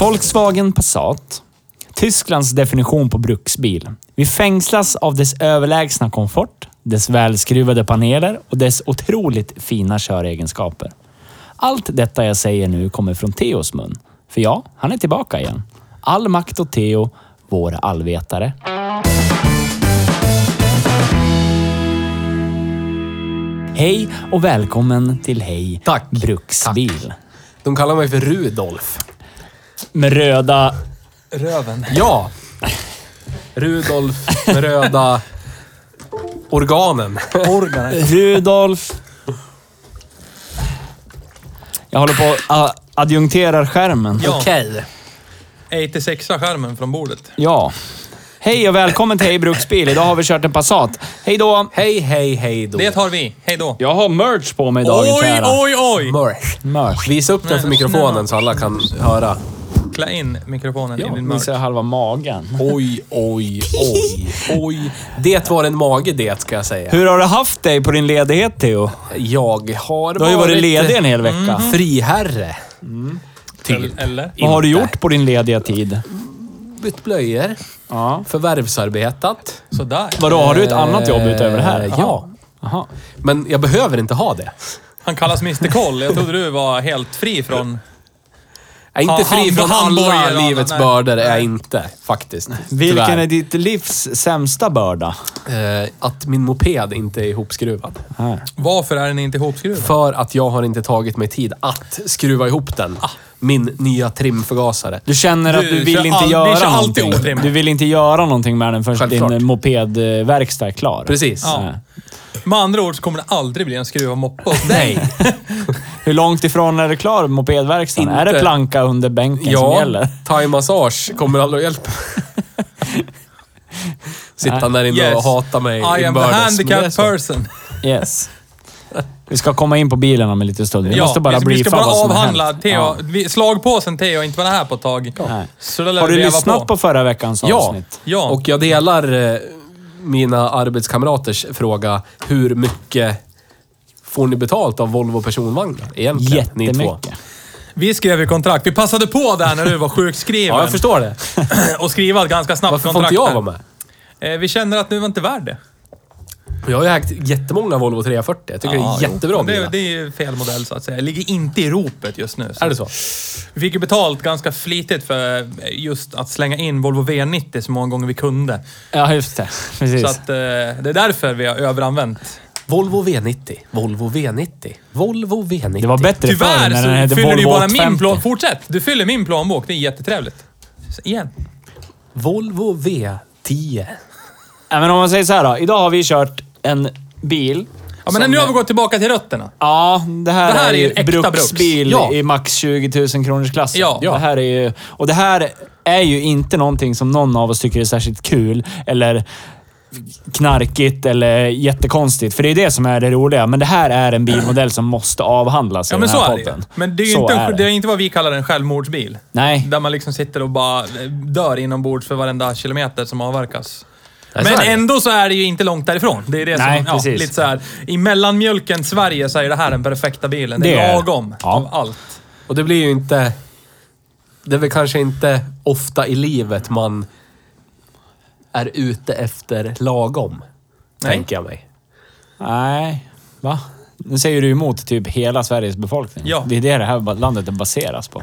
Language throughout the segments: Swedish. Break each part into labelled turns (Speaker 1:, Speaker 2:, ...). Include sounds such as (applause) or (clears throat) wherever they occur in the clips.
Speaker 1: Volkswagen Passat. Tysklands definition på bruksbil. Vi fängslas av dess överlägsna komfort, dess välskruvade paneler och dess otroligt fina köregenskaper. Allt detta jag säger nu kommer från Theos mun. För ja, han är tillbaka igen. All makt åt Theo, vår allvetare. Hej och välkommen till Hej
Speaker 2: Tack.
Speaker 1: Bruksbil.
Speaker 2: De kallar mig för Rudolf.
Speaker 1: Med röda...
Speaker 3: Röven.
Speaker 2: Ja! Rudolf med röda
Speaker 1: (laughs)
Speaker 2: organen.
Speaker 3: Organet.
Speaker 1: Rudolf. Jag håller på att adjunkterar skärmen.
Speaker 3: Ja.
Speaker 2: Okej.
Speaker 3: 86-skärmen från bordet.
Speaker 1: Ja. Hej och välkommen till Hej Bruksbil. Idag har vi kört en Passat. Hej då!
Speaker 2: Hej, hej, hej då.
Speaker 3: Det har vi. Hej då.
Speaker 1: Jag har merch på mig idag.
Speaker 3: Oj,
Speaker 1: Tara.
Speaker 3: oj, oj!
Speaker 2: Merch.
Speaker 1: Merch.
Speaker 2: Visa upp den för mikrofonen så alla kan höra.
Speaker 3: Klä in mikrofonen i din
Speaker 1: Nu
Speaker 3: merch.
Speaker 1: ser jag halva magen.
Speaker 2: Oj, oj, oj, oj. Det var en mage det, ska jag säga.
Speaker 1: Hur har du haft dig på din ledighet, Theo?
Speaker 2: Jag har
Speaker 1: Du har ju varit ledig Mhm. en hel vecka.
Speaker 2: Friherre.
Speaker 3: Eller- Eller?
Speaker 1: Vad har du
Speaker 2: Inte.
Speaker 1: gjort på din lediga tid?
Speaker 2: Bytt blöjor.
Speaker 1: Ja.
Speaker 2: Förvärvsarbetat.
Speaker 3: Sådär.
Speaker 1: Vadå, har du ett annat jobb utöver det här?
Speaker 2: Eh, Ja.
Speaker 1: Aha.
Speaker 2: Men jag behöver inte ha det.
Speaker 3: Han kallas Mr Koll. Jag trodde du var helt fri från...
Speaker 2: Jag är
Speaker 3: Ja,
Speaker 2: inte fri
Speaker 3: hand-
Speaker 2: från
Speaker 3: handbojor och
Speaker 2: alla
Speaker 3: annat,
Speaker 2: livets
Speaker 3: nej.
Speaker 2: bördor, är jag inte faktiskt.
Speaker 1: Vilken
Speaker 2: Tyvärr.
Speaker 1: är ditt livs sämsta börda?
Speaker 2: Eh, att min moped inte är ihopskruvad.
Speaker 1: Här.
Speaker 3: Varför är den inte ihopskruvad?
Speaker 2: För att jag har inte tagit mig tid att skruva ihop den.
Speaker 3: Ah.
Speaker 2: Min nya trimförgasare.
Speaker 1: Du känner att
Speaker 3: Du
Speaker 1: du,
Speaker 3: kör
Speaker 1: vill inte
Speaker 3: all- du
Speaker 1: göra
Speaker 3: kör alltid
Speaker 1: någonting.
Speaker 3: otrimmat.
Speaker 1: Du vill inte göra någonting med den förrän
Speaker 2: Självklart.
Speaker 1: din eh, mopedverkstad är klar.
Speaker 2: Precis.
Speaker 3: Ja. Med andra ord så kommer det aldrig bli en skruvad moppe hos dig.
Speaker 2: Nej.
Speaker 1: Hur långt ifrån är du klar mopedverkstaden?
Speaker 2: Inte.
Speaker 1: Är det planka under bänken som
Speaker 2: Ja,
Speaker 1: gäller?
Speaker 2: thaimassage kommer aldrig
Speaker 3: (laughs)
Speaker 2: att hjälpa. Sitta där inne och hata mig
Speaker 3: I am a
Speaker 2: inbördes, men det är
Speaker 3: handicapped
Speaker 2: så.
Speaker 3: person.
Speaker 1: Yes. Vi ska komma in på bilen om en liten stund. Vi måste bara
Speaker 3: vi ska, vi ska
Speaker 1: briefa
Speaker 3: bara
Speaker 1: vad som
Speaker 3: avhandla.
Speaker 1: har hänt.
Speaker 3: Theo,
Speaker 1: Ja.
Speaker 3: vi, slagpåsen Theo har inte varit här på ett tag.
Speaker 1: Nej.
Speaker 3: Så det lär
Speaker 1: Har du
Speaker 3: vi leva
Speaker 1: lyssnat på. förra veckans
Speaker 2: Ja.
Speaker 1: avsnitt?
Speaker 3: Ja.
Speaker 2: Och jag delar eh, mina arbetskamraters fråga. Hur mycket får ni betalt av Volvo personvagnar egentligen? Ni två.
Speaker 1: Jättemycket.
Speaker 3: Vi skrev ju kontrakt. Vi passade på där när du var sjukskriven.
Speaker 2: Ja, jag förstår det.
Speaker 3: (clears throat) Och skriva ett ganska snabbt
Speaker 2: Varför får
Speaker 3: kontrakt.
Speaker 2: inte jag
Speaker 3: där.
Speaker 2: vara med?
Speaker 3: Eh, Vi känner att nu var inte värd det.
Speaker 2: Jag har ju ägt jättemånga Volvo 340. Jag tycker
Speaker 3: Ja,
Speaker 2: det är jättebra
Speaker 3: jo. Men det,
Speaker 2: bilar.
Speaker 3: det är ju fel modell så att säga. Ligger inte i ropet just nu.
Speaker 2: Är det så?
Speaker 3: Vi fick ju betalt ganska flitigt för just att slänga in Volvo V90 så många gånger vi kunde.
Speaker 1: Ja, just det. Precis.
Speaker 3: Så att eh, det är därför vi har överanvänt.
Speaker 2: Volvo V90. Volvo V90. Volvo V90.
Speaker 1: det var bättre förr
Speaker 3: Tyvärr
Speaker 1: när den hette
Speaker 3: så fyller du ju
Speaker 1: Volvo
Speaker 3: bara min
Speaker 1: 850.
Speaker 3: plan. Fortsätt! Du fyller min plånbok. Det är jättetrevligt. Så igen.
Speaker 2: Volvo V10.
Speaker 1: Ja, men om man säger så här då. Idag har vi kört en bil.
Speaker 3: Ja, men
Speaker 1: som-
Speaker 3: nu har vi gått tillbaka till rötterna.
Speaker 1: Ja, det här,
Speaker 3: Det här är
Speaker 1: är
Speaker 3: ju
Speaker 1: ju
Speaker 3: en äkta
Speaker 1: bruksbil
Speaker 2: bruks. Ja.
Speaker 1: i max 20 000 kronors klassen.
Speaker 3: Ja. Ja.
Speaker 1: Det här är ju, och det här är ju inte någonting som någon av oss tycker är särskilt kul eller knarkigt eller jättekonstigt. För det är det som är det roliga. Men det här är en bilmodell som måste avhandlas
Speaker 3: Ja,
Speaker 1: i
Speaker 3: men
Speaker 1: den
Speaker 3: så
Speaker 1: här
Speaker 3: är det ju.
Speaker 1: podden.
Speaker 3: Men det är ju
Speaker 1: Så
Speaker 3: inte,
Speaker 1: är
Speaker 3: det. är inte vad vi kallar en självmordsbil.
Speaker 1: Nej.
Speaker 3: Där man liksom sitter och bara eh, dör inombords för varenda kilometer som avverkas.
Speaker 2: Nej, så
Speaker 3: Men
Speaker 2: är det.
Speaker 3: ändå så är det ju inte långt därifrån. Det är det
Speaker 1: Nej,
Speaker 3: som... Ja,
Speaker 1: precis.
Speaker 3: lite så här. I mellanmjölken Sverige så är det här den perfekta bilen. Det
Speaker 1: Det
Speaker 3: är
Speaker 1: är-
Speaker 3: lagom
Speaker 1: ja.
Speaker 3: av allt.
Speaker 2: Och det blir ju inte... Det är väl kanske inte ofta i livet man är ute efter lagom.
Speaker 3: Nej.
Speaker 2: Tänker jag mig.
Speaker 1: Nej, va? Nu säger du emot typ hela Sveriges befolkning.
Speaker 3: Ja.
Speaker 1: Det är det det här landet baseras på.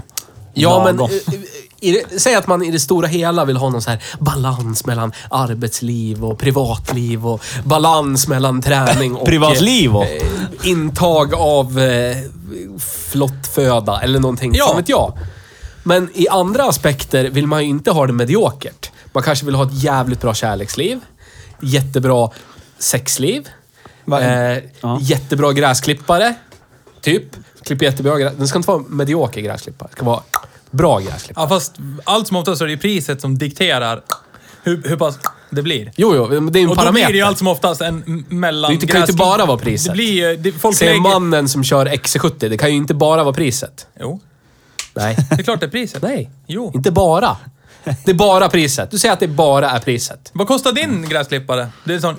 Speaker 2: Ja, men
Speaker 1: Lagom.
Speaker 2: eh, eh, i det, säg att man i det stora hela vill ha någon så här balans mellan arbetsliv och privatliv och balans mellan träning och...
Speaker 1: Privatliv och-
Speaker 2: Eh, intag av eh, flottföda eller någonting.
Speaker 3: Ja.
Speaker 2: Fan vet jag. Men i andra aspekter vill man ju inte ha det mediokert. Man kanske vill ha ett jävligt bra kärleksliv. Jättebra sexliv.
Speaker 1: Va-
Speaker 2: Eh,
Speaker 1: Ja.
Speaker 2: Jättebra gräsklippare. Typ. Klipper jättebra gräs. Den ska inte vara medioker gräsklippare. Det ska vara bra gräsklippare.
Speaker 3: Ja, fast allt som oftast är det ju priset som dikterar hur, hur pass det blir.
Speaker 2: Jo, jo. men Det är ju en
Speaker 3: Och då
Speaker 2: parameter.
Speaker 3: blir det ju allt som oftast en m- mellan...
Speaker 2: Det kan ju inte bara vara priset.
Speaker 3: Det blir ju... Det, folk
Speaker 2: Se
Speaker 3: lägger...
Speaker 2: mannen som kör XC70. Det kan ju inte bara vara priset.
Speaker 3: Jo,
Speaker 2: Nej.
Speaker 3: det är klart det är priset.
Speaker 2: Nej.
Speaker 3: Jo.
Speaker 2: Inte bara. Det är bara priset. Du säger att det bara är priset.
Speaker 3: Vad kostar din gräsklippare? Det är sån...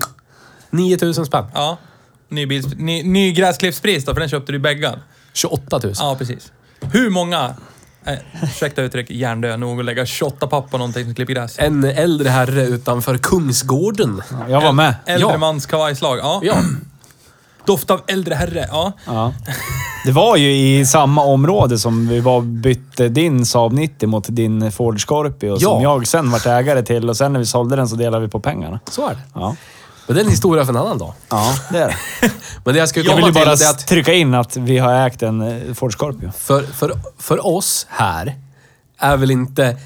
Speaker 2: 9000 spänn.
Speaker 3: Ja. Ny, bils, ny, ny gräsklippspris då, för den köpte du i bäggan.
Speaker 2: 28 000.
Speaker 3: Ja, precis. Hur många... Eh, ursäkta uttryck, hjärndö nog att lägga 28 papp på någonting som klipper gräs.
Speaker 2: En äldre herre utanför Kungsgården.
Speaker 1: Ja, Jag var med.
Speaker 3: Äldre
Speaker 2: Ja.
Speaker 3: mans kavajslag. Ja.
Speaker 2: Ja.
Speaker 3: Doft av äldre herre. Ja.
Speaker 1: Ja. Det var ju i samma område som vi var bytte din Saab 90 mot din Ford Scorpio som
Speaker 2: Ja.
Speaker 1: jag sen vart ägare till och sen när vi sålde den så delade vi på pengarna.
Speaker 2: Så är det.
Speaker 1: Ja,
Speaker 2: Men det är en historia för en annan dag.
Speaker 1: ja det är det.
Speaker 2: Men det jag skulle
Speaker 1: Jag vill
Speaker 2: komma
Speaker 1: ju
Speaker 2: till
Speaker 1: bara
Speaker 2: det är att
Speaker 1: trycka in att vi har ägt en eh, Ford Scorpio.
Speaker 2: för, för, för oss här är väl inte...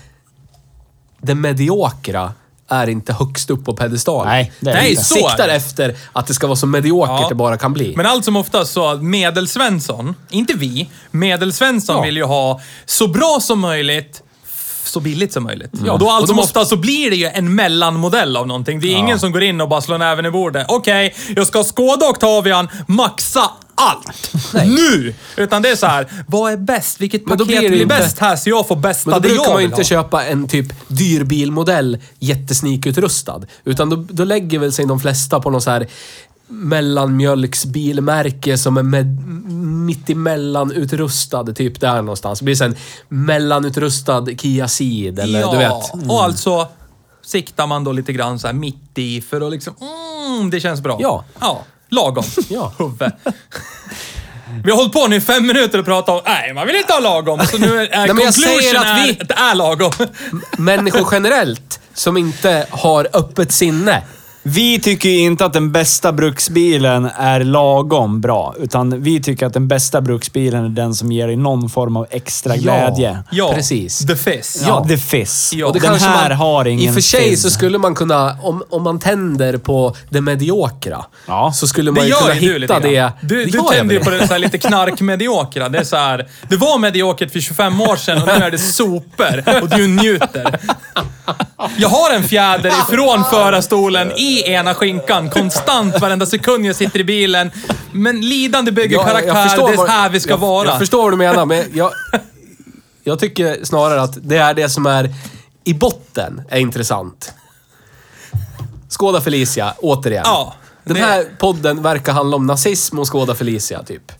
Speaker 2: Det mediokra är inte högst upp på pedestalen.
Speaker 1: Nej, det är det
Speaker 2: vi
Speaker 3: inte. Så är
Speaker 2: siktar
Speaker 3: det.
Speaker 2: efter att det ska vara så mediokert
Speaker 3: Ja.
Speaker 2: det bara kan bli.
Speaker 3: Men allt som oftast så att Medelsvensson, inte vi, Medelsvensson
Speaker 2: Ja.
Speaker 3: vill ju ha så bra som möjligt, f- så billigt som möjligt. Ja. Och då allt
Speaker 2: Mm. Och då
Speaker 3: som
Speaker 2: måste-
Speaker 3: oftast så blir det ju en mellanmodell av någonting. Det är ingen som går in och bara slår näven i bordet. Okej, jag ska skåda Octavian, maxa
Speaker 2: (laughs)
Speaker 3: allt! Nu! Utan det är så här, vad är bäst? Vilket
Speaker 2: Men då
Speaker 3: paket
Speaker 2: blir
Speaker 3: blir,
Speaker 2: det ju inte-
Speaker 3: bäst här så jag får bästa
Speaker 2: Men då
Speaker 3: det jag
Speaker 2: brukar man ju
Speaker 3: vill
Speaker 2: inte
Speaker 3: ha?
Speaker 2: köpa en typ dyr bilmodell jättesnikutrustad. Utan då, då lägger väl sig de flesta på någon så här mellanmjölksbilmärke som är med, mittemellan utrustad typ där någonstans. Det blir sen mellanutrustad Kia Ceed eller
Speaker 3: ja,
Speaker 2: du vet. Mm.
Speaker 3: och alltså siktar man då lite grann så här mitt i för att liksom, mm, det känns bra.
Speaker 2: Ja.
Speaker 3: Ja, lagom.
Speaker 2: (laughs)
Speaker 3: (laughs)
Speaker 2: Ja.
Speaker 3: Huvve. Vi har hållit på nu i fem minuter och pratat om, nej man vill inte ha lagom. Så nu är
Speaker 2: Nej, men jag säger
Speaker 3: conclusion
Speaker 2: att vi-
Speaker 3: är, det är lagom. (laughs)
Speaker 2: Människor generellt som inte har öppet sinne.
Speaker 1: Vi tycker ju inte att den bästa bruksbilen är lagom bra, utan vi tycker att den bästa bruksbilen är den som ger dig någon form av extra glädje.
Speaker 3: Ja,
Speaker 2: Precis.
Speaker 3: The Fizz.
Speaker 1: Ja, the fizz.
Speaker 3: Ja,
Speaker 2: Och det
Speaker 1: den
Speaker 2: kanske
Speaker 1: här
Speaker 2: man,
Speaker 1: har ingen
Speaker 2: I och för sig
Speaker 1: fizz.
Speaker 2: så skulle man kunna, om, om man tänder på det mediokra,
Speaker 1: Ja.
Speaker 2: så skulle man
Speaker 3: Det
Speaker 2: ju
Speaker 3: gör
Speaker 2: kunna
Speaker 3: ju du lite
Speaker 2: hitta
Speaker 3: grann.
Speaker 2: det.
Speaker 3: Du,
Speaker 2: Det
Speaker 3: du
Speaker 2: gör jag
Speaker 3: tänder ju
Speaker 2: väl.
Speaker 3: på det så här lite knarkmediokra. Det är så här, det var mediokert för 25 år sedan och nu är det super och du njuter. Jag har en fjäder ifrån förarstolen i ena skinkan konstant varenda sekund jag sitter i bilen. Men lidande bygger
Speaker 2: Ja,
Speaker 3: karaktär, det är
Speaker 2: vad-
Speaker 3: här vi ska
Speaker 2: jag,
Speaker 3: vara.
Speaker 2: Jag förstår vad du
Speaker 3: (laughs)
Speaker 2: menar, men jag, jag tycker snarare att det är det som är i botten är intressant. Skåda Felicia, återigen.
Speaker 3: Ja,
Speaker 2: Den
Speaker 3: det-
Speaker 2: här podden verkar handla om nazism och Skåda Felicia, typ.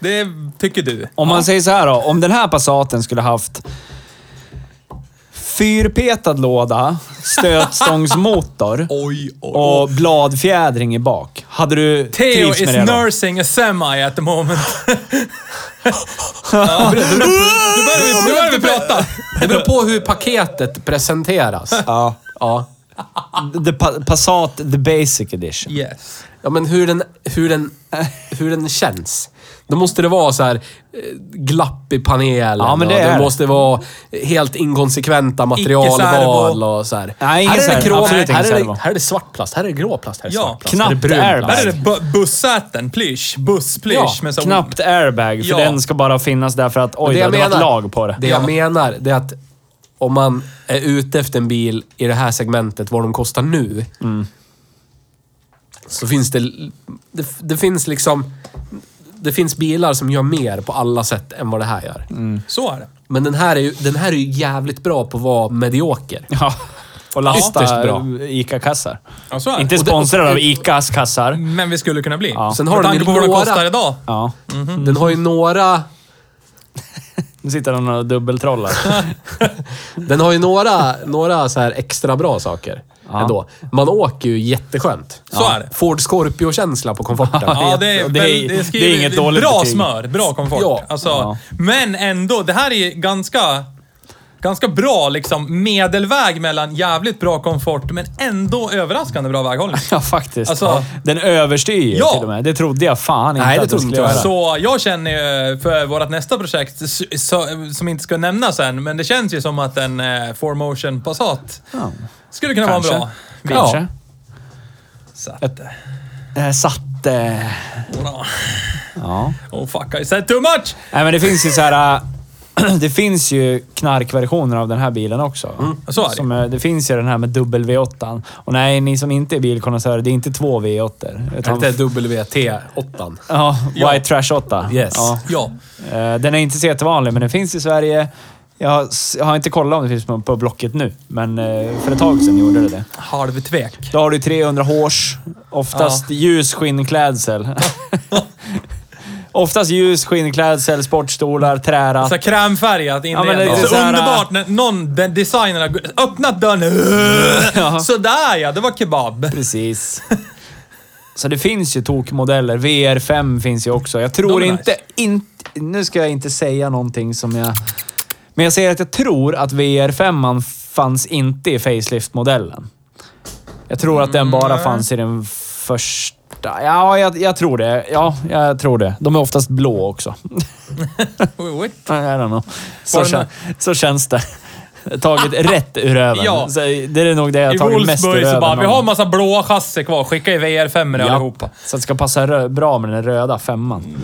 Speaker 3: Det tycker du.
Speaker 1: Om man säger så här då. Om den här Passaten skulle haft fyrpetad låda, stötstångsmotor
Speaker 3: Oj, oj, oj.
Speaker 1: och bladfjädring i bak. Hade du
Speaker 3: Theo
Speaker 1: trivts
Speaker 3: is
Speaker 1: med det då?
Speaker 3: nursing a semi at the moment. ja. Nu börjar vi- nu börjar vi prata.
Speaker 2: Det beror på hur paketet presenteras.
Speaker 1: Ja.
Speaker 2: Ja.
Speaker 1: The pa Passat, the basic edition.
Speaker 3: Yes.
Speaker 2: Ja, men hur den,
Speaker 1: (laughs)
Speaker 2: hur den, hur den känns. Då måste det vara så här eh, glapp i panelen.
Speaker 1: Ja, men det
Speaker 2: och
Speaker 1: är
Speaker 2: det
Speaker 1: det.
Speaker 2: måste vara helt inkonsekventa materialval
Speaker 3: Icke-servo.
Speaker 2: och så här.
Speaker 1: Nej,
Speaker 2: här,
Speaker 1: ingen
Speaker 2: är det
Speaker 1: servo.
Speaker 2: krom,
Speaker 1: Absolut ingen
Speaker 2: här, är
Speaker 1: servo.
Speaker 2: det, här är det svart plast, här är det grå plast, här är det
Speaker 3: Ja,
Speaker 2: svart plast.
Speaker 1: knappt
Speaker 2: här är brun
Speaker 1: airbag.
Speaker 2: plast.
Speaker 3: Där är det bu- bussäten, plysch. Bussplish.
Speaker 2: Ja,
Speaker 3: med så
Speaker 1: Knappt airbag, för
Speaker 3: Ja.
Speaker 1: den ska bara finnas där för att oj, det,
Speaker 2: jag
Speaker 1: hade varit
Speaker 2: menar-
Speaker 1: lag på det.
Speaker 2: Det jag menar, det är att om man är ute efter en bil i det här segmentet, vad de kostar nu.
Speaker 1: Mm.
Speaker 2: Så finns det, det... Det finns liksom... Det finns bilar som gör mer på alla sätt än vad det här gör.
Speaker 1: Mm.
Speaker 3: Så är det.
Speaker 2: Men den här, är ju, den här är ju jävligt bra på att vara medioker.
Speaker 1: (laughs) Ja. Och
Speaker 2: Ytterst
Speaker 1: lasta
Speaker 2: bra.
Speaker 1: ICA-kassar.
Speaker 3: Ja, så är det.
Speaker 1: Inte
Speaker 3: Och Mm. det-
Speaker 1: sponsrad av ICAs kassar.
Speaker 3: Men vi skulle kunna bli.
Speaker 2: Sen har
Speaker 3: Med
Speaker 2: den
Speaker 3: tanke
Speaker 2: ju
Speaker 3: på vad det
Speaker 2: några-
Speaker 3: kostar idag.
Speaker 1: Ja.
Speaker 3: Mhm.
Speaker 2: Den har ju några...
Speaker 1: Nu sitter de och dubbeltrollar.
Speaker 2: Den har ju några, några så här extra bra saker ändå. Man åker ju jätteskönt.
Speaker 3: Så är det.
Speaker 2: Ford Scorpio-känsla på komforten.
Speaker 3: Ja, det är,
Speaker 1: Det är-
Speaker 3: väl-
Speaker 1: det
Speaker 3: skriver-
Speaker 1: är inget dåligt
Speaker 3: Bra
Speaker 1: betyg.
Speaker 3: smör, bra komfort.
Speaker 2: Ja.
Speaker 3: Alltså,
Speaker 1: Ja.
Speaker 3: Men ändå, det här är ju ganska... ganska bra liksom medelväg mellan jävligt bra komfort men ändå överraskande bra väghållning.
Speaker 1: (laughs) Ja, faktiskt.
Speaker 3: Alltså-
Speaker 1: ja. Den överstyr
Speaker 3: Ja.
Speaker 1: ja. till och med. Det trodde jag fan inte
Speaker 2: Nej, det
Speaker 1: att det
Speaker 2: trodde
Speaker 1: skulle
Speaker 2: inte jag
Speaker 1: göra.
Speaker 2: heller.
Speaker 3: Så jag känner ju för vårt nästa projekt, s- så- som inte ska nämnas än, men det känns ju som att en 4motion Passat
Speaker 1: Ja.
Speaker 3: skulle kunna
Speaker 1: Kanske.
Speaker 3: vara en bra bil.
Speaker 1: Kanske.
Speaker 3: Ja. Så att,
Speaker 1: Eh, satt... Eh,
Speaker 3: bra.
Speaker 1: ja.
Speaker 3: Oh fuck, I said too much!
Speaker 1: Nej, men det finns ju så här... äh, (clears throat) Det finns ju knarkversioner av den här bilen också.
Speaker 2: Mm,
Speaker 3: så är det.
Speaker 1: Som, eh, det finns ju den här med dubbel V8. Och nej, ni som inte är bilkonnässörer, det är inte två V8.
Speaker 2: Är
Speaker 1: Utan,
Speaker 2: det inte WT8?
Speaker 1: ja,
Speaker 3: Ja.
Speaker 1: White Trash 8.
Speaker 2: Yes.
Speaker 1: Ja.
Speaker 3: Ja.
Speaker 1: Eh, Den är inte så jättevanlig, men den finns i Sverige. Jag har, s- jag har inte kollat om det finns på- på Blocket nu, men eh, för ett tag sedan gjorde det det.
Speaker 3: Halvtvek.
Speaker 1: Då har du 300 hårs, oftast ljus skinnklädsel. oftast ljus skinnklädsel, sportstolar, träratt.
Speaker 3: Så här krämfärgat inredning.
Speaker 1: men det är
Speaker 3: det är så,
Speaker 1: så här-
Speaker 3: underbart när någon, den designern, har g- öppnat dörren. Sådär ja, det var kebab. (laughs)
Speaker 1: Precis. Så det finns ju tokmodeller. VR5 finns ju också. Jag tror
Speaker 3: De är
Speaker 1: inte, inte... Nu ska jag inte säga någonting som jag... Men jag säger att jag tror att VR5 fanns inte i facelift-modellen. Jag tror att den
Speaker 3: Mm,
Speaker 1: bara fanns i den första... Ja, jag, jag tror det. Ja, jag tror det. De är oftast blå också. I don't know. Så,
Speaker 3: Var det
Speaker 1: kän, så känns det.
Speaker 3: (laughs)
Speaker 1: Tagit rätt ur röven.
Speaker 3: Ja.
Speaker 1: Så det är nog det jag
Speaker 3: I
Speaker 1: tagit mest ur
Speaker 3: Wolfsburg
Speaker 1: röven.
Speaker 3: så bara, vi
Speaker 1: av
Speaker 3: har
Speaker 1: dem."
Speaker 3: en massa blåa chassi kvar. Skicka i VR5 ja. allihopa. Mm.
Speaker 1: Så att det ska passa rö- bra med den röda femman.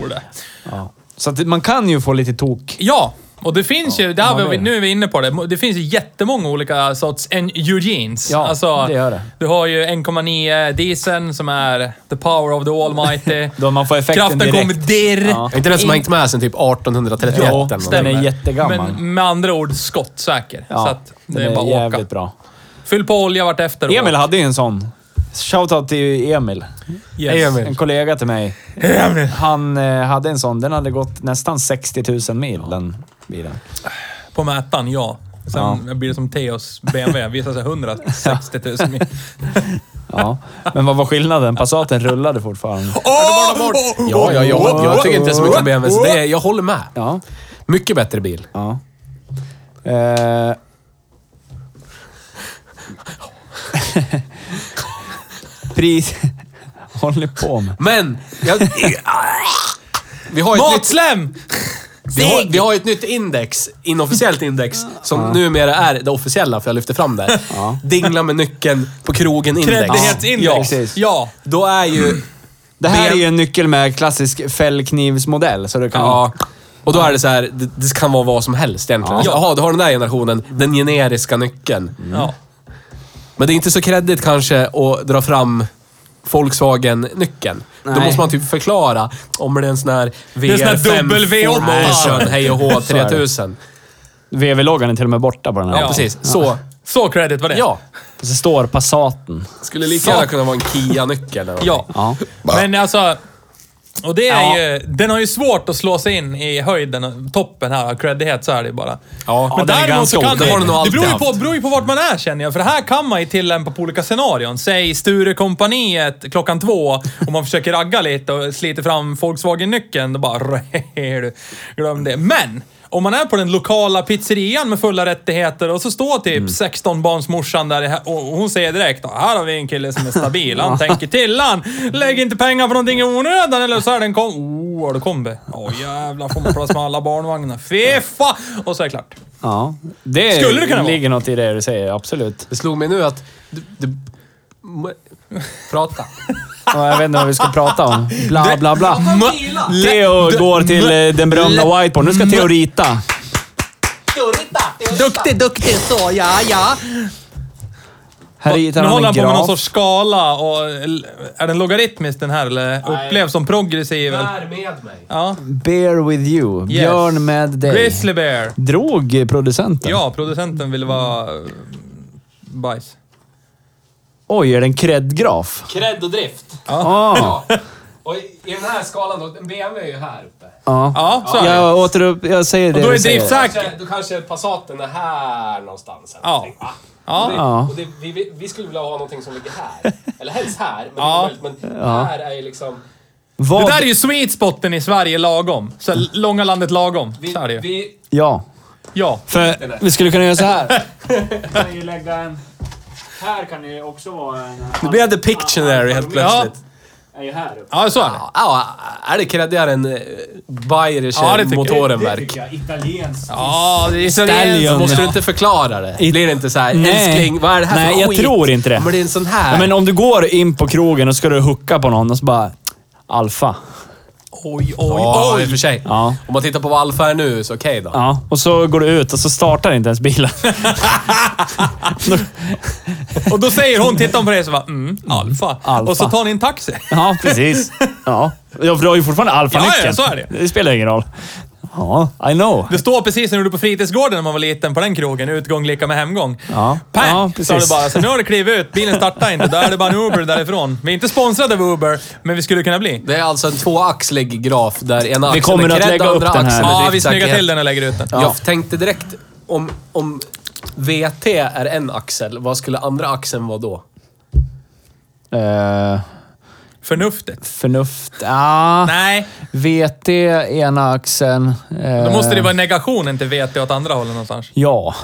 Speaker 1: Ja. Så att man kan ju få lite tok.
Speaker 3: Ja, och det finns ju, det
Speaker 1: man
Speaker 3: här vi,
Speaker 1: vill.
Speaker 3: nu är vi inne på det, det finns ju jättemånga olika sorts en- Eugenes. Alltså,
Speaker 1: Ja, det gör det.
Speaker 3: Du har ju 1,9 dieseln som är the power of the almighty.
Speaker 1: Då man får effekten
Speaker 3: Kraften
Speaker 1: direkt.
Speaker 3: kommer dirr.
Speaker 1: Ja.
Speaker 2: Är inte den som har hängt med sen typ 1831?
Speaker 1: Jo,
Speaker 2: eller något?
Speaker 1: stämmer. Den är jättegammal.
Speaker 3: Men med andra ord skottsäker.
Speaker 1: Ja,
Speaker 3: så att det
Speaker 1: den
Speaker 3: är bara att
Speaker 1: jävligt
Speaker 3: åka.
Speaker 1: bra.
Speaker 3: Fyll på olja vartefter. och
Speaker 1: Emil
Speaker 3: åk.
Speaker 1: hade ju en sån. Shoutout till Emil.
Speaker 3: Yes.
Speaker 2: Emil.
Speaker 1: En kollega till mig. Han eh, hade en sån. Den hade gått nästan 60 000 mil, den bilen.
Speaker 3: På mätaren, ja. Sen blir det som Theos BMW. Visar sig 160 000 mil.
Speaker 1: Ja. Men vad var skillnaden? Passaten rullade fortfarande.
Speaker 2: Ja, ja, ja. Jag tycker inte det är så mycket om BMW, så det är, jag håller med.
Speaker 1: Ja.
Speaker 2: Mycket bättre bil.
Speaker 1: Ja. Eh. (laughs) Pris... Håller på med.
Speaker 2: Men... Jag,
Speaker 3: (laughs)
Speaker 2: vi har ju ett nytt,
Speaker 3: Matsläm!
Speaker 2: vi har, vi har ju ett nytt index, inofficiellt index, som numera är det officiella, för jag lyfter
Speaker 1: (laughs)
Speaker 2: fram det. Dingla med nyckeln på krogen-index.
Speaker 1: Ja,
Speaker 3: Kreddighetsindex.
Speaker 1: precis.
Speaker 3: ja.
Speaker 2: Då är ju...
Speaker 1: Det här är ju en nyckel med klassisk fällknivsmodell, så du kan...
Speaker 2: Ja. Och då är det så här, det, det kan vara vad som helst egentligen.
Speaker 3: Ja.
Speaker 2: Jaha, du har den där generationen, den generiska nyckeln.
Speaker 1: Mm.
Speaker 3: ja.
Speaker 2: Men det är inte så kreddigt kanske att dra fram Volkswagen-nyckeln. Då
Speaker 1: Nej.
Speaker 2: måste man typ förklara om det är en sån här
Speaker 3: är en sån här dubbel
Speaker 2: VR5
Speaker 3: V8.
Speaker 2: Formation, hej och
Speaker 1: (laughs)
Speaker 2: hå,
Speaker 1: Så är det.
Speaker 2: 3000.
Speaker 1: VW-loggan är till och med borta på den här.
Speaker 3: Ja.
Speaker 2: Precis, så.
Speaker 3: Så credit var det.
Speaker 2: Ja.
Speaker 1: Och så står Passaten.
Speaker 2: Skulle lika gärna kunna vara en Kia-nyckel. eller
Speaker 3: Ja.
Speaker 1: Ja.
Speaker 3: Men alltså... Och det är
Speaker 1: Ja.
Speaker 3: ju... Den har ju svårt att slå sig in i höjden, toppen här av creddighet, så är det ju bara.
Speaker 2: Ja.
Speaker 3: Men
Speaker 1: den är
Speaker 3: däremot så
Speaker 1: ganska
Speaker 3: kan
Speaker 1: old.
Speaker 3: det,
Speaker 1: Det har
Speaker 2: den nog
Speaker 3: det
Speaker 2: alltid
Speaker 3: beror ju på,
Speaker 2: haft.
Speaker 3: beror ju på vart man är känner jag. För det här kan man ju tillämpa på olika scenarion. Säg Sturecompagniet klockan två och man försöker ragga lite och sliter fram Volkswagen-nyckeln. Då bara... (laughs) du, Glöm det. Men! Om man är på den lokala pizzerian med fulla rättigheter och så står typ 16-barnsmorsan där i- och hon säger direkt här har vi en kille som är stabil, (laughs) han tänker till han. Lägg inte pengar på någonting i onödan eller så är den kom... Oh, har du kombi? Åh jävlar, får man plats med alla barnvagnar? Fy fan! Och så är det klart.
Speaker 1: Ja. Det
Speaker 3: Skulle det kunna vara?
Speaker 1: ligger något i det du säger, absolut.
Speaker 2: Det slog mig nu att... Du, du, prata.
Speaker 1: Och jag vet inte vad vi ska prata om. Bla, bla, bla. Leo går till eh, den berömda whiteboarden. Nu ska Theo rita.
Speaker 4: Duktig, duktig så, ja, ja.
Speaker 1: Här ritar
Speaker 3: nu
Speaker 1: han
Speaker 3: håller han
Speaker 1: en
Speaker 3: på med någon
Speaker 1: graf.
Speaker 3: sorts skala och... eh, Är den logaritmisk den här eller upplevs som progressiv? eller?
Speaker 2: med mig.
Speaker 3: Ja.
Speaker 1: Bear with you.
Speaker 3: Yes.
Speaker 1: Björn med dig.
Speaker 3: Grizzly bear.
Speaker 1: Drog producenten?
Speaker 3: Ja, producenten ville vara... eh, Bajs.
Speaker 1: Oj, är det en kreddgraf?
Speaker 2: Kredd och drift.
Speaker 1: Ah.
Speaker 2: Och i den här skalan då, en BMW är ju här uppe.
Speaker 1: Ja.
Speaker 3: Ja, så är det.
Speaker 1: Jag återupp... Jag säger det
Speaker 3: Då
Speaker 1: du
Speaker 3: är
Speaker 1: säger.
Speaker 3: driftsäker.
Speaker 2: Då kanske Passaten är här någonstans. eller
Speaker 3: Ja.
Speaker 2: någonting, va? Och det-
Speaker 1: Ja.
Speaker 2: och det- vi, vi skulle vilja ha någonting som ligger
Speaker 3: (laughs)
Speaker 2: här. Eller helst här, men, det är
Speaker 3: Ja.
Speaker 2: möjligt, men här är ju liksom...
Speaker 1: Vad...
Speaker 3: Det där är ju sweet spoten i Sverige lagom. Så här, långa landet lagom.
Speaker 2: Vi,
Speaker 3: Så är det ju.
Speaker 2: vi,
Speaker 1: Ja.
Speaker 3: Ja.
Speaker 1: För vi skulle kunna göra
Speaker 3: (laughs)
Speaker 1: så här. kan ju lägga en... Här kan ju också vara en...
Speaker 2: Nu blev det Pictionary helt plötsligt.
Speaker 1: Är ju här uppe.
Speaker 3: Ja, så är det.
Speaker 2: Ja. ja, är det kreddigare än eh, Bayerische
Speaker 3: Ja, det tycker jag.
Speaker 2: Motorenwerk?
Speaker 1: jag. Italienskt.
Speaker 3: Ja, det är
Speaker 1: Stallion.
Speaker 3: italienskt.
Speaker 2: Måste du inte förklara det?
Speaker 1: I-
Speaker 2: Blir det inte så här,
Speaker 1: Nej.
Speaker 2: älskling, vad är det här
Speaker 1: Nej,
Speaker 2: för
Speaker 1: jag
Speaker 2: skit?
Speaker 1: tror inte det.
Speaker 2: Men det är en sån här.
Speaker 1: Ja, men om du går in på krogen och ska du hucka på någon och så bara... Alfa.
Speaker 2: Oj, oj, ja, oj! i och för sig.
Speaker 1: Ja.
Speaker 2: Om man tittar på vad Alfa är nu, så okej då.
Speaker 1: Ja, och så går du ut och så startar inte
Speaker 3: (laughs)
Speaker 1: ens bilen.
Speaker 3: Och då säger hon, tittar hon på dig så bara, mm, alfa.
Speaker 1: Alfa.
Speaker 3: Och så tar ni en taxi.
Speaker 1: Ja, precis. Ja. Ja, för du har ju fortfarande alfanyckeln.
Speaker 3: Ja, ja, så är det.
Speaker 1: Det spelar ingen roll. Ja, I know.
Speaker 3: Det står precis när du gjorde på fritidsgården när man var liten på den krogen, utgång lika med hemgång.
Speaker 1: Ja.
Speaker 3: Pang!
Speaker 1: Ja,
Speaker 3: sa det
Speaker 1: precis.
Speaker 3: bara. Så nu har du klivit ut, bilen startar inte. Då är det bara en Uber därifrån. Vi är inte sponsrade av Uber, men vi skulle kunna bli.
Speaker 2: Det är alltså en tvåaxlig graf där ena axeln
Speaker 1: kommer
Speaker 2: är
Speaker 1: att
Speaker 2: kredd,
Speaker 1: lägga
Speaker 2: andra
Speaker 1: upp den här.
Speaker 2: axeln är
Speaker 3: Ja, vi
Speaker 2: driftsäkerhet.
Speaker 3: snyggar till den och lägger ut den.
Speaker 1: Ja.
Speaker 2: Jag tänkte direkt, om, om VT är en axel, vad skulle andra axeln vara då?
Speaker 1: Eh,
Speaker 3: Förnuftet.
Speaker 1: förnuft. Ah,
Speaker 3: Nej,
Speaker 1: VT ena axeln. eh,
Speaker 3: då måste det vara negationen till VT åt andra hållet någonstans.
Speaker 1: Ja.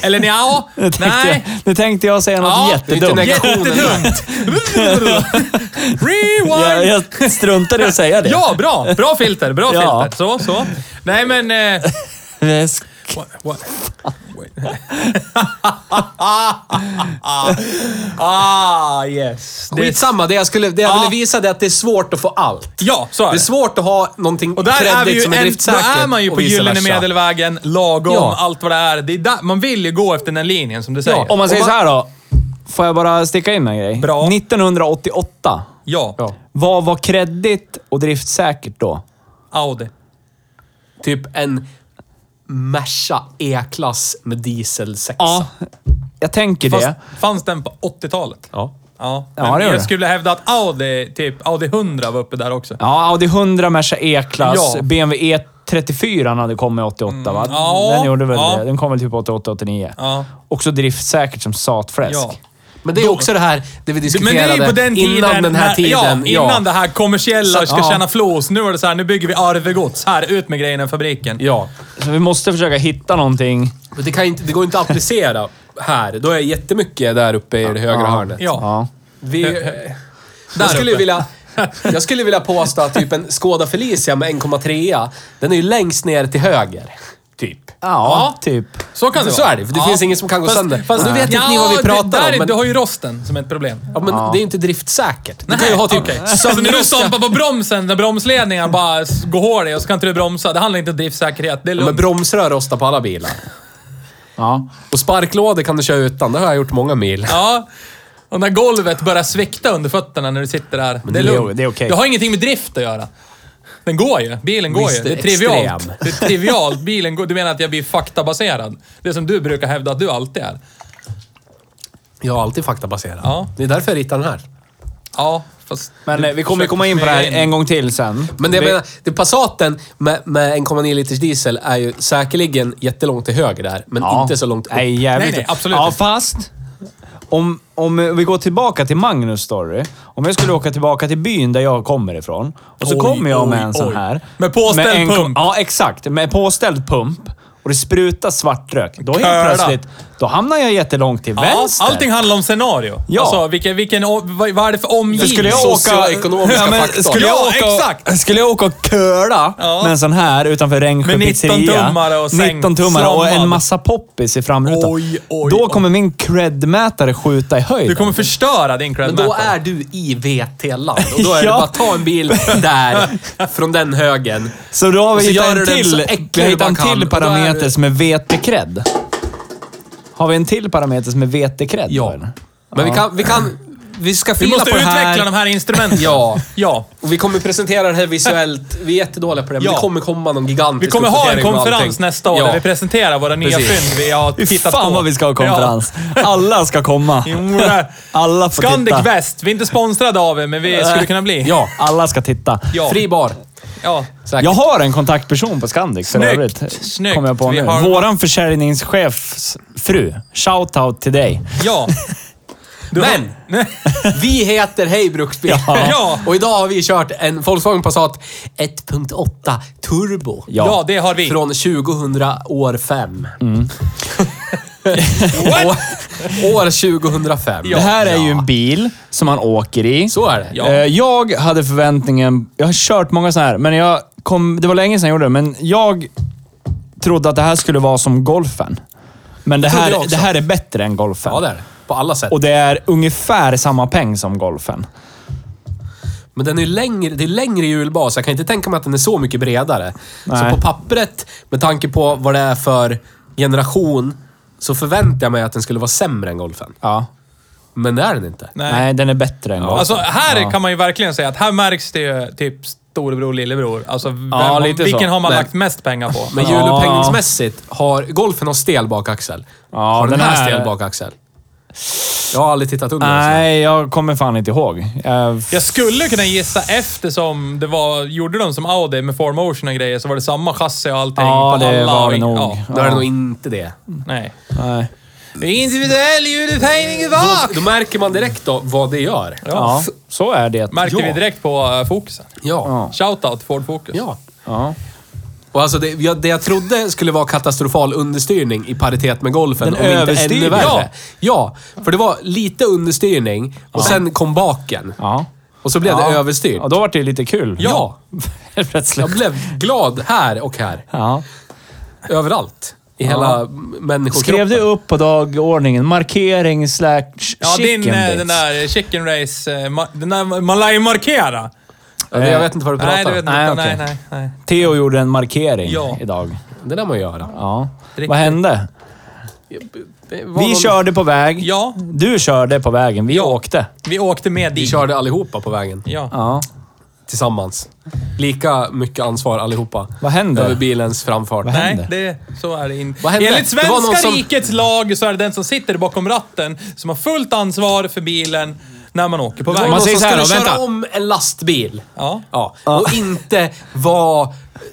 Speaker 3: Eller
Speaker 1: (laughs)
Speaker 3: nja,
Speaker 1: Nu tänkte,
Speaker 3: nej.
Speaker 1: jag, nu tänkte jag säga något
Speaker 3: Ja,
Speaker 2: det är inte
Speaker 1: jättedumt.
Speaker 2: neg-
Speaker 3: Jättedumt! (laughs) Rewind!
Speaker 1: Jag, jag struntade i att säga det.
Speaker 3: Ja, bra! Bra filter, bra
Speaker 1: Ja.
Speaker 3: filter. Så, så. Nej men... Eh,
Speaker 1: Väsk.
Speaker 3: what, what? Wait. ah, yes. Det är,
Speaker 2: Skitsamma, det jag, skulle, det jag
Speaker 3: Ja.
Speaker 2: ville visa det är att det är svårt att få allt.
Speaker 3: ja, så är
Speaker 2: Det är
Speaker 3: det.
Speaker 2: svårt att ha någonting
Speaker 3: Och där är vi
Speaker 2: kreddigt
Speaker 3: ju
Speaker 2: som är
Speaker 3: en, då
Speaker 2: driftsäkert
Speaker 3: är man ju
Speaker 2: och
Speaker 3: på
Speaker 2: vice
Speaker 3: gyllene
Speaker 2: versa.
Speaker 3: medelvägen, lagom,
Speaker 2: Ja.
Speaker 3: allt vad det är. det är där, man vill ju gå efter den linjen som du säger.
Speaker 1: Om man säger så här då. Får jag bara sticka in en grej?
Speaker 3: Bra.
Speaker 1: 1988.
Speaker 3: Ja,
Speaker 2: Ja.
Speaker 1: Vad var kreddigt och driftsäkert då?
Speaker 3: Audi.
Speaker 2: Typ en Merca E-klass med diesel 6.
Speaker 1: Jag tänker
Speaker 3: Fast,
Speaker 1: det.
Speaker 3: fanns den på 80-talet?
Speaker 2: Ja.
Speaker 3: Ja,
Speaker 1: Ja,
Speaker 3: men
Speaker 1: det gör
Speaker 3: jag
Speaker 1: det.
Speaker 3: skulle hävda att Audi, typ Audi 100 var uppe där också.
Speaker 1: Ja, Audi 100, Merca E-klass.
Speaker 3: Ja. Mm.
Speaker 1: BMW E34 E hade kommit 88, va?
Speaker 3: ja,
Speaker 1: Den gjorde väl
Speaker 3: ja.
Speaker 1: det. Den kom väl typ 88, 89.
Speaker 3: Ja.
Speaker 1: Också driftsäkert som satfläsk.
Speaker 3: Ja.
Speaker 2: Men det är också det här, det vi
Speaker 3: Men det
Speaker 2: diskuterade
Speaker 3: är ju på den tiden,
Speaker 2: innan den här
Speaker 3: när-
Speaker 2: tiden.
Speaker 3: Ja, innan det här kommersiella
Speaker 2: Så-
Speaker 3: ska
Speaker 2: ja.
Speaker 3: tjäna flås. Nu var det så här, nu bygger vi arvegods. Här, ut med grejerna i fabriken.
Speaker 2: Ja.
Speaker 1: Så vi måste försöka hitta någonting.
Speaker 2: Men det, kan ju inte, det går inte att applicera här. Då är jättemycket där uppe i det högra
Speaker 1: Ja.
Speaker 2: hörnet.
Speaker 3: Ja.
Speaker 2: Vi, jag, skulle
Speaker 3: uppe. (laughs)
Speaker 2: vilja, jag skulle vilja påstå att typ en Skoda Felicia med 1,3 den är ju längst ner till höger. Typ.
Speaker 1: Ja,
Speaker 3: Ja.
Speaker 1: typ.
Speaker 3: Så kan det
Speaker 2: Så
Speaker 3: vara.
Speaker 2: är det, för det finns ingen som kan gå sönder.
Speaker 3: Fast,
Speaker 2: Nu vet inte
Speaker 3: ja,
Speaker 2: ni vad vi pratar om,
Speaker 3: det, där, är-
Speaker 2: men-
Speaker 3: Du har ju rosten som ett problem.
Speaker 2: Ja, men det är ju inte driftsäkert. Du kan
Speaker 3: Nej,
Speaker 2: ju ha typ
Speaker 3: okej. Så när du
Speaker 2: sönderrostad...
Speaker 3: stampar på bromsen när bromsledningen bara s- går hål i och så kan inte du bromsa. Det handlar inte om driftsäkerhet. Det är
Speaker 2: Men
Speaker 3: lugnt.
Speaker 2: bromsrör rostar på alla bilar.
Speaker 1: Ja.
Speaker 2: Och sparklådor kan du köra utan. Det har jag gjort många mil.
Speaker 3: Ja. Och när golvet börjar svikta under fötterna när du sitter där. det är
Speaker 1: det är-
Speaker 3: lugnt.
Speaker 1: det är okej.
Speaker 3: Det har ingenting med drift att göra. Den går ju. Bilen går
Speaker 2: Visst,
Speaker 3: ju. Det är
Speaker 2: det är
Speaker 3: trivialt.
Speaker 2: extrem.
Speaker 3: Det är trivialt. Bilen går. Du menar att jag blir faktabaserad? Det som du brukar hävda att du alltid är.
Speaker 2: Jag har alltid faktabaserat.
Speaker 3: Ja.
Speaker 2: Det är därför jag ritar den här.
Speaker 3: Ja, fast...
Speaker 1: Men
Speaker 3: du
Speaker 1: eh, vi kommer ju
Speaker 3: försöker
Speaker 1: komma in på det här
Speaker 3: smyga
Speaker 1: en gång till sen.
Speaker 2: Men det jag
Speaker 1: vi,
Speaker 2: menar, det Passaten med, med 1,9 liters diesel är ju säkerligen jättelångt till höger där, men
Speaker 1: Ja.
Speaker 2: inte så långt upp.
Speaker 1: Nej, jävligt.
Speaker 3: Nej, nej, absolut
Speaker 1: Ja,
Speaker 3: inte.
Speaker 1: fast... Om, om eh, vi går tillbaka till Magnus story. Om jag skulle åka tillbaka till byn där jag kommer ifrån och så
Speaker 3: Oj,
Speaker 1: kommer jag med
Speaker 3: oj,
Speaker 1: en sån
Speaker 3: oj.
Speaker 1: här.
Speaker 3: Med påställd
Speaker 1: en kom-
Speaker 3: pump.
Speaker 1: Ja, exakt. Med påställd pump. Och det sprutar svart rök. Då helt
Speaker 3: Köra.
Speaker 1: plötsligt, då hamnar jag jättelångt till
Speaker 3: Ja,
Speaker 1: vänster.
Speaker 3: allting handlar om scenario.
Speaker 1: Ja.
Speaker 3: Alltså, vilken, vilken, o- vad, vad är det för omgivning?
Speaker 1: Skulle jag åka...
Speaker 2: Socioekonomiska
Speaker 1: men
Speaker 2: faktorn.
Speaker 1: Skulle jag
Speaker 3: Ja,
Speaker 1: åka,
Speaker 3: exakt.
Speaker 1: Skulle jag åka och köla
Speaker 3: Ja.
Speaker 1: med en sån här utanför Rengsjö
Speaker 3: Med 19
Speaker 1: pizzeria,
Speaker 3: tummare och sänkt
Speaker 1: 19 tummare och en
Speaker 3: slammad.
Speaker 1: massa poppis i framrutan.
Speaker 3: Oj, oj,
Speaker 1: Då
Speaker 3: oj.
Speaker 1: kommer min cred-mätare skjuta i höjden.
Speaker 3: Du kommer förstöra din
Speaker 2: Men då
Speaker 3: credmätare.
Speaker 2: är du i VT-land
Speaker 3: (laughs)
Speaker 2: och då är
Speaker 1: Ja.
Speaker 2: det bara att ta en bil där, från den högen.
Speaker 1: Så då har
Speaker 2: Och
Speaker 1: vi
Speaker 2: så
Speaker 1: hittat
Speaker 2: gör
Speaker 1: en
Speaker 2: du den så
Speaker 1: till,
Speaker 2: äcklig
Speaker 1: vi har
Speaker 2: du
Speaker 1: hittat en
Speaker 2: bara kan.
Speaker 1: till
Speaker 2: Och då är
Speaker 1: parameter
Speaker 2: det-
Speaker 1: som är VT-cred. Har vi en till parameter som är VT-cred?
Speaker 2: Ja. Men vi kan... Vi, kan, vi ska
Speaker 3: Vi
Speaker 2: fila
Speaker 3: måste
Speaker 2: på det
Speaker 3: utveckla
Speaker 2: här.
Speaker 3: de här instrumenten.
Speaker 2: Ja.
Speaker 3: ja.
Speaker 2: Och vi kommer presentera det här visuellt. Vi är jättedåliga på det, men
Speaker 3: Ja.
Speaker 2: det kommer komma någon gigantisk
Speaker 3: Vi kommer ha en
Speaker 2: uppdatering på
Speaker 3: konferens
Speaker 2: allting.
Speaker 3: nästa år
Speaker 2: Ja.
Speaker 3: där vi presenterar våra nya
Speaker 2: Precis.
Speaker 3: fynd vi har
Speaker 1: Fy
Speaker 3: tittat
Speaker 1: fan
Speaker 3: på.
Speaker 1: vad vi ska ha konferens. Alla ska komma.
Speaker 3: Ja. Jo, det-
Speaker 1: (laughs) Alla får
Speaker 3: Scandic
Speaker 1: titta.
Speaker 3: Väst. Vi är inte sponsrade av er, men vi skulle kunna bli.
Speaker 2: Ja.
Speaker 1: Alla ska titta.
Speaker 3: Ja.
Speaker 2: Fri bar.
Speaker 3: ja.
Speaker 2: Säkert.
Speaker 1: Jag har en kontaktperson på Scandic för
Speaker 3: Snyggt,
Speaker 1: övrigt.
Speaker 3: snyggt.
Speaker 1: Kommer jag på
Speaker 3: Vi
Speaker 1: nu.
Speaker 3: har-
Speaker 1: Våran försäljningschefs fru. Shoutout till dig.
Speaker 3: Ja.
Speaker 2: Men!
Speaker 1: (laughs)
Speaker 2: Vi heter Hej Bruksbil.
Speaker 3: Ja.
Speaker 2: Och idag har vi kört en Volkswagen Passat 1.8 Turbo.
Speaker 3: Ja, det har vi.
Speaker 2: Från 2000 år 5.
Speaker 1: Mm.
Speaker 3: What?
Speaker 2: år 2005.
Speaker 1: Det här är ju en bil som man åker i.
Speaker 2: Så är det.
Speaker 3: Ja.
Speaker 1: Eh, Jag hade förväntningen... Jag har kört många sådana här, men jag kom... Det var länge sedan jag gjorde det, men jag trodde att det här skulle vara som golfen. Men det,
Speaker 2: trodde jag
Speaker 1: här,
Speaker 2: också.
Speaker 1: det här är bättre än golfen.
Speaker 2: Ja, det är det. På alla sätt.
Speaker 1: Och det är ungefär samma peng som golfen.
Speaker 2: Men den är ju längre, det är längre hjulbas. Jag kan inte tänka mig att den är så mycket bredare.
Speaker 1: Nej.
Speaker 2: Så på pappret, med tanke på vad det är för generation, så förväntar jag mig att den skulle vara sämre än golfen.
Speaker 1: Ja.
Speaker 2: Men det är den inte.
Speaker 3: Nej.
Speaker 1: Nej, den är bättre än golfen.
Speaker 3: Alltså här
Speaker 1: ja.
Speaker 3: kan man ju verkligen säga att här märks det ju typ storebror, lillebror. Alltså vem,
Speaker 1: Ja, lite
Speaker 3: vilken
Speaker 1: så.
Speaker 3: har man
Speaker 2: Men-
Speaker 3: lagt mest pengar på?
Speaker 2: Men
Speaker 3: Ja.
Speaker 2: hjulupphängningsmässigt har... Golfen har stel bakaxel.
Speaker 1: Ja,
Speaker 2: har den,
Speaker 1: den
Speaker 2: här
Speaker 1: här-
Speaker 2: stel bakaxel? Jag har aldrig tittat under. den så här.
Speaker 1: Nej, jag kommer fan inte ihåg. Jag...
Speaker 3: Jag skulle kunna gissa eftersom det var, gjorde de som Audi med 4Motion och grejer så var det samma chassi och allting.
Speaker 1: Ja,
Speaker 3: på
Speaker 1: det
Speaker 3: alla
Speaker 1: var
Speaker 3: och-
Speaker 1: det nog.
Speaker 3: Ja,
Speaker 2: Då är det nog inte det.
Speaker 3: nej.
Speaker 1: Nej.
Speaker 3: Det är individuell ljudupphängning i bak!
Speaker 2: Då, då märker man direkt då vad det gör. Ja.
Speaker 1: Ja, så är det.
Speaker 3: Märkte
Speaker 1: ja.
Speaker 3: vi direkt på eh, fokusen.
Speaker 2: Ja.
Speaker 3: Shoutout Ford Focus.
Speaker 2: ja.
Speaker 1: Ja.
Speaker 2: Och alltså det, jag, det jag trodde skulle vara katastrofal understyrning i paritet med golfen,
Speaker 1: Den
Speaker 2: om inte
Speaker 1: överstyrde.
Speaker 2: ännu värre.
Speaker 1: Ja.
Speaker 2: Ja. för det var lite understyrning och sen kom baken.
Speaker 1: Ja.
Speaker 2: Och så blev det överstyrt.
Speaker 1: Ja, då var det lite kul.
Speaker 2: Ja.
Speaker 1: (laughs) Helt plötsligt.
Speaker 2: Jag blev glad här och här.
Speaker 1: Ja.
Speaker 2: Överallt. I hela människokroppen.
Speaker 1: Skrev du upp på dagordningen markering slash
Speaker 3: Ja,
Speaker 1: chicken
Speaker 3: din, eh,
Speaker 1: bits?
Speaker 3: den där chicken race... eh, ma- Den där man lär ju markera.
Speaker 2: Ja, det- Jag vet inte vad du pratar
Speaker 3: Nej, det vet
Speaker 2: om.
Speaker 3: inte.
Speaker 1: Nej,
Speaker 3: Nej,
Speaker 1: okej.
Speaker 3: nej, nej,
Speaker 1: Theo gjorde en markering
Speaker 3: Ja.
Speaker 1: idag.
Speaker 2: Det lär man göra.
Speaker 1: Ja.
Speaker 3: Riktigt.
Speaker 1: Vad hände?
Speaker 2: Det var
Speaker 1: Vi
Speaker 2: någon-
Speaker 1: körde på väg.
Speaker 3: Ja,
Speaker 1: Du körde på vägen. Vi
Speaker 3: Ja.
Speaker 1: åkte.
Speaker 3: vi åkte med
Speaker 2: Vi
Speaker 3: dit.
Speaker 2: körde allihopa på vägen.
Speaker 3: Ja.
Speaker 1: Ja.
Speaker 2: Tillsammans. Lika mycket ansvar allihopa.
Speaker 1: Vad händer?
Speaker 2: Över bilens framfart.
Speaker 1: Vad
Speaker 3: Nej,
Speaker 1: händer?
Speaker 3: det, så är det inte.
Speaker 2: Vad hände?
Speaker 3: Enligt
Speaker 2: Det var någon
Speaker 3: svenska
Speaker 2: som-
Speaker 3: rikets lag så är det den som sitter bakom ratten som har fullt ansvar för bilen när man åker på
Speaker 2: Det var
Speaker 3: vägen.
Speaker 1: Man
Speaker 2: någon
Speaker 1: säger
Speaker 2: som
Speaker 1: så här
Speaker 2: skulle
Speaker 1: då,
Speaker 2: köra
Speaker 1: vänta.
Speaker 2: om en lastbil.
Speaker 3: Ja.
Speaker 2: ja. Och inte vara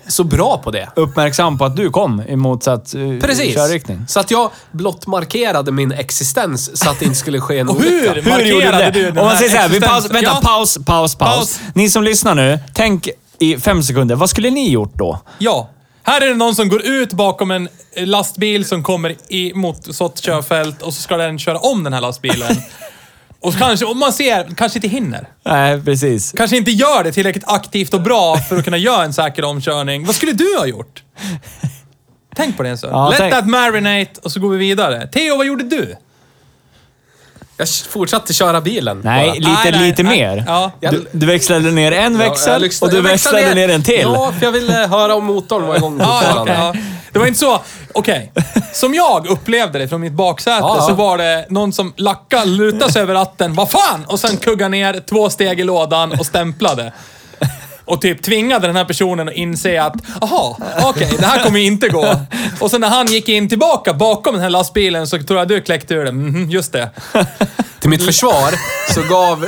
Speaker 2: så bra på det.
Speaker 1: Uppmärksam på att du kom i motsatt eh,
Speaker 2: Precis.
Speaker 1: körriktning.
Speaker 2: Så att jag blott markerade min existens så att det inte skulle
Speaker 1: (laughs)
Speaker 2: ske en
Speaker 3: Och hur?
Speaker 2: olycka.
Speaker 3: Markerade du den
Speaker 1: Om man
Speaker 3: här
Speaker 1: säger så här, vi
Speaker 3: existensen?
Speaker 1: paus, vänta,
Speaker 3: Ja.
Speaker 1: paus, paus, paus,
Speaker 3: Paus.
Speaker 1: Ni som lyssnar nu, tänk i fem sekunder. Vad skulle ni gjort då?
Speaker 3: Ja. Här är det någon som går ut bakom en eh, lastbil som kommer i, mot så ett körfält och så ska den köra om den här
Speaker 2: (laughs)
Speaker 3: lastbilen. och så kanske, om man ser, kanske inte hinner.
Speaker 1: Nej, precis.
Speaker 3: Kanske inte gör det tillräckligt aktivt och bra för att kunna göra en säker omkörning. Vad skulle du ha gjort? Tänk på det en stund.
Speaker 1: Ja,
Speaker 3: Let
Speaker 1: tänk.
Speaker 3: that marinate och så går vi vidare. Theo, vad gjorde du?
Speaker 2: Jag fortsatte köra bilen.
Speaker 1: Nej,
Speaker 2: bara.
Speaker 1: lite,
Speaker 3: Nej, nej,
Speaker 1: lite
Speaker 3: nej.
Speaker 1: mer.
Speaker 3: Ja.
Speaker 1: Du, du växlade ner en
Speaker 2: Ja, jag
Speaker 1: växel
Speaker 2: lyssnade-
Speaker 1: och du
Speaker 2: jag
Speaker 1: växlade ner. en till.
Speaker 2: Ja, för jag ville höra om motorn var igång
Speaker 3: Ja, ja,
Speaker 2: fortfarande.
Speaker 3: ja. Det var inte så... Okej. Som jag upplevde det från mitt baksäte
Speaker 2: Ja, ja.
Speaker 3: så var det någon som lackade, lutade sig över ratten. Vad fan! Och sen kuggade ner två steg i lådan och stämplade. Och typ tvingade den här personen att inse att, aha, okej, det här kommer ju inte gå. Och sen när han gick in tillbaka bakom den här lastbilen så tror jag du kläckte ur det. Mhm, just det.
Speaker 2: Till mitt försvar så gav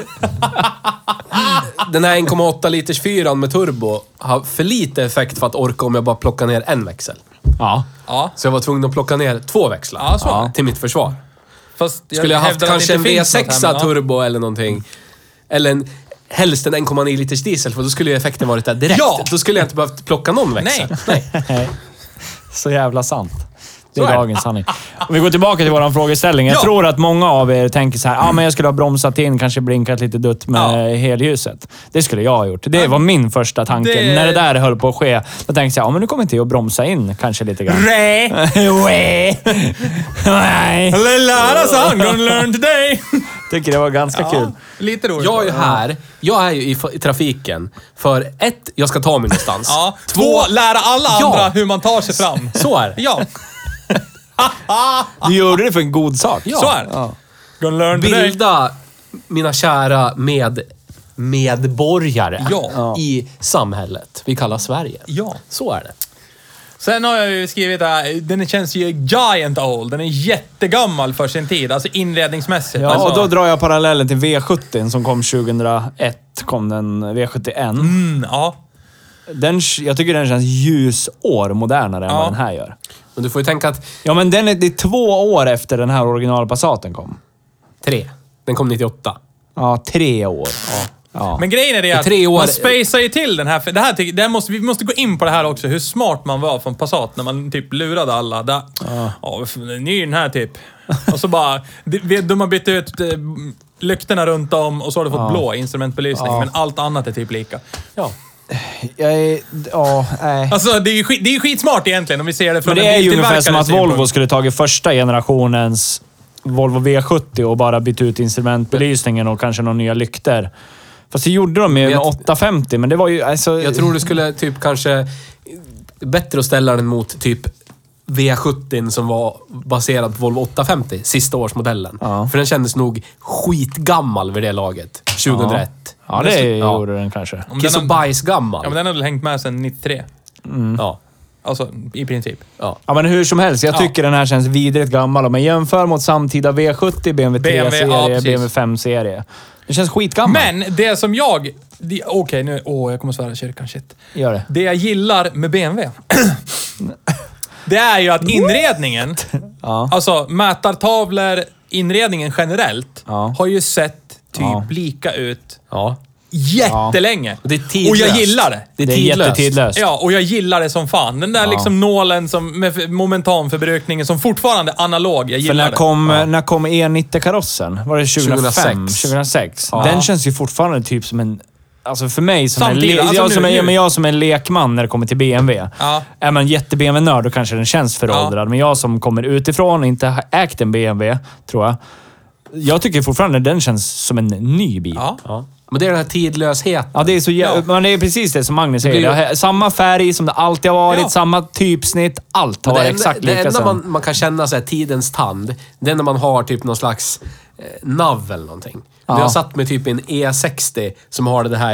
Speaker 2: den här 1,8 liters fyran med turbo ha- för lite effekt för att orka om jag bara plockar ner en växel.
Speaker 1: Ja.
Speaker 3: Ja,
Speaker 2: Så jag var tvungen att plocka ner två växlar.
Speaker 3: Ja, så är det.
Speaker 2: Till mitt försvar.
Speaker 3: fast jag
Speaker 2: Skulle jag haft
Speaker 3: hävdar att det
Speaker 2: kanske en
Speaker 3: inte finns något här,
Speaker 2: V6
Speaker 3: men ja.
Speaker 2: turbo eller någonting. Eller en, helst en 1,9 liters diesel, för då skulle ju effekten varit där direkt.
Speaker 3: Ja!
Speaker 2: Då skulle jag inte behövt plocka någon växel.
Speaker 3: Nej.
Speaker 1: Så jävla sant. Det är
Speaker 2: Så är det.
Speaker 1: dagens sanning. Om vi går tillbaka till vår frågeställning. Jag
Speaker 3: Ja.
Speaker 1: tror att många av er tänker så här, ah, men jag skulle ha bromsat in, kanske blinkat lite dutt med helljuset. Det skulle jag ha gjort. Det var min första tanke.
Speaker 3: Det-
Speaker 1: När det där höll på att ske, då tänkte jag, ah, men nu kommer inte jag att bromsa in kanske lite grann.
Speaker 3: Nej!
Speaker 2: (laughs)
Speaker 1: Nej. Nej.
Speaker 3: Lära sig, I'm gonna learn today!
Speaker 1: Tycker det var ganska kul.
Speaker 3: Lite roligt.
Speaker 2: Jag är ju här. Jag är ju i, fa- i trafiken för ett, jag ska ta mig någonstans.
Speaker 3: Ja. Två, lära alla
Speaker 2: Ja.
Speaker 3: andra hur man tar sig fram.
Speaker 2: Så är det.
Speaker 3: Ja,
Speaker 1: Du gjorde det för en god sak.
Speaker 3: så är det. Gonna learn today.
Speaker 2: Bilda mina kära med, medborgare
Speaker 3: Ja.
Speaker 2: i samhället vi kallar Sverige.
Speaker 3: Ja.
Speaker 2: Så är det.
Speaker 3: Sen har jag ju skrivit här, den känns ju giant old. Den är jättegammal för sin tid, alltså inredningsmässigt.
Speaker 1: Ja,
Speaker 3: alltså,
Speaker 1: och då drar jag parallellen till V70 som kom 2001. Kom den V71.
Speaker 3: mm, ja.
Speaker 1: Den, jag tycker den känns ljusår modernare än
Speaker 3: Ja.
Speaker 1: vad den här gör.
Speaker 2: Men du får ju tänka att
Speaker 1: Ja, men den är, det är två år efter den här originalpassaten kom.
Speaker 2: tre. Den Den kom 98.
Speaker 1: Ja, tre år. Ja.
Speaker 3: Men grejen är det att
Speaker 2: tre år-
Speaker 3: man spacear ju till den här. För det här tycker- det här måste, vi måste gå in på det här också, hur smart man var från Passat när man typ lurade alla. Där, ja, för- ny den här typ. Och så bara... De, vi- de har bytt ut eh, lyktorna runt om och så har du fått blå instrumentbelysning. Men allt annat är typ lika.
Speaker 2: Ja.
Speaker 1: Jag är... Ja, nej.
Speaker 3: Alltså det är ju skit, det är ju skitsmart egentligen om vi ser det från
Speaker 1: Men det är ju ungefär som att
Speaker 3: biltillverkares
Speaker 1: Volvo skulle tagit första generationens Volvo V70 och bara bytt ut instrumentbelysningen och kanske några nya lykter. Fast det gjorde de ju med
Speaker 2: jag-
Speaker 1: 850, men det var ju... Alltså,
Speaker 2: Jag tror du skulle typ kanske... Bättre att ställa den mot typ V70 som var baserad på Volvo 850, sista årsmodellen.
Speaker 1: Ja.
Speaker 2: För den kändes nog skitgammal vid det laget. 2001.
Speaker 1: Ja, det
Speaker 2: Ja.
Speaker 1: gjorde den kanske.
Speaker 3: Om
Speaker 2: Kiss
Speaker 3: den
Speaker 2: och
Speaker 3: har-
Speaker 2: bajsgammal.
Speaker 3: Ja, men den hade väl hängt med sedan 93.
Speaker 2: ja.
Speaker 3: Alltså, i princip.
Speaker 2: ja.
Speaker 1: Ja, men hur som helst. Jag tycker den här känns vidrigt gammal. Om man jämför mot samtida V70, BMW 3-serie,
Speaker 3: ja, precis.
Speaker 1: BMW 5-serie. Det känns skitgammal.
Speaker 3: Men det som jag... det- Okej, nu... Åh, jag kommer svära i kyrkan. Shit.
Speaker 1: Gör det.
Speaker 3: Det jag gillar med BMW. (clears throat) det är ju att inredningen,
Speaker 1: (laughs) Ja.
Speaker 3: alltså mätartavlor, inredningen generellt,
Speaker 1: Ja.
Speaker 3: har ju sett typ
Speaker 1: Ja.
Speaker 3: lika ut
Speaker 2: ja.
Speaker 3: jättelänge.
Speaker 2: Och det är
Speaker 3: och
Speaker 2: tidlöst.
Speaker 3: jag gillar det.
Speaker 2: Det är
Speaker 1: Det är
Speaker 2: tidlöst.
Speaker 1: jättetidlöst.
Speaker 3: Ja, och jag gillar det som fan. Den där liksom nålen som, med f- momentanförbrukningen som fortfarande är analog. Jag
Speaker 1: För
Speaker 3: gillar
Speaker 1: när
Speaker 3: det.
Speaker 1: kom, när kom E90-karossen? Var det 2005?
Speaker 2: 2006.
Speaker 1: 2006. Den känns ju fortfarande typ som en... Alltså för mig som, en,
Speaker 3: Samtidigt,
Speaker 1: le-
Speaker 3: alltså
Speaker 1: jag,
Speaker 3: nu-
Speaker 1: som en,
Speaker 3: nu.
Speaker 1: ja, men jag som en lekman när det kommer till BMW.
Speaker 3: Ja.
Speaker 1: Är man jätte-BMW-nörd då kanske den känns föråldrad. Men jag som kommer utifrån och inte har ägt en BMW, tror jag. Jag tycker fortfarande den känns som en ny bil.
Speaker 3: Ja.
Speaker 2: Ja. Men det är den här tidlösheten.
Speaker 1: Ja, det är så jä-
Speaker 3: Ja.
Speaker 1: Men det är precis det som Magnus säger.
Speaker 2: blir ju-
Speaker 1: Det har- Samma färg som det alltid har varit,
Speaker 3: Ja.
Speaker 1: samma typsnitt. Allt har
Speaker 2: Men
Speaker 1: varit
Speaker 2: det enda,
Speaker 1: exakt
Speaker 2: det
Speaker 1: lika
Speaker 2: enda
Speaker 1: sen.
Speaker 2: man, man kan känna så här, tidens tand, det är när man har typ någon slags eh, nav eller någonting.
Speaker 1: Ja.
Speaker 2: Du har satt mig typ i en E60 som har det här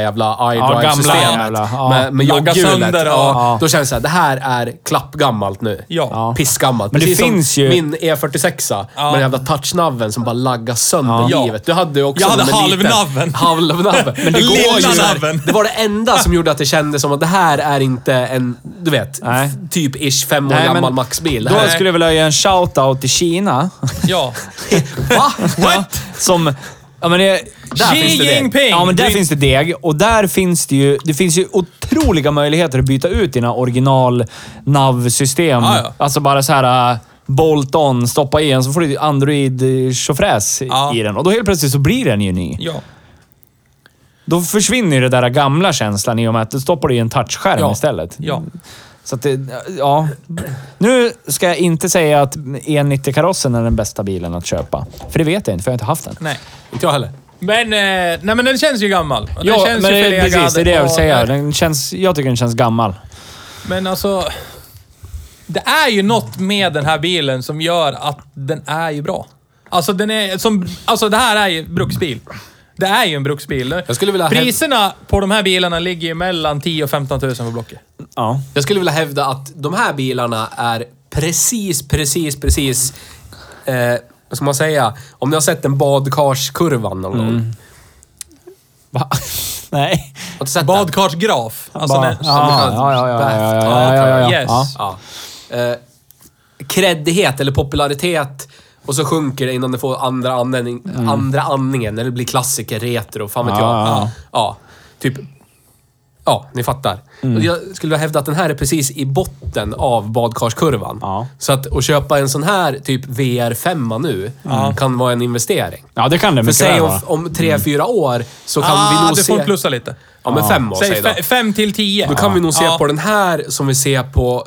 Speaker 1: gamla
Speaker 2: jävla iDrive-systemet.
Speaker 1: jävla, ja.
Speaker 2: Med, med
Speaker 3: Lagga
Speaker 2: jogghjulet.
Speaker 3: sönder och-
Speaker 2: Ja.
Speaker 1: Ja.
Speaker 2: Då känns det så här, det här är klappgammalt nu.
Speaker 3: Ja. Ja.
Speaker 2: Pissgammalt.
Speaker 1: Men det
Speaker 2: Precis
Speaker 1: finns
Speaker 2: som
Speaker 1: ju-
Speaker 2: min E46 med den jävla touchnaven som bara laggar sönder
Speaker 3: Ja.
Speaker 2: livet. Du hade ju också
Speaker 3: Jag hade
Speaker 2: som en liten-
Speaker 3: halvnaven.
Speaker 2: (laughs) Halvnaven. Men det går
Speaker 3: Lilla
Speaker 2: ju.
Speaker 3: naven.
Speaker 2: Det var det enda som gjorde att det kändes som att det här är inte en, du vet,
Speaker 1: Nej.
Speaker 2: f- typ ish fem år
Speaker 1: Nej, men
Speaker 2: gammal Maxbil. Det
Speaker 1: Då
Speaker 2: här är-
Speaker 1: skulle jag vilja ge en shout-out till Kina.
Speaker 3: Ja.
Speaker 2: Va?
Speaker 1: Ja, som... Ja, men det,
Speaker 2: Där
Speaker 3: Xi
Speaker 2: finns det deg.
Speaker 3: Jinping!
Speaker 1: Ja, men där
Speaker 3: Du-
Speaker 1: finns det deg. Och där finns det ju... Det finns ju otroliga möjligheter att byta ut dina original NAV-system.
Speaker 3: Ah, Ja, ja.
Speaker 1: Alltså bara så här... äh, Bolt-on, stoppa i den, så får du Android-tjofräs
Speaker 3: Ja.
Speaker 1: i den. Och då helt plötsligt så blir den ju ny.
Speaker 3: ja.
Speaker 1: Då försvinner ju den där gamla känslan i och med att du stoppar i en touchskärm
Speaker 3: Ja.
Speaker 1: istället.
Speaker 3: Ja.
Speaker 1: Så att det, ja. Nu ska jag inte säga att E90-karossen är den bästa bilen att köpa. För det vet jag inte, för jag har inte haft den.
Speaker 3: Nej.
Speaker 2: (laughs) Inte jag heller.
Speaker 3: Men, eh, nej, men den känns ju gammal. Och den
Speaker 1: Ja,
Speaker 3: känns
Speaker 1: men
Speaker 3: ju
Speaker 1: det,
Speaker 3: förlegad
Speaker 1: precis. Det är det jag vill
Speaker 3: och-
Speaker 1: säga. Den känns, jag tycker den känns gammal.
Speaker 3: Men alltså... Det är ju något med den här bilen som gör att den är ju bra. Alltså den är som... Alltså det här är ju bruksbil. Det är ju en bruksbil.
Speaker 2: Jag skulle vilja häv-
Speaker 3: Priserna på de här bilarna ligger ju mellan 10 000 och 15 000 på Blocket.
Speaker 1: Ja.
Speaker 2: Jag skulle vilja hävda att de här bilarna är precis, precis, precis... Eh, vad ska man säga? Om ni har sett den badkarskurvan någon
Speaker 1: Mm.
Speaker 2: gång.
Speaker 1: Va? (laughs) Nej.
Speaker 2: Har du sett den?
Speaker 3: Badkarsgraf. Alltså
Speaker 1: Bara-
Speaker 3: när,
Speaker 1: ja, ja, ja, ja, ja, ja, ja, ja, ja.
Speaker 3: Yes.
Speaker 1: Ja.
Speaker 2: Ja. Eh, kreddighet eller popularitet och så sjunker det innan det får andra, användning, andra andningen. När det blir klassiker, retro, fan vet
Speaker 1: Mm. Ja,
Speaker 2: jag.
Speaker 1: ja.
Speaker 2: Ja, typ... Ja, ni fattar.
Speaker 1: Mm.
Speaker 2: Och Jag skulle vilja hävda att den här är precis i botten av badkarskurvan.
Speaker 1: Ja.
Speaker 2: Så att, att köpa en sån här typ VR5 nu kan vara en investering.
Speaker 1: Ja, det kan det
Speaker 2: För
Speaker 1: mycket
Speaker 2: säg
Speaker 1: väl Mm.
Speaker 2: om,
Speaker 1: vara.
Speaker 2: om tre, fyra år så kan vi
Speaker 3: Ah,
Speaker 2: nog
Speaker 3: du
Speaker 2: se...
Speaker 3: får plussa lite.
Speaker 2: Ja, men fem år
Speaker 3: Säg
Speaker 2: säg då.
Speaker 3: 5 till Ah. 10.
Speaker 2: Då kan vi nog se på den här som vi ser på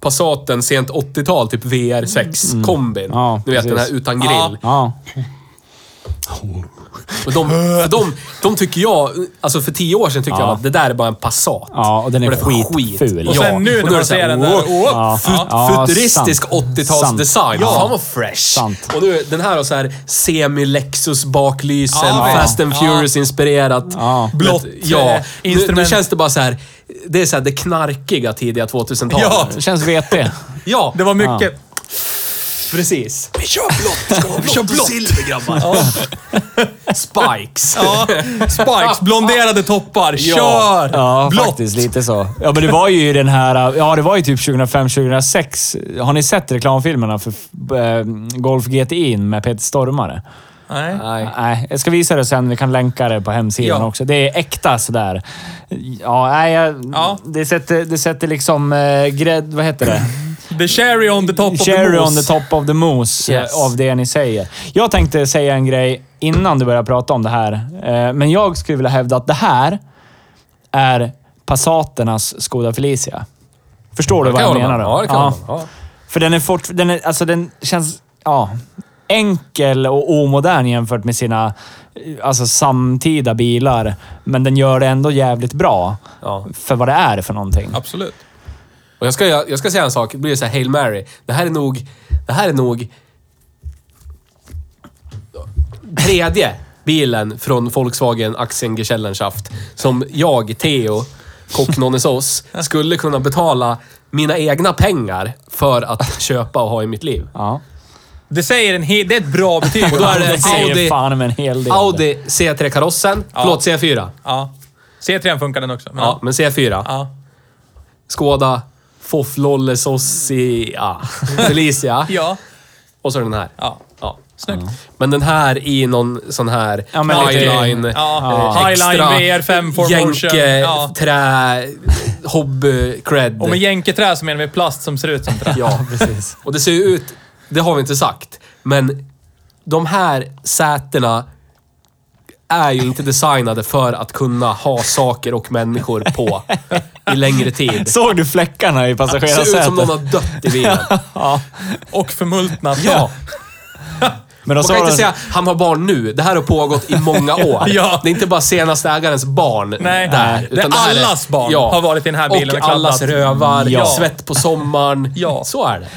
Speaker 2: Passaten sent 80-tal, typ VR6 kombin.
Speaker 1: Mm. Ja,
Speaker 2: du vet den här
Speaker 1: precis.
Speaker 2: utan grill.
Speaker 3: Ja.
Speaker 1: Ja.
Speaker 2: Och de, för de, de tycker jag, alltså för tio år sedan tyckte jag att det där är bara en Passat.
Speaker 1: Ja, och den är
Speaker 2: det för
Speaker 1: skitful.
Speaker 3: Och sen nu
Speaker 2: då
Speaker 3: när
Speaker 2: är
Speaker 3: man
Speaker 2: det så här,
Speaker 3: ser den där...
Speaker 2: "Wow,
Speaker 3: Oh,
Speaker 1: Ja.
Speaker 3: fut-
Speaker 1: Ja.
Speaker 2: Futuristisk
Speaker 1: sant.
Speaker 2: 80-talsdesign.
Speaker 1: Sant. Ja.
Speaker 2: Fan vad fresh.
Speaker 1: Sant.
Speaker 2: Och nu, den här har så här semi-Lexus baklysen,
Speaker 3: Ja, visst.
Speaker 2: Fast and
Speaker 3: Ja.
Speaker 2: Furious-inspirerat.
Speaker 1: Ja.
Speaker 3: Blått, eh,
Speaker 2: Ja. Nu, nu
Speaker 3: instrument.
Speaker 2: känns det bara så här. Det är så här det knarkiga tidiga 2000-talet.
Speaker 3: Ja.
Speaker 1: Det känns (laughs) VT.
Speaker 2: Ja,
Speaker 3: Det var mycket...
Speaker 2: precis.
Speaker 3: Vi kör blått!
Speaker 2: (laughs)
Speaker 3: Ska vi kör blått!
Speaker 2: silver grabbar.
Speaker 3: (laughs)
Speaker 2: Spikes.
Speaker 3: Ja, (laughs) spikes, blonderade toppar.
Speaker 2: Ja.
Speaker 3: Kör!
Speaker 1: Ja,
Speaker 3: Blått!
Speaker 1: faktiskt lite så. Ja, men det var ju den här... Ja, det var ju typ 2005-2006. Har ni sett reklamfilmerna för eh, Golf GTI med Peter Stormare?
Speaker 3: Nej.
Speaker 2: Nej.
Speaker 1: Nej, jag ska visa det sen. Vi kan länka det på hemsidan
Speaker 3: Ja.
Speaker 1: också. Det är äkta sådär. Ja, nej, jag,
Speaker 3: Ja.
Speaker 1: Det, sätter, det sätter liksom eh, grädd... Vad heter det?
Speaker 3: The cherry on the top of the
Speaker 1: Cherry
Speaker 3: mousse.
Speaker 1: on the top of the mousse
Speaker 3: Yes.
Speaker 1: eh, av det ni säger. Jag tänkte säga en grej innan du börjar prata om det här. Eh, Men jag skulle vilja hävda att det här är Passaternas Skoda Felicia. Förstår du
Speaker 2: Det
Speaker 1: vad
Speaker 2: kan
Speaker 1: jag
Speaker 2: hålla
Speaker 1: menar?
Speaker 2: med.
Speaker 1: då?
Speaker 2: Ja, det kan hålla med. ja.
Speaker 1: För den är fort... Den, är, alltså den känns... Ja. Enkel och omodern jämfört med sina eh, alltså, samtida bilar. Men den gör det ändå jävligt bra
Speaker 2: Ja.
Speaker 1: för vad det är för någonting.
Speaker 3: Absolut.
Speaker 2: Och jag ska, jag, jag ska säga en sak, det blir så här Hail Mary. Det här är nog... Det här är nog... Tredje bilen från Volkswagen Aktiengesellenschaft som jag, Theo, kock Nonnesås, skulle kunna betala mina egna pengar för att köpa och ha i mitt liv.
Speaker 1: Ja.
Speaker 3: Det säger en hel... Det är ett bra betyg.
Speaker 2: (laughs) Och då
Speaker 1: (laughs)
Speaker 2: är det
Speaker 1: säger
Speaker 2: Audi,
Speaker 1: fan med en hel del.
Speaker 2: Audi C3-karossen. Förlåt, C4.
Speaker 3: Ja. C3 funkar den också. Men
Speaker 2: Ja,
Speaker 3: ja.
Speaker 2: men C4.
Speaker 3: Ja.
Speaker 2: Skoda, Foff, Lolle, Sossi, ja. Felicia.
Speaker 3: ja.
Speaker 2: Och så den här.
Speaker 3: Ja.
Speaker 2: ja.
Speaker 3: Snyggt.
Speaker 2: Men den här i någon sån här
Speaker 1: Ja, men lite-
Speaker 2: highline,
Speaker 3: Ja.
Speaker 2: eh,
Speaker 3: Highline
Speaker 2: extra
Speaker 3: VR5 for motion.
Speaker 2: jänke,
Speaker 3: Ja.
Speaker 2: trä, hobby, cred.
Speaker 3: Och med jänketrä så menar vi plast som ser ut som
Speaker 2: (laughs)
Speaker 3: trä.
Speaker 2: ja, precis. Och det ser ju ut, det har vi inte sagt, men de här sätena är ju inte designade för att kunna ha saker och människor på i längre
Speaker 1: (laughs)
Speaker 2: tid.
Speaker 1: Såg du fläckarna i
Speaker 2: (laughs) Det ser ut
Speaker 1: passagerarsätet?
Speaker 2: som någon har dött i bilen.
Speaker 1: Ja.
Speaker 3: Och förmultnat.
Speaker 2: (laughs) Ja,
Speaker 1: Men då
Speaker 2: man
Speaker 1: sa
Speaker 2: kan inte
Speaker 1: de-
Speaker 2: säga han har barn nu. Det här har pågått i
Speaker 3: (laughs)
Speaker 2: många år.
Speaker 3: Ja.
Speaker 2: Det är inte bara senaste ägarens barn
Speaker 3: Nej.
Speaker 2: där.
Speaker 3: Nej. Det är
Speaker 2: här
Speaker 3: allas barn har varit i den här bilen och
Speaker 2: och
Speaker 3: kladdat.
Speaker 2: allas rövar,
Speaker 1: Ja.
Speaker 2: svett på sommaren.
Speaker 3: Ja.
Speaker 2: Så är det.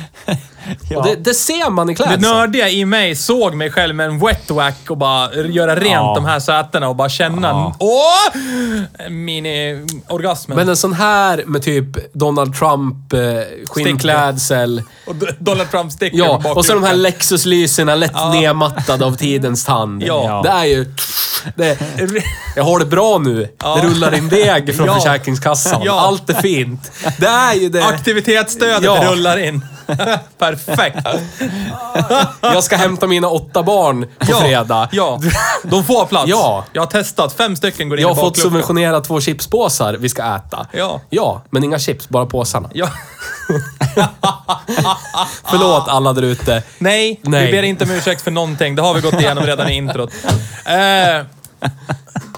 Speaker 1: Ja.
Speaker 2: Och det, det ser man i
Speaker 3: Det
Speaker 2: klädseln.
Speaker 3: nördiga i mig såg mig själv med en wet whack och bara göra rent
Speaker 1: Ja.
Speaker 3: de här sätena och bara känna...
Speaker 1: Ja.
Speaker 3: Åh! Mini-orgasmen.
Speaker 2: Men en sån här med typ Donald Trump eh, skinnklädsel.
Speaker 3: Och D- Donald Trump sticker
Speaker 2: Ja,
Speaker 3: på
Speaker 2: och så de här
Speaker 3: bakluckan.
Speaker 2: Lexus-lyserna lätt
Speaker 3: Ja.
Speaker 2: nedmattade av tidens tand.
Speaker 3: Ja.
Speaker 2: Det är ju... Det, jag har det bra nu.
Speaker 3: Ja.
Speaker 2: Det rullar in deg från
Speaker 3: Ja.
Speaker 2: Försäkringskassan.
Speaker 3: Ja.
Speaker 2: Allt är fint. Det är ju det.
Speaker 3: Aktivitetsstödet
Speaker 2: Ja.
Speaker 3: rullar in. (laughs) Perfekt.
Speaker 2: Jag ska hämta mina åtta barn på fredag. (laughs)
Speaker 3: Ja. De får plats.
Speaker 2: Ja.
Speaker 3: Jag har testat. Fem stycken går in
Speaker 2: Jag har
Speaker 3: i
Speaker 2: fått
Speaker 3: bakluckan.
Speaker 2: subventionera två chipspåsar vi ska äta.
Speaker 3: Ja.
Speaker 2: Ja, men inga chips, bara påsarna.
Speaker 3: Ja.
Speaker 2: Förlåt
Speaker 3: Ah.
Speaker 2: alla där ute.
Speaker 3: Nej,
Speaker 2: Nej.
Speaker 3: vi ber inte om ursäkt för någonting. Det har vi gått igenom redan i introt. Eh,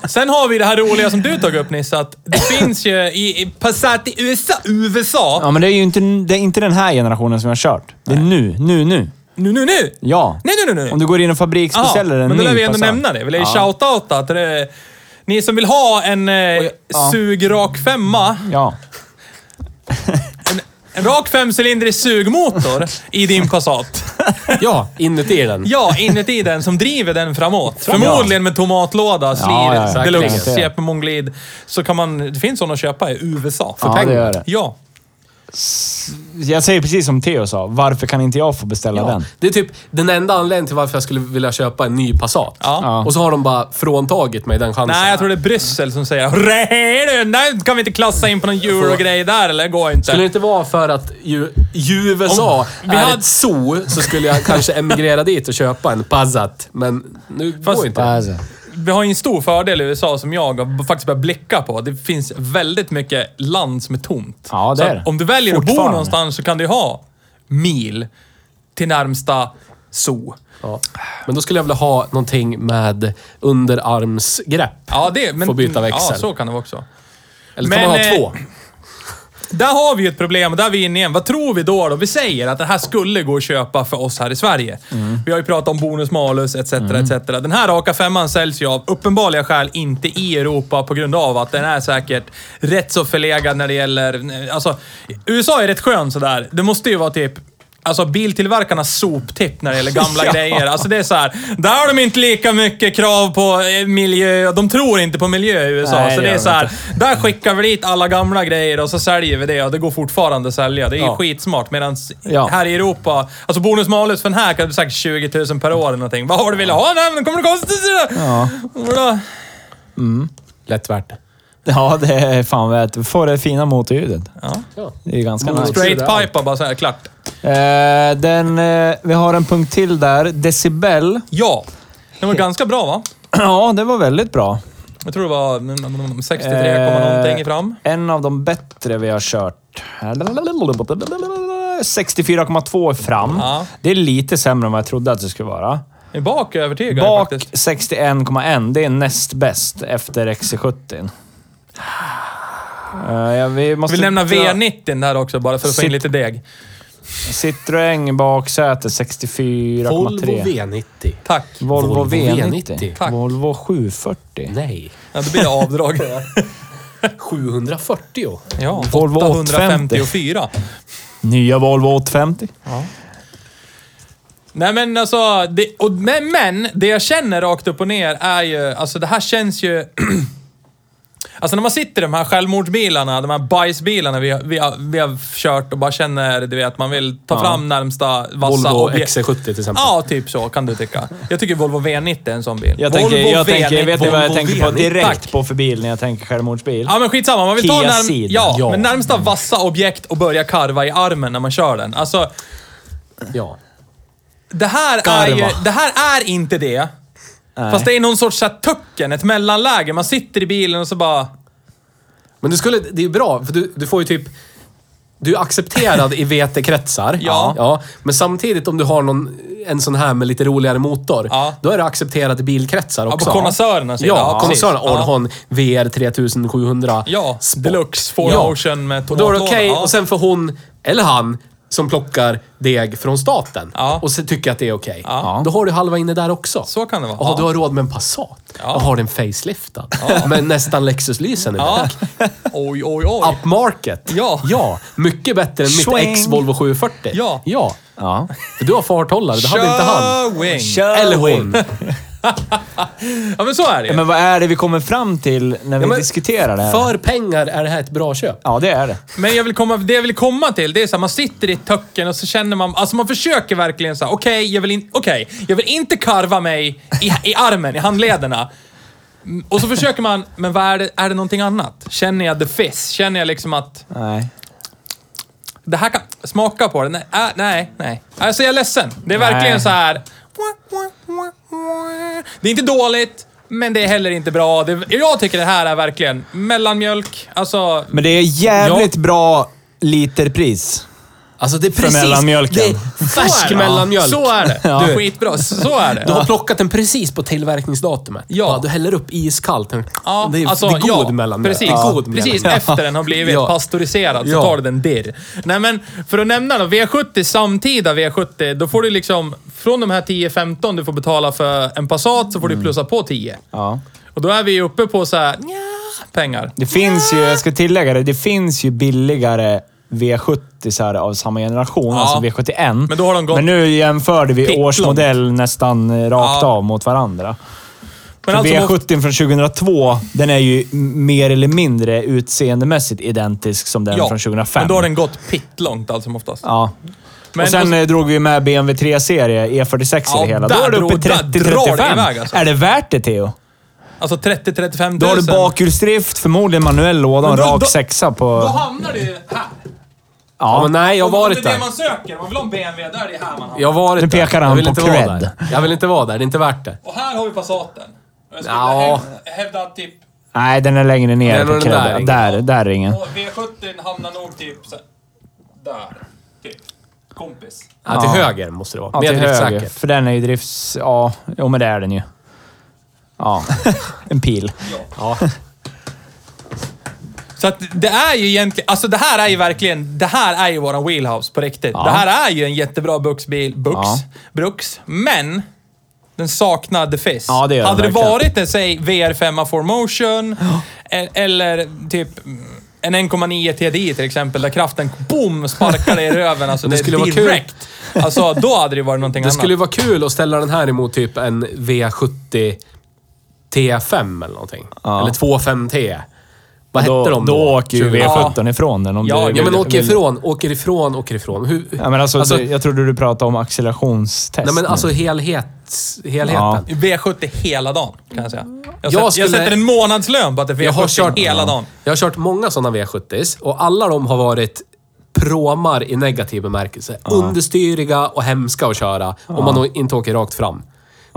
Speaker 3: sen har vi det här roliga som du tog upp Nisse, att
Speaker 1: (coughs)
Speaker 3: det finns ju i, i Passat i USA, USA.
Speaker 1: Ja, men det är ju inte, det är inte den här generationen som jag har kört. Det är nu, nu, nu.
Speaker 3: Nu, nu, nu!
Speaker 1: Ja.
Speaker 3: Nej, nej, nej, nej.
Speaker 1: Om du går in och fabriksbeställer en
Speaker 3: men
Speaker 1: ny
Speaker 3: då lär vi ändå
Speaker 1: Passat.
Speaker 3: nämna det. Vi lär ju
Speaker 1: Ja.
Speaker 3: shoutouta att det, ni som vill ha en eh,
Speaker 1: ja.
Speaker 3: sugrak femma,
Speaker 1: Ja.
Speaker 3: en rak femcylindrig
Speaker 1: (laughs)
Speaker 3: sugmotor i din Passat.
Speaker 2: Ja, inuti den.
Speaker 3: Ja, inuti den som driver den framåt. Förmodligen med tomatlåda, slir,
Speaker 1: Ja, ja, ja.
Speaker 3: deluxe,
Speaker 1: Garanterat.
Speaker 3: CP Monglid. Så kan man... Det finns sådana att köpa i USA. För
Speaker 1: Ja,
Speaker 3: pengar.
Speaker 1: det gör det.
Speaker 3: Ja.
Speaker 1: Jag säger precis som Theo sa. Varför kan inte jag få beställa
Speaker 2: Ja.
Speaker 1: den?
Speaker 2: Det är typ den enda anledningen till varför jag skulle vilja köpa en ny Passat.
Speaker 3: Ja.
Speaker 1: Ja.
Speaker 2: Och så har de bara fråntagit mig den chansen.
Speaker 3: Nej, jag tror det är Bryssel som säger "Nej, du, Nej, kan vi inte klassa in på någon eurogrej där eller? går inte.
Speaker 2: Skulle det inte vara för att ju, ju USA
Speaker 3: Om vi
Speaker 2: är
Speaker 3: hade-
Speaker 2: ett zoo så skulle jag kanske emigrera dit och köpa en Passat. Men nu
Speaker 3: Fast-
Speaker 2: går inte det.
Speaker 1: Alltså.
Speaker 3: Vi har ju en stor fördel i USA som jag har faktiskt börjat blicka på. Det finns väldigt mycket land som är tomt.
Speaker 1: Ja, det
Speaker 3: så
Speaker 1: är
Speaker 3: att
Speaker 1: det.
Speaker 3: om du väljer att bo
Speaker 1: Fortfarande.
Speaker 3: någonstans så kan du ha mil till närmsta zoo.
Speaker 2: Ja. Men då skulle jag vilja ha någonting med underarmsgrepp.
Speaker 3: Ja, det... Men,
Speaker 2: Får byta växel.
Speaker 3: Ja, så kan det vara också.
Speaker 2: Eller kan
Speaker 3: Men,
Speaker 2: man
Speaker 3: eh,
Speaker 2: ha två?
Speaker 3: Där har vi ju ett problem och där är vi inne igen. Vad tror vi då? då? Vi säger att det här skulle gå att köpa för oss här i Sverige. Vi har ju pratat om bonus malus etc. etc. Den här raka femman säljs ju av uppenbarliga skäl inte i Europa på grund av att den är säkert rätt så förlegad när det gäller... Alltså, USA är rätt skön sådär. Det måste ju vara typ Alltså biltillverkarnas soptipp när det gäller
Speaker 1: (laughs)
Speaker 3: gamla grejer. Alltså det är så här. där har de inte lika mycket krav på eh, miljö. De tror inte på miljö i USA.
Speaker 1: Nej,
Speaker 3: så det
Speaker 1: det gör
Speaker 3: är
Speaker 1: de
Speaker 3: så här. där skickar vi dit alla gamla grejer och så säljer vi det och det går fortfarande att sälja. Det är ju
Speaker 2: Ja.
Speaker 3: skitsmart. Medan
Speaker 1: Ja.
Speaker 3: här i Europa, alltså bonus malus för den här kan du säkert 20 000 per år eller någonting. Vad har du velat ha? Nej, men det kommer det kosta sig.
Speaker 1: Ja.
Speaker 3: Vadå?
Speaker 2: Lätt värt det.
Speaker 1: ja, det är fan värt Du får det fina motorljudet.
Speaker 3: Ja.
Speaker 2: Ja.
Speaker 1: Det är ganska
Speaker 2: Motor-
Speaker 1: nice.
Speaker 3: Straight pipe bara så här, klart.
Speaker 1: Eh, den, eh, vi har en punkt till där. Decibel. (clears throat)
Speaker 3: Ja. Den var ganska bra va?
Speaker 1: Ja, det var väldigt bra.
Speaker 3: Jag tror det var mm, 63, komma
Speaker 1: Eh,
Speaker 3: någonting fram.
Speaker 1: En av de bättre vi har kört. 64,2 är fram.
Speaker 3: Ja.
Speaker 1: Det är lite sämre än vad jag trodde att det skulle vara.
Speaker 3: I Bak övertygad
Speaker 1: Bak
Speaker 3: faktiskt.
Speaker 1: 61,1. Det är näst bäst efter XC70. Eh, ja, vi
Speaker 3: Jag
Speaker 1: måste
Speaker 3: vill nämna
Speaker 1: dra-
Speaker 3: V90 där också bara för att få in
Speaker 1: Sit-
Speaker 3: lite deg.
Speaker 1: Citroën baksäte 64,3.
Speaker 2: Volvo V90.
Speaker 3: Tack.
Speaker 1: Volvo,
Speaker 2: Volvo
Speaker 1: V90.
Speaker 2: V90.
Speaker 3: Tack.
Speaker 1: Volvo 740.
Speaker 2: Nej.
Speaker 3: Ja, det blir det
Speaker 1: (laughs)
Speaker 3: avdrag.
Speaker 2: 740.
Speaker 3: Ja,
Speaker 1: Volvo
Speaker 3: 854.
Speaker 1: Nya Volvo 850.
Speaker 3: Nej men alltså, det, och, men, men det jag känner rakt upp och ner är ju, alltså det här känns ju... (clears throat) alltså när man sitter i de här självmordsbilarna, de här bajsbilarna vi, har- vi, har, vi har kört och bara känner, du vet, man vill ta fram närmsta vassa
Speaker 2: Volvo
Speaker 3: objekt.
Speaker 2: XC70 till exempel.
Speaker 3: Ja, typ så kan du tycka. Jag tycker Volvo V90 är en sån bil.
Speaker 1: Jag tänker,
Speaker 3: Volvo
Speaker 1: jag tänker,
Speaker 3: V90,
Speaker 1: vet ni vad jag
Speaker 3: Volvo
Speaker 1: tänker på
Speaker 3: V90.
Speaker 1: direkt
Speaker 3: Tack.
Speaker 1: på för bil när jag tänker självmordsbil?
Speaker 3: Ja men skitsamma, man vill ta
Speaker 1: Kia
Speaker 3: närm
Speaker 1: Ceed.
Speaker 3: ja,
Speaker 2: Ja.
Speaker 3: Men närmsta vassa objekt och börja karva i armen när man kör den. Alltså,
Speaker 2: Ja.
Speaker 3: det här, är
Speaker 1: Karva.
Speaker 3: ju, det här är inte det.
Speaker 1: Nej.
Speaker 3: Fast det är någon sorts så här tucken, ett mellanläge. Man sitter i bilen och så bara...
Speaker 2: Men du skulle, det är ju bra, för du, du får ju typ... Du är accepterad i VT-kretsar.
Speaker 3: (laughs) Ja.
Speaker 2: ja. Men samtidigt om du har någon, en sån här med lite roligare motor,
Speaker 3: Ja.
Speaker 2: då är du accepterad i bilkretsar
Speaker 3: på
Speaker 2: också.
Speaker 3: konnässörernas sida.
Speaker 2: Ja,
Speaker 3: Ja,
Speaker 2: konnässörerna.
Speaker 3: precis. Ja.
Speaker 2: Orhon VR 3700.
Speaker 3: Ja,
Speaker 2: Sport.
Speaker 3: deluxe 4 Ocean med
Speaker 2: Och då är det
Speaker 3: tomatlåda,
Speaker 2: okej.
Speaker 3: ja.
Speaker 2: Och sen får hon, eller han, som plockar deg från staten
Speaker 3: Ja.
Speaker 2: och så tycker att det är okej.
Speaker 3: Ja.
Speaker 2: Då har du halva inne där också.
Speaker 3: Så kan det vara.
Speaker 2: Ja,
Speaker 3: Ja.
Speaker 2: du har råd med en Passat.
Speaker 3: Ja.
Speaker 2: Och har den faceliftad. Med nästan Lexus-lysen i (laughs)
Speaker 3: Ja. Oj, oj, oj.
Speaker 2: Upmarket.
Speaker 3: Ja.
Speaker 2: ja. Mycket bättre än mitt
Speaker 1: Swing.
Speaker 2: ex Volvo 740.
Speaker 3: Ja.
Speaker 2: Ja.
Speaker 1: Ja.
Speaker 2: För du har farthållare, det hade inte han.
Speaker 3: Showing.
Speaker 2: Eller hon.
Speaker 3: Ja, men så är det ju.
Speaker 1: Men vad är det vi kommer fram till när vi
Speaker 2: Ja, men
Speaker 1: diskuterar det här?
Speaker 2: För pengar är det här ett bra köp.
Speaker 1: Ja, det är det.
Speaker 3: Men jag vill komma, det jag vill komma till, det är så här, man sitter i töcken och så känner man, alltså man försöker verkligen så här, okej, jag vill in, okej, jag vill inte karva mig i, i armen, i handlederna. Mm, Och så försöker man, men vad är det, är det någonting annat? Känner jag the fizz? Känner jag liksom att
Speaker 1: Nej.
Speaker 3: det här kan, smaka på det, nej, äh, nej, nej. Alltså jag är ledsen. Det är
Speaker 1: Nej.
Speaker 3: verkligen så här. Det är inte dåligt, men det är heller inte bra. Det, jag tycker det här är verkligen mellanmjölk, alltså
Speaker 1: Men det är jävligt bra literpris.
Speaker 2: Alltså det är precis...
Speaker 1: mellanmjölken.
Speaker 2: Det är
Speaker 3: Så är
Speaker 2: färsk
Speaker 3: det.
Speaker 2: mellanmjölk.
Speaker 3: Så är (laughs) det.
Speaker 1: Ja.
Speaker 3: Du, Skitbra. Så är det.
Speaker 2: Du har plockat den precis på tillverkningsdatumet.
Speaker 3: Ja.
Speaker 2: du häller upp iskallt.
Speaker 3: Ja,
Speaker 2: det, är,
Speaker 3: alltså,
Speaker 2: det är god
Speaker 3: ja,
Speaker 2: mellanmjölk.
Speaker 3: Precis,
Speaker 2: Det är god
Speaker 3: precis
Speaker 2: mellanmjölk.
Speaker 3: efter den har blivit
Speaker 2: Ja.
Speaker 3: pastoriserad så
Speaker 2: Ja.
Speaker 3: tar du den dirr. Nej men, för att nämna då, V70, samtida V70, då får du liksom, från de här 10-15 du får betala för en Passat så får du plussa på 10.
Speaker 1: Ja.
Speaker 3: Och då är vi ju uppe på så här, nja, pengar.
Speaker 1: Det finns ju, jag ska tillägga det, det finns ju billigare V70 så här, av samma generation,
Speaker 3: Ja.
Speaker 1: alltså V71.
Speaker 3: Men då har de gått
Speaker 1: Men nu jämförde vi
Speaker 3: pittlångt.
Speaker 1: årsmodell nästan eh, rakt
Speaker 3: Ja.
Speaker 1: av mot varandra.
Speaker 3: Men alltså,
Speaker 1: V70
Speaker 3: måste-
Speaker 1: från 2002, den är ju m- mer eller mindre utseendemässigt identisk som den
Speaker 3: ja,
Speaker 1: från 2005.
Speaker 3: Men då har den gått pittlångt allt som oftast.
Speaker 1: Ja.
Speaker 3: Men-
Speaker 1: och sen eh, drog vi med BMW 3-serie, E46 E i
Speaker 3: Ja,
Speaker 1: det hela. Då
Speaker 3: där
Speaker 1: är du uppe i
Speaker 3: drog- där
Speaker 1: 30-35.
Speaker 3: drar det iväg, alltså.
Speaker 1: Är det värt det, Theo?
Speaker 3: Alltså 30-35 000.
Speaker 1: Då har du bakhjulsdrift, förmodligen manuell låda och en
Speaker 3: Men då-
Speaker 1: rak
Speaker 3: då-
Speaker 1: sexa på...
Speaker 3: Då hamnar det ju här.
Speaker 2: Ja, men nej, jag har varit
Speaker 3: det är
Speaker 2: där.
Speaker 3: det man söker. Man vill ha en BMW, då är det här man hamnar.
Speaker 2: Jag har varit
Speaker 1: Nu pekar
Speaker 2: där.
Speaker 1: han
Speaker 2: jag vill
Speaker 1: på
Speaker 2: inte vara
Speaker 1: cred.
Speaker 2: där. Jag vill inte vara där. Det är inte värt det.
Speaker 3: Och här har vi Passaten. Jag skulle
Speaker 2: Ja.
Speaker 3: häv- hävda att typ
Speaker 1: Nej, den är längre ner
Speaker 2: Den
Speaker 1: på
Speaker 2: och den där
Speaker 1: cred.
Speaker 2: ringen.
Speaker 1: Där, där ringen.
Speaker 3: Och V70 hamnar nog typ så där. Typ. Kompis.
Speaker 2: Ja, till höger måste det vara.
Speaker 1: Ja,
Speaker 2: Mer
Speaker 1: till höger.
Speaker 2: driftsäkert.
Speaker 1: För den är ju drifts... Ja, jo men det är den ju.
Speaker 3: (laughs)
Speaker 1: Ja, en pil.
Speaker 2: Ja.
Speaker 3: Så att det är ju egentligen, alltså det här är ju verkligen, det här är ju våran wheelhouse på riktigt. Det här är ju en jättebra Buxbil, Bux,
Speaker 1: Ja.
Speaker 3: Brux, men den saknar The Fizz.
Speaker 1: Ja, det gör den
Speaker 3: Hade det
Speaker 1: verkligen.
Speaker 3: varit en, säg, VR5 4Motion, e- eller typ mm, en 1,9 TDI till exempel, där kraften, boom, sparkar dig i röven. Alltså
Speaker 2: Men
Speaker 3: det,
Speaker 2: det skulle vara
Speaker 3: är
Speaker 2: kul.
Speaker 3: direkt. Alltså då hade det varit någonting
Speaker 2: Det
Speaker 3: annat.
Speaker 2: skulle ju vara kul att ställa den här emot typ en V70 T5 eller någonting. Eller 25T. Vad
Speaker 1: Då,
Speaker 2: hette
Speaker 1: då,
Speaker 2: de då?
Speaker 1: åker ju
Speaker 2: 20.
Speaker 1: V17 ifrån den. Om
Speaker 3: Ja,
Speaker 1: du
Speaker 2: Ja, men
Speaker 1: vill-
Speaker 2: åker
Speaker 1: vill-
Speaker 2: ifrån, åker ifrån, åker ifrån. Hur,
Speaker 1: Ja, men alltså,
Speaker 2: Alltså-
Speaker 1: det- jag trodde du pratade om accelerationstest.
Speaker 2: nej, men
Speaker 1: nu.
Speaker 2: alltså helhet, helheten.
Speaker 1: Ja.
Speaker 3: V70 hela dagen, kan jag säga. Jag,
Speaker 2: Jag
Speaker 3: sätter,
Speaker 2: skulle-
Speaker 3: jag sätter en månadslön på att det är V70
Speaker 2: Jag har kört
Speaker 3: hela dagen.
Speaker 2: Jag har kört många sådana V70 och alla de har varit pråmar i negativ bemärkelse. Understyriga och hemska att köra om man inte åker rakt fram.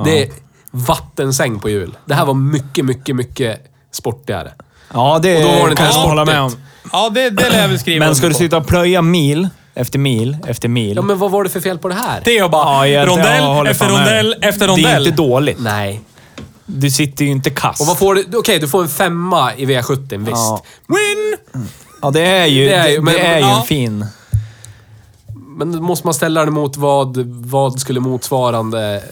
Speaker 2: Det, vattensäng på jul. Det här var mycket, mycket, mycket sportigare.
Speaker 1: Ja, det
Speaker 2: Och då var det inte
Speaker 1: kan jag
Speaker 2: ens
Speaker 1: hålla med om.
Speaker 2: sportigt.
Speaker 3: Ja, det, det lär jag väl skriva
Speaker 1: Men ska du
Speaker 3: under på.
Speaker 1: sitta och plöja mil efter mil efter mil?
Speaker 2: Ja, men vad var det för fel på det här?
Speaker 3: Det är jag bara...
Speaker 1: jag- jag
Speaker 3: rondell,
Speaker 1: håller
Speaker 3: efter
Speaker 1: fan med
Speaker 3: rondell,
Speaker 1: dig.
Speaker 3: efter
Speaker 1: Det är
Speaker 3: rondell.
Speaker 1: inte dåligt.
Speaker 2: Nej.
Speaker 1: Du sitter ju inte kass.
Speaker 2: Och vad får du? Okej, du får en femma i V70, visst.
Speaker 1: Ja.
Speaker 3: Win!
Speaker 1: Ja, det är ju, det
Speaker 2: Det
Speaker 1: är
Speaker 2: är ju-
Speaker 1: ju,
Speaker 2: men-
Speaker 1: en
Speaker 3: ja.
Speaker 1: fin...
Speaker 2: Men då måste man ställa den mot vad, vad skulle motsvarande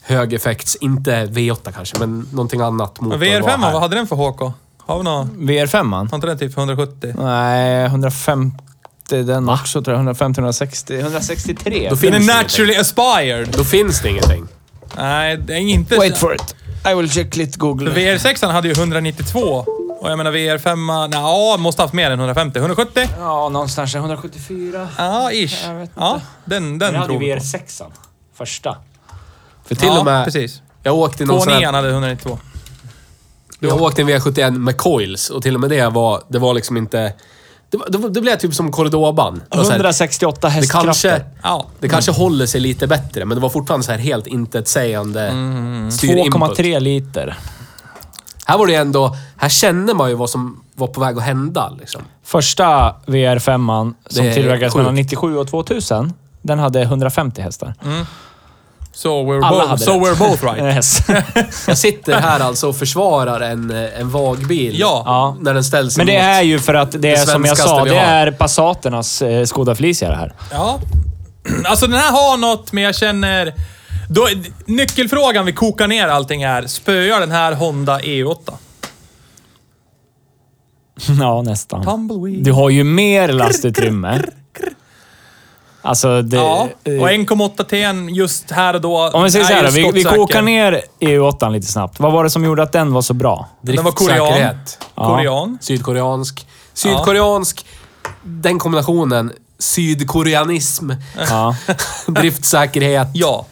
Speaker 2: högeffekts, inte V8 kanske, men någonting annat
Speaker 3: Men
Speaker 2: mot vad det
Speaker 3: VR5,
Speaker 2: var här.
Speaker 3: vad hade den för HK? Har vi någon?
Speaker 1: VR5 man.
Speaker 3: Har inte den typ 170?
Speaker 1: Nej, 150 den också tror jag. 150, 160, 163.
Speaker 2: Då
Speaker 3: Den
Speaker 2: Finns
Speaker 3: är
Speaker 2: det
Speaker 3: naturally aspired.
Speaker 2: Då finns det ingenting.
Speaker 3: Nej, det är inte...
Speaker 1: Wait for it. I will check lite Google.
Speaker 3: VR6 hade ju 192. Och jag menar VR5, nja, måste haft mer än 150. 170?
Speaker 1: Ja, någonstans där. 174.
Speaker 3: Ja, ish.
Speaker 1: Jag vet inte.
Speaker 3: Ja, den, den
Speaker 1: Vi hade
Speaker 3: tror
Speaker 1: ju
Speaker 3: vi på.
Speaker 1: VR6. an Första.
Speaker 2: För till
Speaker 3: ja,
Speaker 2: och med...
Speaker 3: precis.
Speaker 2: Jag åkte i någon sån här,
Speaker 3: K9 hade 192.
Speaker 2: Jag åkte i en V71 med coils och till och med det var... Det var liksom inte... Det, var, det, var- det blev typ som korridorband. Det var så här,
Speaker 1: 168
Speaker 2: Det
Speaker 1: hästkrafter.
Speaker 2: kanske,
Speaker 3: Ja.
Speaker 2: det kanske håller sig lite bättre, men det var fortfarande så här helt intetsägande
Speaker 3: Mm.
Speaker 2: styrinput.
Speaker 1: 2,3 liter.
Speaker 2: Här var det ändå... Här kände man ju vad som var på väg att hända. Liksom.
Speaker 1: Första VR5 an som
Speaker 2: Det är
Speaker 1: tillverkades
Speaker 2: sjukt.
Speaker 1: mellan 97 och 2000, den hade 150 hästar.
Speaker 3: Mm. So we're,
Speaker 1: Alla
Speaker 3: both,
Speaker 1: hade
Speaker 3: so we're
Speaker 1: rätt.
Speaker 3: both right.
Speaker 1: Yes.
Speaker 2: (laughs) Jag sitter här alltså och försvarar en, eh, en vagbil.
Speaker 3: Ja.
Speaker 1: Ja.
Speaker 2: När den
Speaker 1: (laughs)
Speaker 2: ställs
Speaker 1: Men det
Speaker 2: emot-
Speaker 1: är ju för att det är som jag
Speaker 2: svenskaste
Speaker 1: sa,
Speaker 2: vi
Speaker 1: det
Speaker 2: har.
Speaker 1: är Passaternas eh, Skoda Felicia det här. (laughs)
Speaker 3: Ja. Alltså den här har något, men jag känner... Då, nyckelfrågan vi kokar ner allting här. Spöar den här Honda E E8?
Speaker 1: Ja, nästan.
Speaker 3: Tumbleweed.
Speaker 1: Du har ju mer lastutrymme. Alltså, det...
Speaker 3: Ja,
Speaker 1: eh,
Speaker 3: och 1,8 TN just här och då.
Speaker 1: Om vi säger
Speaker 3: är
Speaker 1: så här,
Speaker 3: ju
Speaker 1: då, vi, vi
Speaker 3: skottsäker.
Speaker 1: kokar ner EU8 lite snabbt. Vad var det som gjorde att den var så bra?
Speaker 3: Den var korean.
Speaker 2: Driftsäkerhet.
Speaker 1: Ja.
Speaker 3: Korean.
Speaker 2: Sydkoreansk. Sydkoreansk. Den kombinationen. Sydkoreanism.
Speaker 1: Ja.
Speaker 2: (laughs) Driftsäkerhet.
Speaker 3: Ja.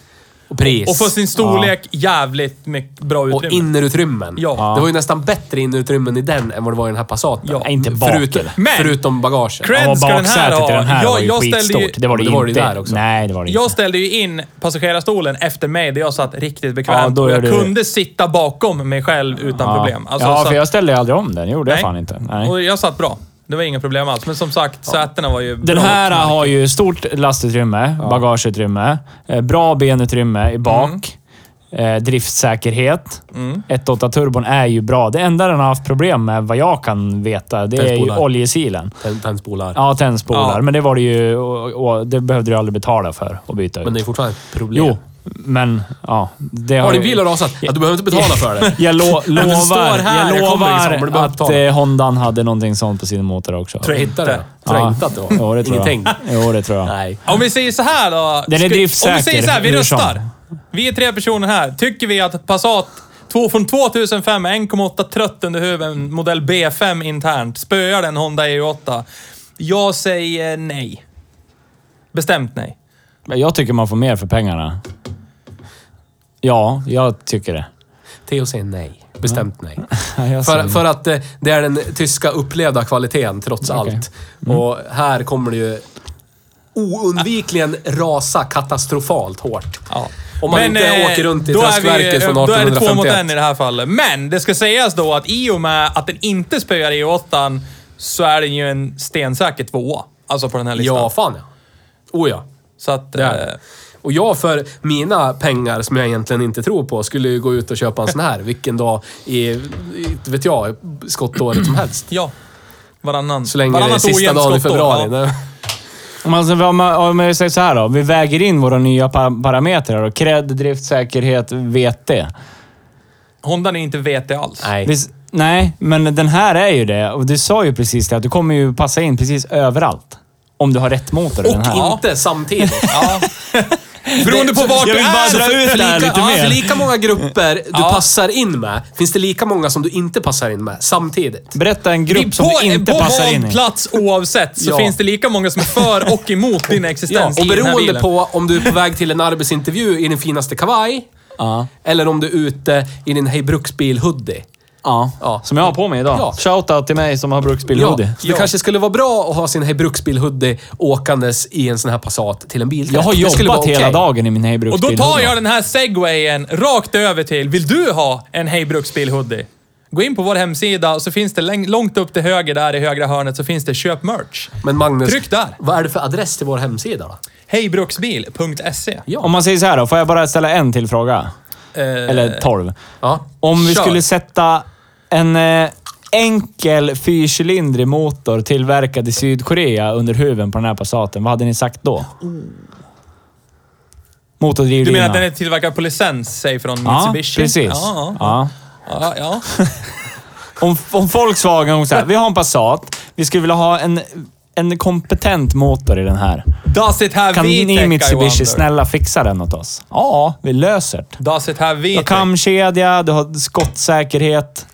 Speaker 2: Och pris.
Speaker 3: Och för sin storlek, jävligt mycket bra
Speaker 2: Och
Speaker 3: utrymme.
Speaker 2: innerutrymmen.
Speaker 3: Ja.
Speaker 2: Det var ju nästan bättre innerutrymmen i den än vad det var i den här Passaten.
Speaker 3: Ja.
Speaker 1: Nej, inte bak,
Speaker 2: förutom,
Speaker 1: eller?
Speaker 3: Men-
Speaker 2: förutom bagaget.
Speaker 3: Cred-
Speaker 1: Ja, och
Speaker 3: ska den här
Speaker 1: baksätet i
Speaker 3: ha?
Speaker 1: den här
Speaker 3: Jag-
Speaker 1: var ju
Speaker 3: jag ställde ju-
Speaker 1: skitstort. Det var det,
Speaker 2: Det var det
Speaker 1: inte.
Speaker 2: där också.
Speaker 1: Nej, det var det
Speaker 3: Jag
Speaker 1: inte.
Speaker 3: ställde ju in passagerarstolen efter mig där jag satt riktigt
Speaker 1: Ja,
Speaker 3: bekvämt.
Speaker 1: då
Speaker 3: och jag
Speaker 1: gör du-
Speaker 3: kunde sitta bakom mig själv utan problem. Alltså,
Speaker 1: ja,
Speaker 3: så
Speaker 1: för
Speaker 3: att-
Speaker 1: jag ställde ju aldrig om den. gjorde jag
Speaker 3: Nej.
Speaker 1: fan inte. Nej.
Speaker 3: Och jag satt bra. Det var inga problem alls. Men som sagt, sätena var ju
Speaker 1: Den
Speaker 3: bra.
Speaker 1: här har ju stort lastutrymme, bagageutrymme, eh, bra benutrymme i bak, eh, driftsäkerhet. 1.8 turbon är ju bra. Det enda den har haft problem med, vad jag kan veta, det är ju
Speaker 2: Tändspolar.
Speaker 1: oljesilen.
Speaker 2: Tänd- Tändspolar.
Speaker 1: Ja, tändspolar.
Speaker 3: Ja.
Speaker 1: Men det var det ju... Och, och, det behövde du aldrig betala för att byta ut.
Speaker 2: Men det är fortfarande ett problem.
Speaker 1: Jo, men ja. Det ju-
Speaker 2: Har din bil har rasat? Ja, du behöver inte betala
Speaker 1: (laughs)
Speaker 2: för det.
Speaker 1: Jag lo
Speaker 2: den
Speaker 1: lovar,
Speaker 2: står här,
Speaker 1: jag
Speaker 2: jag kommer
Speaker 1: lovar
Speaker 2: liksom, men du behöver
Speaker 1: att
Speaker 2: betala.
Speaker 1: eh, Hondan hade någonting sånt på sin motor också.
Speaker 2: Tror jag hittade det. Tror jag inte att det var.
Speaker 1: Jo, det tror
Speaker 2: Ingenting.
Speaker 1: jag. Jo, det tror jag.
Speaker 2: Nej.
Speaker 3: Om vi säger så här då.
Speaker 1: Den är
Speaker 3: Ska-
Speaker 1: driftsäker,
Speaker 3: Om vi säger så här, vi
Speaker 1: hur som.
Speaker 3: röstar. Vi är tre personer här. Tycker vi att Passat 2 från 2005 med 1,8 trött under huven, modell B5 internt, spöar den Honda EU8? Jag säger nej. Bestämt nej.
Speaker 1: Men Jag tycker man får mer för pengarna. Ja, jag tycker det.
Speaker 2: Theo säger nej. Bestämt nej.
Speaker 1: Jag
Speaker 2: För,
Speaker 1: säger-
Speaker 2: för att eh, det är den tyska upplevda kvaliteten trots allt.
Speaker 1: Mm.
Speaker 2: Och här kommer det ju oundvikligen rasa katastrofalt hårt.
Speaker 3: Ja.
Speaker 2: Om man inte
Speaker 3: eh,
Speaker 2: åker runt i
Speaker 3: då är vi-
Speaker 2: traskverket från
Speaker 3: Då är det två mot en i
Speaker 2: 1851.
Speaker 3: det här fallet. Men det ska sägas då att i och med att den inte spöar EU8 så är den ju en stensäker tvåa. Alltså på den här listan.
Speaker 2: Ja, fan ja. Oh ja.
Speaker 3: Så att...
Speaker 2: Det är det.
Speaker 3: Eh,
Speaker 2: Och jag för mina pengar, som jag egentligen inte tror på, skulle ju gå ut och köpa en sån här vilken dag i, i inte vet jag, skottåret som helst.
Speaker 3: ja. Varannan.
Speaker 2: Så länge det är
Speaker 3: varannat
Speaker 2: sista
Speaker 3: ojämnt
Speaker 2: dagen i
Speaker 3: skottår,
Speaker 2: februari.
Speaker 3: ja.
Speaker 2: Nej.
Speaker 1: Om man- om man- om jag säger så här då. Vi väger in våra nya pa- parametrar. då. Cred, driftsäkerhet, VT.
Speaker 3: Hondan är inte VT alls.
Speaker 2: Nej.
Speaker 1: Visst, nej, men den här är ju det. Och du sa ju precis det, att du kommer ju passa in precis överallt. Om du har rätt motor i
Speaker 2: (laughs)
Speaker 1: den här.
Speaker 2: Och inte samtidigt. (laughs)
Speaker 3: Ja. Beroende på vart
Speaker 1: jag
Speaker 3: du
Speaker 1: vill bara
Speaker 3: är.
Speaker 1: dra
Speaker 3: så-
Speaker 1: ut
Speaker 2: För
Speaker 1: det här
Speaker 2: lika,
Speaker 1: lite
Speaker 2: ja,
Speaker 1: mer.
Speaker 2: för lika många grupper du
Speaker 3: Ja.
Speaker 2: passar in med, finns det lika många som du inte passar in med samtidigt.
Speaker 1: Berätta en grupp som du inte
Speaker 3: på
Speaker 1: passar in
Speaker 3: På
Speaker 1: i.
Speaker 3: plats oavsett så
Speaker 2: Ja.
Speaker 3: finns det lika många som är för och
Speaker 2: (laughs)
Speaker 3: emot din
Speaker 2: Ja,
Speaker 3: existens
Speaker 2: och
Speaker 3: i den här
Speaker 2: beroende
Speaker 3: bilen.
Speaker 2: på om du är på väg till en arbetsintervju i din finaste kavaj,
Speaker 1: Ja.
Speaker 2: eller om du är ute i din Hej Bruksbil-hoodie,
Speaker 1: Ja.
Speaker 2: Ja.
Speaker 1: Som jag har på mig idag.
Speaker 2: Ja.
Speaker 1: Shoutout till mig som har
Speaker 2: Ja,
Speaker 1: bruksbilhoodie.
Speaker 2: så det kanske skulle vara bra att ha sin Hey Bruksbil-hoodie åkandes i en sån här Passat till en bil.
Speaker 1: Jag har
Speaker 2: Det skulle
Speaker 1: jobbat
Speaker 2: vara
Speaker 1: hela
Speaker 2: okej.
Speaker 1: dagen i min Hej
Speaker 3: Och då tar jag den här segwayen rakt över till, vill du ha en Hej Bruksbil-hoodie? Gå in på vår hemsida och så finns det läng- långt upp till höger där i högra hörnet så finns det köp merch.
Speaker 2: Men Magnus,
Speaker 3: Tryck där.
Speaker 2: vad är det för adress till vår hemsida då?
Speaker 3: Hejbruksbil.se.
Speaker 1: Om man säger så här då, får jag bara ställa en till fråga? Eller tolv.
Speaker 2: Ja.
Speaker 1: Om vi
Speaker 3: Eh, Kör.
Speaker 1: skulle sätta en eh, enkel fyrcylindrig motor tillverkad i Sydkorea under huven på den här Passaten, vad hade ni sagt då? Motordrivlina.
Speaker 3: Du menar att den är tillverkad på licens, säg från
Speaker 1: Ja,
Speaker 3: Mitsubishi?
Speaker 1: precis.
Speaker 3: Ja, ja.
Speaker 1: Ja.
Speaker 3: ja, ja.
Speaker 1: Om, om Volkswagen, så här, vi har en Passat, vi skulle vilja ha en, en kompetent motor i den här.
Speaker 3: Does it have
Speaker 1: Kan
Speaker 3: VTEC,
Speaker 1: ni
Speaker 3: I wonder?
Speaker 1: Mitsubishi snälla fixa den åt oss? Ja, vi löser det.
Speaker 3: Does it have
Speaker 1: Du har
Speaker 3: VTEC?
Speaker 1: kamkedja, du har skottsäkerhet.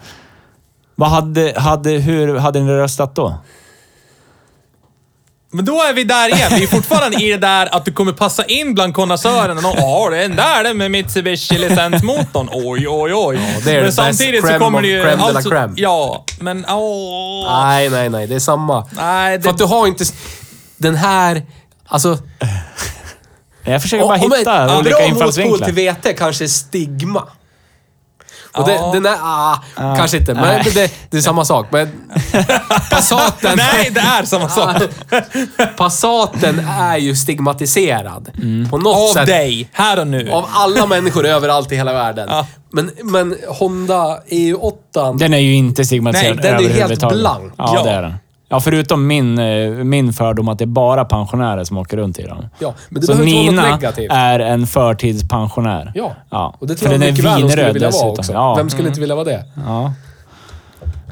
Speaker 1: Vad hade, hade, hur hade ni röstat då?
Speaker 3: Men då är vi där igen. Vi är fortfarande i det där att du kommer passa in bland konnässörerna. Och ja, den där den med Mitsubishi-licensmotorn. Oj, oj, oj.
Speaker 2: det är
Speaker 3: men
Speaker 2: det
Speaker 3: samtidigt
Speaker 2: bäst
Speaker 3: så kommer det ju... alltså,
Speaker 2: crème of crème de la crème.
Speaker 3: ja, men åh.
Speaker 2: Nej, nej, nej. Det är samma.
Speaker 3: Nej,
Speaker 2: För
Speaker 3: det,
Speaker 2: att du har inte... s- Den här... Alltså...
Speaker 1: Jag försöker bara
Speaker 2: om
Speaker 1: hitta
Speaker 2: en,
Speaker 1: olika
Speaker 2: bra motpol
Speaker 1: infallsvinklar.
Speaker 2: till vete kanske är stigma. Och
Speaker 3: Ja.
Speaker 2: det, den är... Ah, kanske inte. Men
Speaker 1: Nej.
Speaker 2: det, det, är samma sak.
Speaker 1: (laughs)
Speaker 2: Men Passaten...
Speaker 3: nej, det är samma sak.
Speaker 2: (laughs) Passaten är ju stigmatiserad.
Speaker 1: Mm.
Speaker 2: På något
Speaker 3: Av
Speaker 2: sätt.
Speaker 3: dig, här och nu.
Speaker 2: Av alla människor överallt i hela världen.
Speaker 3: Ja.
Speaker 2: Men, men Honda E EU8...
Speaker 1: Den är ju inte stigmatiserad
Speaker 2: Nej, den är ju helt
Speaker 1: överhuvudtaget.
Speaker 2: blank.
Speaker 1: Ja,
Speaker 3: Ja.
Speaker 1: det är den. Ja, förutom min, eh, min fördom att det är bara pensionärer som åker runt i den.
Speaker 2: Ja, men det
Speaker 1: Så
Speaker 2: behöver inte vara något
Speaker 1: Nina
Speaker 2: negativt.
Speaker 1: är en förtidspensionär.
Speaker 2: Ja.
Speaker 1: ja.
Speaker 2: och det
Speaker 1: För
Speaker 2: tror jag
Speaker 1: den är
Speaker 2: mycket väl de skulle
Speaker 1: vinröd
Speaker 2: vilja vara
Speaker 1: dessutom.
Speaker 2: också.
Speaker 1: Ja. Mm.
Speaker 2: Vem skulle inte vilja vara det?
Speaker 1: ja.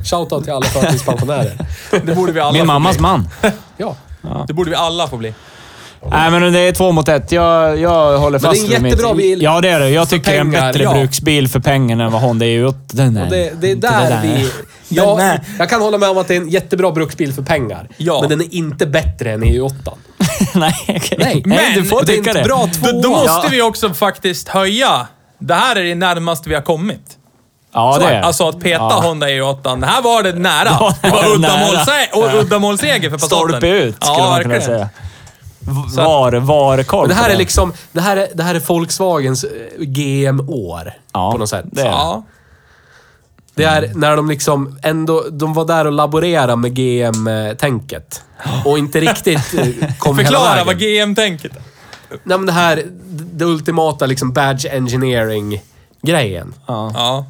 Speaker 2: Shoutout till alla förtidspensionärer.
Speaker 3: Det borde vi alla få
Speaker 1: Min mammas
Speaker 3: bli.
Speaker 1: man.
Speaker 2: Ja.
Speaker 3: Det borde vi alla få bli.
Speaker 1: Nej, men det är två mot ett. Jag, jag håller
Speaker 2: Men
Speaker 1: fast
Speaker 2: det är en
Speaker 1: vid
Speaker 2: jättebra
Speaker 1: mitt...
Speaker 2: bil
Speaker 1: Ja, det är det. Jag tycker det är en
Speaker 2: pengar,
Speaker 1: bättre
Speaker 2: ja.
Speaker 1: bruksbil för pengarna än vad Honda EU8. Den är
Speaker 2: Och det, det är
Speaker 1: inte
Speaker 2: där, vi... Ja,
Speaker 3: nej.
Speaker 2: jag kan hålla med om att det är en jättebra bruksbil för pengar.
Speaker 3: Ja.
Speaker 2: Men den är inte bättre än E EU8.
Speaker 1: (laughs) Nej, okej.
Speaker 2: Nej,
Speaker 3: men
Speaker 1: du får
Speaker 2: det är
Speaker 1: tycka
Speaker 2: inte
Speaker 1: det.
Speaker 2: bra
Speaker 3: Då, då
Speaker 2: Tvåa.
Speaker 3: måste vi också faktiskt höja. Det här är det närmaste vi har kommit.
Speaker 1: Ja,
Speaker 3: Så
Speaker 1: det
Speaker 3: är
Speaker 1: är
Speaker 3: det.
Speaker 1: det.
Speaker 3: Alltså att peta
Speaker 1: Ja.
Speaker 3: Honda EU8. Det här var det nära.
Speaker 1: Ja, det
Speaker 3: Det
Speaker 1: var
Speaker 3: var
Speaker 1: det
Speaker 3: uddamålse-
Speaker 1: nära.
Speaker 3: och uddamålsseger för Passaten.
Speaker 1: Stolpe ut, skulle
Speaker 3: ja,
Speaker 1: man kunna
Speaker 3: verkligen.
Speaker 1: säga. V-
Speaker 3: Så att-
Speaker 1: Var, varukorv.
Speaker 2: Men det
Speaker 1: på
Speaker 2: här är
Speaker 1: den.
Speaker 2: liksom... Det här är, det här är Volkswagens eh, GM-år.
Speaker 1: Ja,
Speaker 2: på något sätt.
Speaker 1: det är det.
Speaker 3: Ja.
Speaker 2: Det är när de liksom ändå... De var där och laborerade
Speaker 1: (gasps)
Speaker 2: med GM-tänket. Och inte riktigt eh, kom hela
Speaker 3: Förklara
Speaker 2: vägen.
Speaker 3: vad GM tänker.
Speaker 2: Nej, men det här... Det ultimata liksom badge engineering-grejen.
Speaker 3: Ja.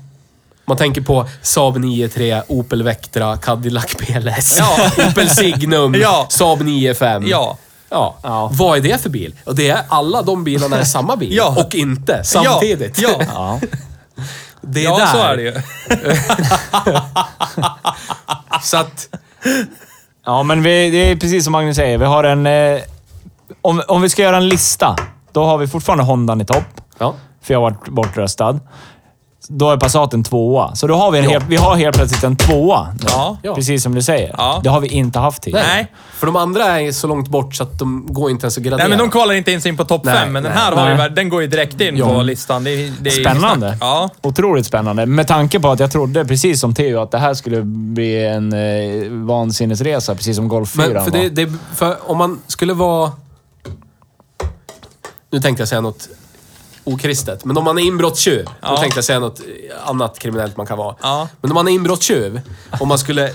Speaker 2: Man tänker på Saab 9-3, Opel Vectra, Cadillac PLS,
Speaker 3: Ja.
Speaker 2: (laughs) Opel Signum,
Speaker 3: Ja.
Speaker 2: Saab 9-5.
Speaker 3: Ja.
Speaker 2: Ja.
Speaker 1: Ja.
Speaker 2: Vad är det för bil? Och det är alla de bilarna är samma
Speaker 3: (laughs)
Speaker 2: bil
Speaker 3: Ja.
Speaker 2: och inte samtidigt. (laughs)
Speaker 3: Ja, ja.
Speaker 1: Ja.
Speaker 2: Det är
Speaker 3: ja
Speaker 2: där.
Speaker 3: så är det ju.
Speaker 2: Så att,
Speaker 1: ja, men vi, det är precis som Magnus säger. Vi har en... Eh, om, om vi ska göra en lista, då har vi fortfarande Hondan i topp.
Speaker 2: ja.
Speaker 1: för jag har varit bortröstad. Då är Passaten tvåa. Så då har vi, en helt, vi har helt plötsligt en tvåa. nu.
Speaker 3: Ja.
Speaker 2: Ja.
Speaker 1: Precis som du säger.
Speaker 3: Ja.
Speaker 1: Det har vi inte haft tidigare.
Speaker 3: Nej.
Speaker 2: För de andra är så långt bort så att de går inte ens att gradera.
Speaker 3: Nej, men de kvalar inte ens in på topp
Speaker 2: Nej,
Speaker 3: fem, men den
Speaker 2: nej.
Speaker 3: här har ju,
Speaker 1: Nej.
Speaker 3: den går ju direkt in på listan. Det, är- det är inget
Speaker 1: Spännande.
Speaker 3: snack. Ja.
Speaker 1: Otroligt spännande. Med tanke på att jag trodde, precis som Theo, att det här skulle bli en eh, vansinnesresa, precis som Golf 4
Speaker 2: Men för,
Speaker 1: var.
Speaker 2: det, det, för om man skulle vara... Nu tänkte jag säga något okristet, men om man är inbrottstjuv. Då
Speaker 3: Ja.
Speaker 2: tänkte jag säga något annat kriminellt man kan vara.
Speaker 3: Ja.
Speaker 2: Men om man är inbrottstjuv, om man skulle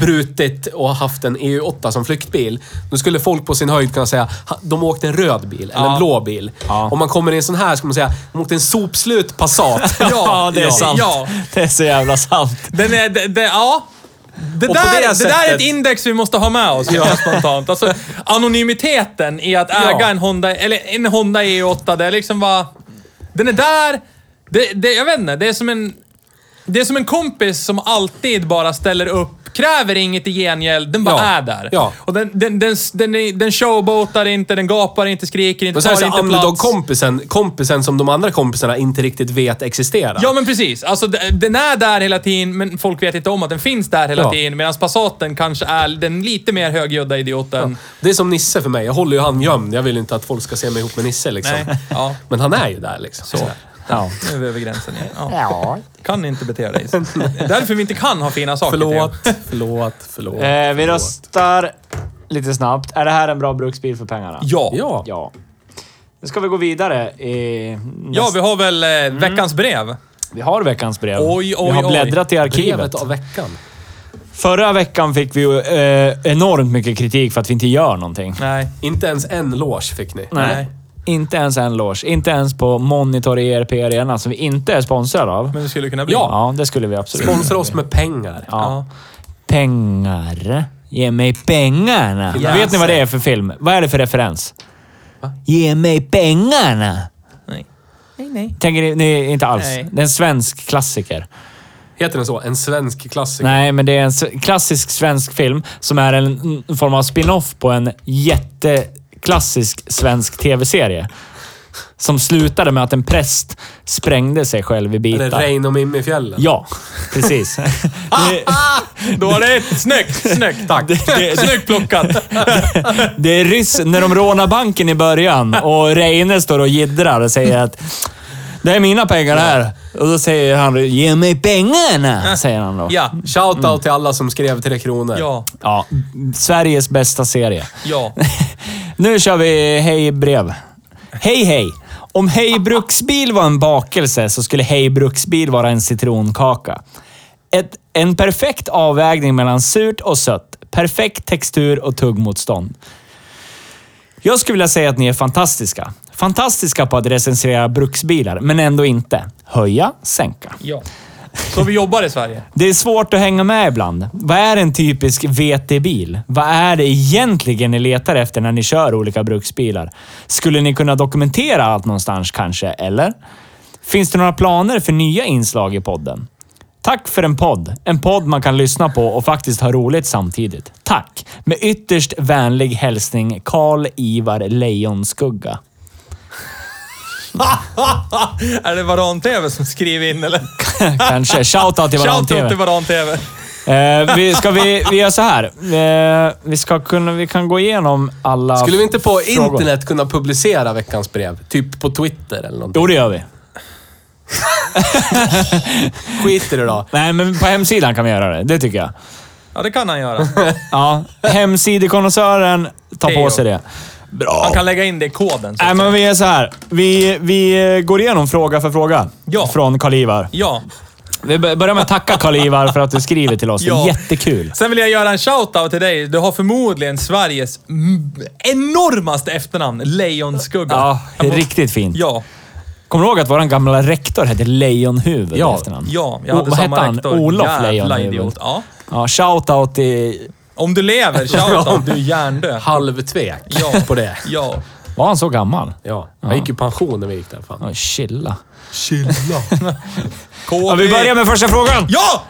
Speaker 2: brutit och haft en EU8 som flyktbil. Då skulle folk på sin höjd kunna säga "Ha, de åkte en röd bil eller en
Speaker 3: Ja.
Speaker 2: blå bil.
Speaker 1: Ja.
Speaker 2: Om man kommer i en sån här skulle man säga de åkte en sopslut Passat.
Speaker 1: Ja, det är
Speaker 3: (laughs)
Speaker 1: sant.
Speaker 3: Ja.
Speaker 1: Det är så jävla sant.
Speaker 3: Den är, det, det, ja. Det
Speaker 2: på
Speaker 3: där,
Speaker 2: det
Speaker 3: det, där är
Speaker 2: sättet-
Speaker 3: ett index vi måste ha med oss ja. spontant. Alltså, anonymiteten i att äga
Speaker 2: Ja.
Speaker 3: en Honda, eller en Honda E8, det är liksom bara... Den är där. Det, det, jag vet inte, det är som en... Det är som en kompis som alltid bara ställer upp, kräver inget i gengäld, den bara
Speaker 2: Ja.
Speaker 3: är där.
Speaker 2: Ja.
Speaker 3: Och den, den, den, den, är- den showboatar inte, den gapar inte, skriker inte,
Speaker 2: Men så är det
Speaker 3: tar
Speaker 2: så
Speaker 3: inte
Speaker 2: här
Speaker 3: plats.
Speaker 2: underdog-kompisen, kompisen som de andra kompisarna inte riktigt vet existerar.
Speaker 3: Ja, men precis. Alltså, d- den är där hela tiden, men folk vet inte om att den finns där hela
Speaker 2: Ja.
Speaker 3: tiden. Medan Passaten kanske är den lite mer högljudda idioten.
Speaker 2: Det är som Nisse för mig. Jag håller ju han gömd. Jag vill inte att folk ska se mig ihop med Nisse liksom.
Speaker 3: Nej. Ja.
Speaker 2: Men han är ju där liksom. Så.
Speaker 1: Ja.
Speaker 3: Nu är vi över gränsen igen. Ja.
Speaker 1: ja.
Speaker 3: Kan inte bete dig så. Det är därför vi inte kan ha fina saker.
Speaker 2: Förlåt,
Speaker 3: Theo.
Speaker 2: förlåt, förlåt.
Speaker 1: Eh, vi
Speaker 2: förlåt.
Speaker 1: röstar lite snabbt. Är det här en bra bruksbil för pengarna?
Speaker 3: Ja. ja.
Speaker 2: Ja.
Speaker 1: Ja. Nu ska vi gå vidare. I nästa...
Speaker 3: vi har väl eh, veckans brev.
Speaker 1: vi har veckans brev.
Speaker 3: Oj, oj,
Speaker 1: vi har
Speaker 3: oj.
Speaker 1: bläddrat i arkivet.
Speaker 2: Brevet av veckan.
Speaker 1: Förra veckan fick vi ju eh, enormt mycket kritik för att vi inte gör någonting.
Speaker 3: Nej.
Speaker 2: Inte ens en loge fick ni.
Speaker 3: Nej.
Speaker 1: Inte ens en loge. Inte ens på Monitor ERP Arena som vi inte är sponsrade av.
Speaker 3: Men det skulle kunna bli.
Speaker 1: Ja, det skulle vi absolut.
Speaker 2: Sponsra oss med pengar.
Speaker 1: Ja. Pengar. Ge mig pengarna.
Speaker 3: Yes.
Speaker 1: Vet ni vad det är för film? Vad är det för referens? Ge mig pengarna.
Speaker 3: Nej. Nej, nej.
Speaker 1: Tänker ni, ni inte alls?
Speaker 3: Nej.
Speaker 1: Det är en svensk klassiker.
Speaker 2: Heter den så? En svensk klassiker?
Speaker 1: Nej, men det är en s- klassisk svensk film som är en en form av spin-off på en jätteklassisk svensk tv-serie. Som slutade med att en präst sprängde sig själv i
Speaker 2: Eller
Speaker 1: bitar.
Speaker 2: Rein och Mim i fjällen?
Speaker 1: Ja,
Speaker 3: (laughs)
Speaker 1: precis. det,
Speaker 3: Ah! Dåligt! Snyggt! Snyggt! Tack! Snyggt plockat!
Speaker 1: Det är ryss när de rånar banken i början och Reine står och jiddrar och säger att det är mina pengar det här. Och då säger han ge mig pengarna, säger han då.
Speaker 3: Ja.
Speaker 2: Shoutout till alla som skrev Tre Kronor.
Speaker 3: Ja.
Speaker 1: Ja, Sveriges bästa serie.
Speaker 3: Ja.
Speaker 1: (laughs) Nu kör vi Hej Brev. Hej hej! Om Hej Bruksbil var en bakelse så skulle Hej Bruksbil vara en citronkaka. Ett, en perfekt avvägning mellan surt och sött. Perfekt textur och tuggmotstånd. Jag skulle vilja säga att ni är fantastiska. Fantastiska på att recensera bruksbilar, men ändå inte. Höja, sänka.
Speaker 3: ja. Så vi jobbar i Sverige.
Speaker 1: Det är svårt att hänga med ibland. Vad är en typisk VT-bil? Vad är det egentligen ni letar efter när ni kör olika bruksbilar? Skulle ni kunna dokumentera allt någonstans kanske, eller? Finns det några planer för nya inslag i podden? Tack för en podd. En podd man kan lyssna på och faktiskt ha roligt samtidigt. Tack! Med ytterst vänlig hälsning Karl-Ivar Lejonskugga.
Speaker 3: (laughs) Är det Varan-TV som skriver in
Speaker 1: (laughs)
Speaker 3: eller?
Speaker 1: Kanske. Shoutout till varandra.
Speaker 3: Shoutout till Varan-TV.
Speaker 1: Eh, vi, ska vi, vi gör så här. Eh, vi, ska kunna, vi kan gå igenom alla...
Speaker 2: Skulle vi inte på
Speaker 1: frågor.
Speaker 2: internet kunna publicera veckans brev? Typ på Twitter eller någonting?
Speaker 1: Jo, det gör vi.
Speaker 2: Skit i det då.
Speaker 1: Nej, men på hemsidan kan vi göra det. Det tycker jag.
Speaker 3: Ja, det kan han göra.
Speaker 1: Ja, hemsidekonnässören tar på sig det. Bra.
Speaker 3: Han kan lägga in det i koden. Så.
Speaker 1: Nej, men vi gör så här. Vi, vi eh, går igenom fråga för fråga
Speaker 3: Ja.
Speaker 1: från Karl-Ivar.
Speaker 3: Ja.
Speaker 1: Vi bör- börjar med att tacka Karl-Ivar för att du skriver till oss.
Speaker 3: Ja.
Speaker 1: Det är jättekul.
Speaker 3: Sen vill jag göra en shout-out till dig. Du har förmodligen Sveriges mm, enormaste efternamn, Lejonskugga.
Speaker 1: Ja,
Speaker 3: Jag
Speaker 1: det är
Speaker 3: må-
Speaker 1: riktigt fint.
Speaker 3: Ja,
Speaker 1: Kommer du ihåg att vår gamla rektor hette Lejonhuvud i efternamn?
Speaker 3: ja. Jag hade
Speaker 1: vad
Speaker 3: samma
Speaker 1: hette han?
Speaker 3: rektor.
Speaker 1: Olof
Speaker 3: Jävla
Speaker 1: Lejonhuvud.
Speaker 3: idiot. Ja.
Speaker 1: Ja, shoutout till...
Speaker 3: Om du
Speaker 1: (laughs)
Speaker 3: lever, shout-out. Du är hjärndöd.
Speaker 2: Halvtvek
Speaker 3: Ja.
Speaker 2: på det.
Speaker 3: Ja.
Speaker 1: Var han så gammal?
Speaker 2: Ja. Jag gick i pension när vi gick där. Fan.
Speaker 1: Ja, chilla.
Speaker 2: Chilla.
Speaker 1: Ja, vi börjar med första frågan.
Speaker 3: Ja!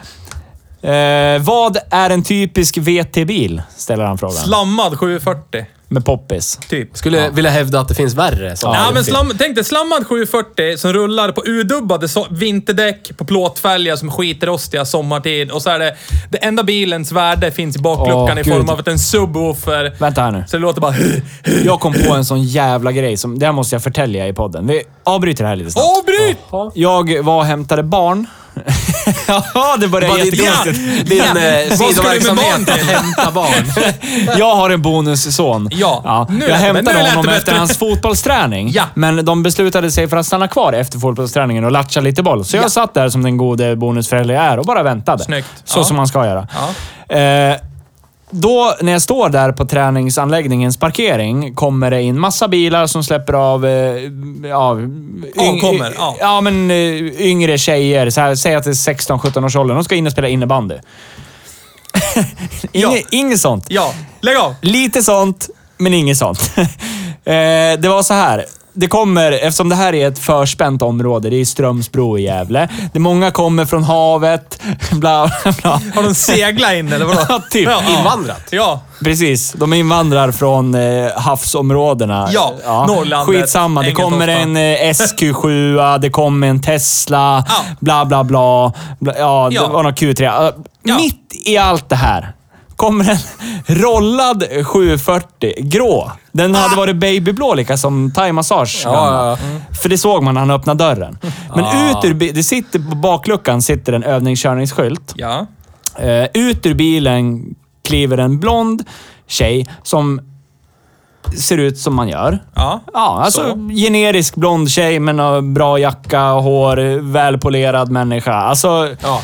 Speaker 1: Eh, vad är en typisk VT-bil? Ställer han frågan.
Speaker 3: Slammad 740,
Speaker 1: Med poppis.
Speaker 3: typ.
Speaker 2: Skulle vilja hävda att det finns värre. som-
Speaker 3: Ja, men slam, tänk dig slammad 740 som rullar på urdubbade so vinterdäck på plåtfälgar som skitrostiga sommartid. Och så är det, det enda bilens värde finns i bakluckan
Speaker 1: Åh,
Speaker 3: i form
Speaker 1: gud.
Speaker 3: av att en subwoofer.
Speaker 1: Vänta här nu.
Speaker 3: Så det låter bara...
Speaker 1: Jag kom på en sån jävla grej som... Det här måste jag förtälja i podden. Vi avbryter det här lite snabbt.
Speaker 3: Avbryt!
Speaker 1: Jag var och hämtade barn. (laughs) ja, det börjar
Speaker 2: Vad är
Speaker 1: jättekonstigt.
Speaker 2: din, din
Speaker 3: Ja.
Speaker 2: eh,
Speaker 3: Vad ska du med barn
Speaker 2: sidoverksamhet
Speaker 3: till?
Speaker 2: att hämta barn?
Speaker 1: (laughs) Jag har en bonusson.
Speaker 3: Ja, nu lät
Speaker 1: jag
Speaker 3: det- nu
Speaker 1: hämtade
Speaker 3: lät det
Speaker 1: honom
Speaker 3: bättre.
Speaker 1: efter hans fotbollsträning.
Speaker 3: (laughs) Ja.
Speaker 1: Men de beslutade sig för att stanna kvar efter fotbollsträningen och latcha lite boll. Så jag satt där som den gode bonusförälder jag är och bara väntade.
Speaker 3: Snyggt.
Speaker 1: Så
Speaker 3: Ja.
Speaker 1: som man ska göra. Eh, då, när jag står där på träningsanläggningens parkering, kommer det in massa bilar som släpper av... Eh, ja,
Speaker 3: Avkommor, ja.
Speaker 1: ja, men eh, yngre tjejer. Så här, säg att det är 16-17 års ålder. De ska in och spela innebandy. (laughs) Inge,
Speaker 3: Ja.
Speaker 1: Inget sånt.
Speaker 3: Ja, lägg av!
Speaker 1: Lite sånt, men inget sånt. (laughs) eh, det var så här. Det kommer, eftersom det här är ett förspänt område, det är Strömsbro i Gävle. Det många kommer från havet, (laughs) bla bla bla.
Speaker 3: Har de seglat in eller vadå?
Speaker 1: (laughs) Ja, typ.
Speaker 2: Invandrat.
Speaker 3: Ja.
Speaker 1: Precis, de invandrar från eh, havsområdena.
Speaker 3: Ja, Norrlandet,
Speaker 1: Skitsamma, det kommer en
Speaker 3: Ängelholtsjön.
Speaker 1: eh, SQ7, det kommer en Tesla,
Speaker 3: Ja.
Speaker 1: bla bla bla. bla ja,
Speaker 3: Ja.
Speaker 1: det var någon Q3. Eh,
Speaker 3: Ja.
Speaker 1: Mitt i allt det här kommer en rollad 740 grå.
Speaker 3: Ah.
Speaker 1: Den hade varit babyblå lika som thaimassage. Mm.
Speaker 2: ja, ja.
Speaker 1: För det såg man när han öppnade dörren. Men
Speaker 3: Ah.
Speaker 1: ut ur bi- det sitter på bakluckan sitter en övningskörningsskylt.
Speaker 3: Ja.
Speaker 1: Eh, ut ur bilen kliver en blond tjej som ser ut som man gör.
Speaker 3: Ja.
Speaker 1: Ja, alltså
Speaker 3: Så.
Speaker 1: generisk blond tjej men har bra jacka, hår, välpolerad människa. Alltså,
Speaker 2: Ja.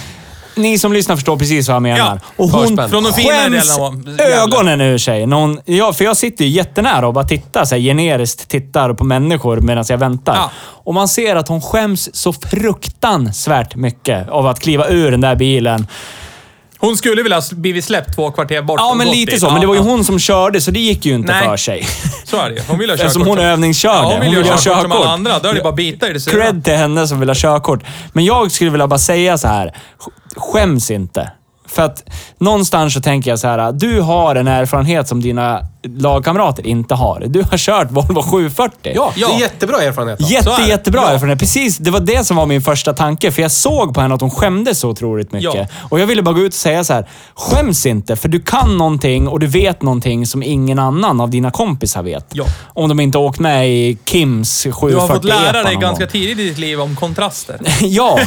Speaker 1: ni som lyssnar förstår precis vad jag menar.
Speaker 3: Ja,
Speaker 1: och hon
Speaker 2: förspänt.
Speaker 3: Från de finare
Speaker 1: skäms
Speaker 3: delarna av-
Speaker 1: ögonen ur sig. när hon- ja, för jag sitter ju jättenära och bara tittar, så här, generiskt tittar på människor medan jag väntar.
Speaker 3: Ja.
Speaker 1: Och man ser att hon skäms så fruktansvärt mycket av att kliva ur den där bilen.
Speaker 3: Hon skulle vilja ha blivit släppt två kvarter bort.
Speaker 1: Ja,
Speaker 3: och
Speaker 1: men
Speaker 3: gått
Speaker 1: lite
Speaker 3: dit.
Speaker 1: så. Men
Speaker 3: Ja,
Speaker 1: det var ju
Speaker 3: ja.
Speaker 1: hon som körde, så det gick ju inte
Speaker 3: Nej.
Speaker 1: för sig.
Speaker 3: Så är det ju. Hon vill ha körkort.
Speaker 1: Eftersom hon
Speaker 3: som-
Speaker 1: övningskörde.
Speaker 3: Ja, hon vill ju ha körkort, som
Speaker 1: körkort.
Speaker 3: alla andra. Då är det bara att bita i det sura.
Speaker 1: Cred till henne som vill ha körkort. Men jag skulle vilja bara säga så här. sk- Skäms inte. För att någonstans så tänker jag så här. Du har en erfarenhet som dina lagkamrater inte har. Du har kört Volvo 740.
Speaker 2: Ja,
Speaker 3: (laughs)
Speaker 2: det
Speaker 3: Ja.
Speaker 2: är jättebra erfarenhet. av.
Speaker 3: så är
Speaker 1: Jätte,
Speaker 3: det.
Speaker 1: jättebra
Speaker 3: Ja.
Speaker 1: erfarenhet. Precis, det var det som var min första tanke. För jag såg på henne att hon skämdes så otroligt mycket.
Speaker 3: Ja.
Speaker 1: Och jag ville bara gå ut och säga så här. Skäms inte, för du kan någonting och du vet någonting som ingen annan av dina kompisar vet.
Speaker 3: Ja.
Speaker 1: Om de inte har åkt med i Kims 740
Speaker 3: Du har fått lära dig
Speaker 1: någon
Speaker 3: ganska
Speaker 1: gång.
Speaker 3: tidigt i ditt liv om kontraster. (laughs)
Speaker 1: Ja.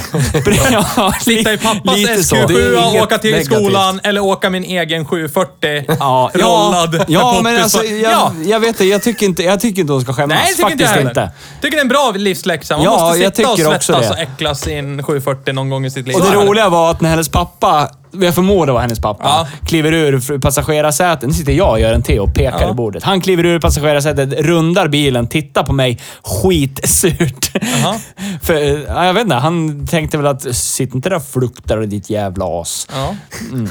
Speaker 1: ja
Speaker 3: Sitta i pappas
Speaker 2: Det är
Speaker 3: SQ7,
Speaker 2: inget
Speaker 3: åka till
Speaker 2: negativt.
Speaker 3: skolan eller åka min egen 740.
Speaker 1: Ja,
Speaker 3: rollad.
Speaker 1: ja,
Speaker 3: med
Speaker 1: ja men
Speaker 3: poppis.
Speaker 1: alltså, jag,
Speaker 3: Ja.
Speaker 1: jag vet det. Jag tycker inte, jag tycker inte hon ska skämmas.
Speaker 3: Nej, det tycker inte jag
Speaker 1: Faktiskt
Speaker 3: heller.
Speaker 1: inte.
Speaker 3: tycker det är en bra livsläxa. Man
Speaker 1: Ja,
Speaker 3: måste
Speaker 1: jag
Speaker 3: sitta och
Speaker 1: tycker också
Speaker 3: svettas
Speaker 1: det.
Speaker 3: och äcklas i en 740 någon gång i sitt liv.
Speaker 1: Och
Speaker 3: Så
Speaker 1: det
Speaker 3: är
Speaker 1: roliga var att när hennes pappa, jag förmodar det var hennes pappa,
Speaker 3: Ja.
Speaker 1: kliver ur fr- passagerarsätet. Nu sitter jag och gör en te och pekar
Speaker 3: Ja.
Speaker 1: i bordet. Han kliver ur passagerarsätet, rundar bilen, tittar på mig skitsurt.
Speaker 3: Jaha.
Speaker 1: (laughs) För, eh, ja, jag vet inte, han tänkte väl att sitt inte där och fluktar och ditt jävla as.
Speaker 3: Ja.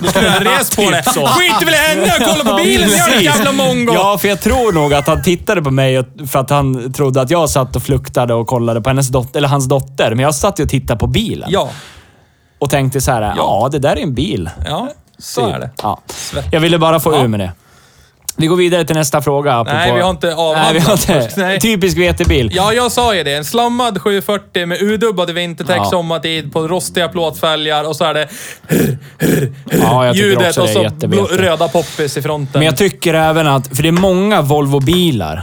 Speaker 3: Du skulle ha rest på det.
Speaker 1: Mm. typ så.
Speaker 3: Skit väl i henne! Jag kollar på bilen!
Speaker 1: Ja,
Speaker 3: Jag är en
Speaker 1: precis.
Speaker 3: jävla mongo!
Speaker 1: Ja, för jag tror nog att han tittade på mig och- för att han trodde att jag satt och fluktade och kollade på hennes dot- eller hans dotter. Men jag satt ju och tittade på bilen
Speaker 3: Ja,
Speaker 1: och tänkte så här, ja. det där är en bil.
Speaker 3: ja. Så
Speaker 1: Typ.
Speaker 3: är det.
Speaker 1: Ja. Jag ville bara få ur med det. Vi går vidare till nästa fråga. apropå-
Speaker 3: Nej, vi har inte avhandlat
Speaker 1: Nej, vi har inte.
Speaker 3: först. (laughs) Nej.
Speaker 1: Typisk vetebil.
Speaker 3: Ja, jag sa ju det. En slammad 740 med udubbad vinterdäck
Speaker 1: Ja.
Speaker 3: sommartid på rostiga plåtfälgar och så är det
Speaker 1: Ja, jag tycker
Speaker 3: ljudet
Speaker 1: också
Speaker 3: och
Speaker 1: det
Speaker 3: så
Speaker 1: är jättebete.
Speaker 3: blå- röda poppis i fronten.
Speaker 1: Men jag tycker även att, för det är många Volvo-bilar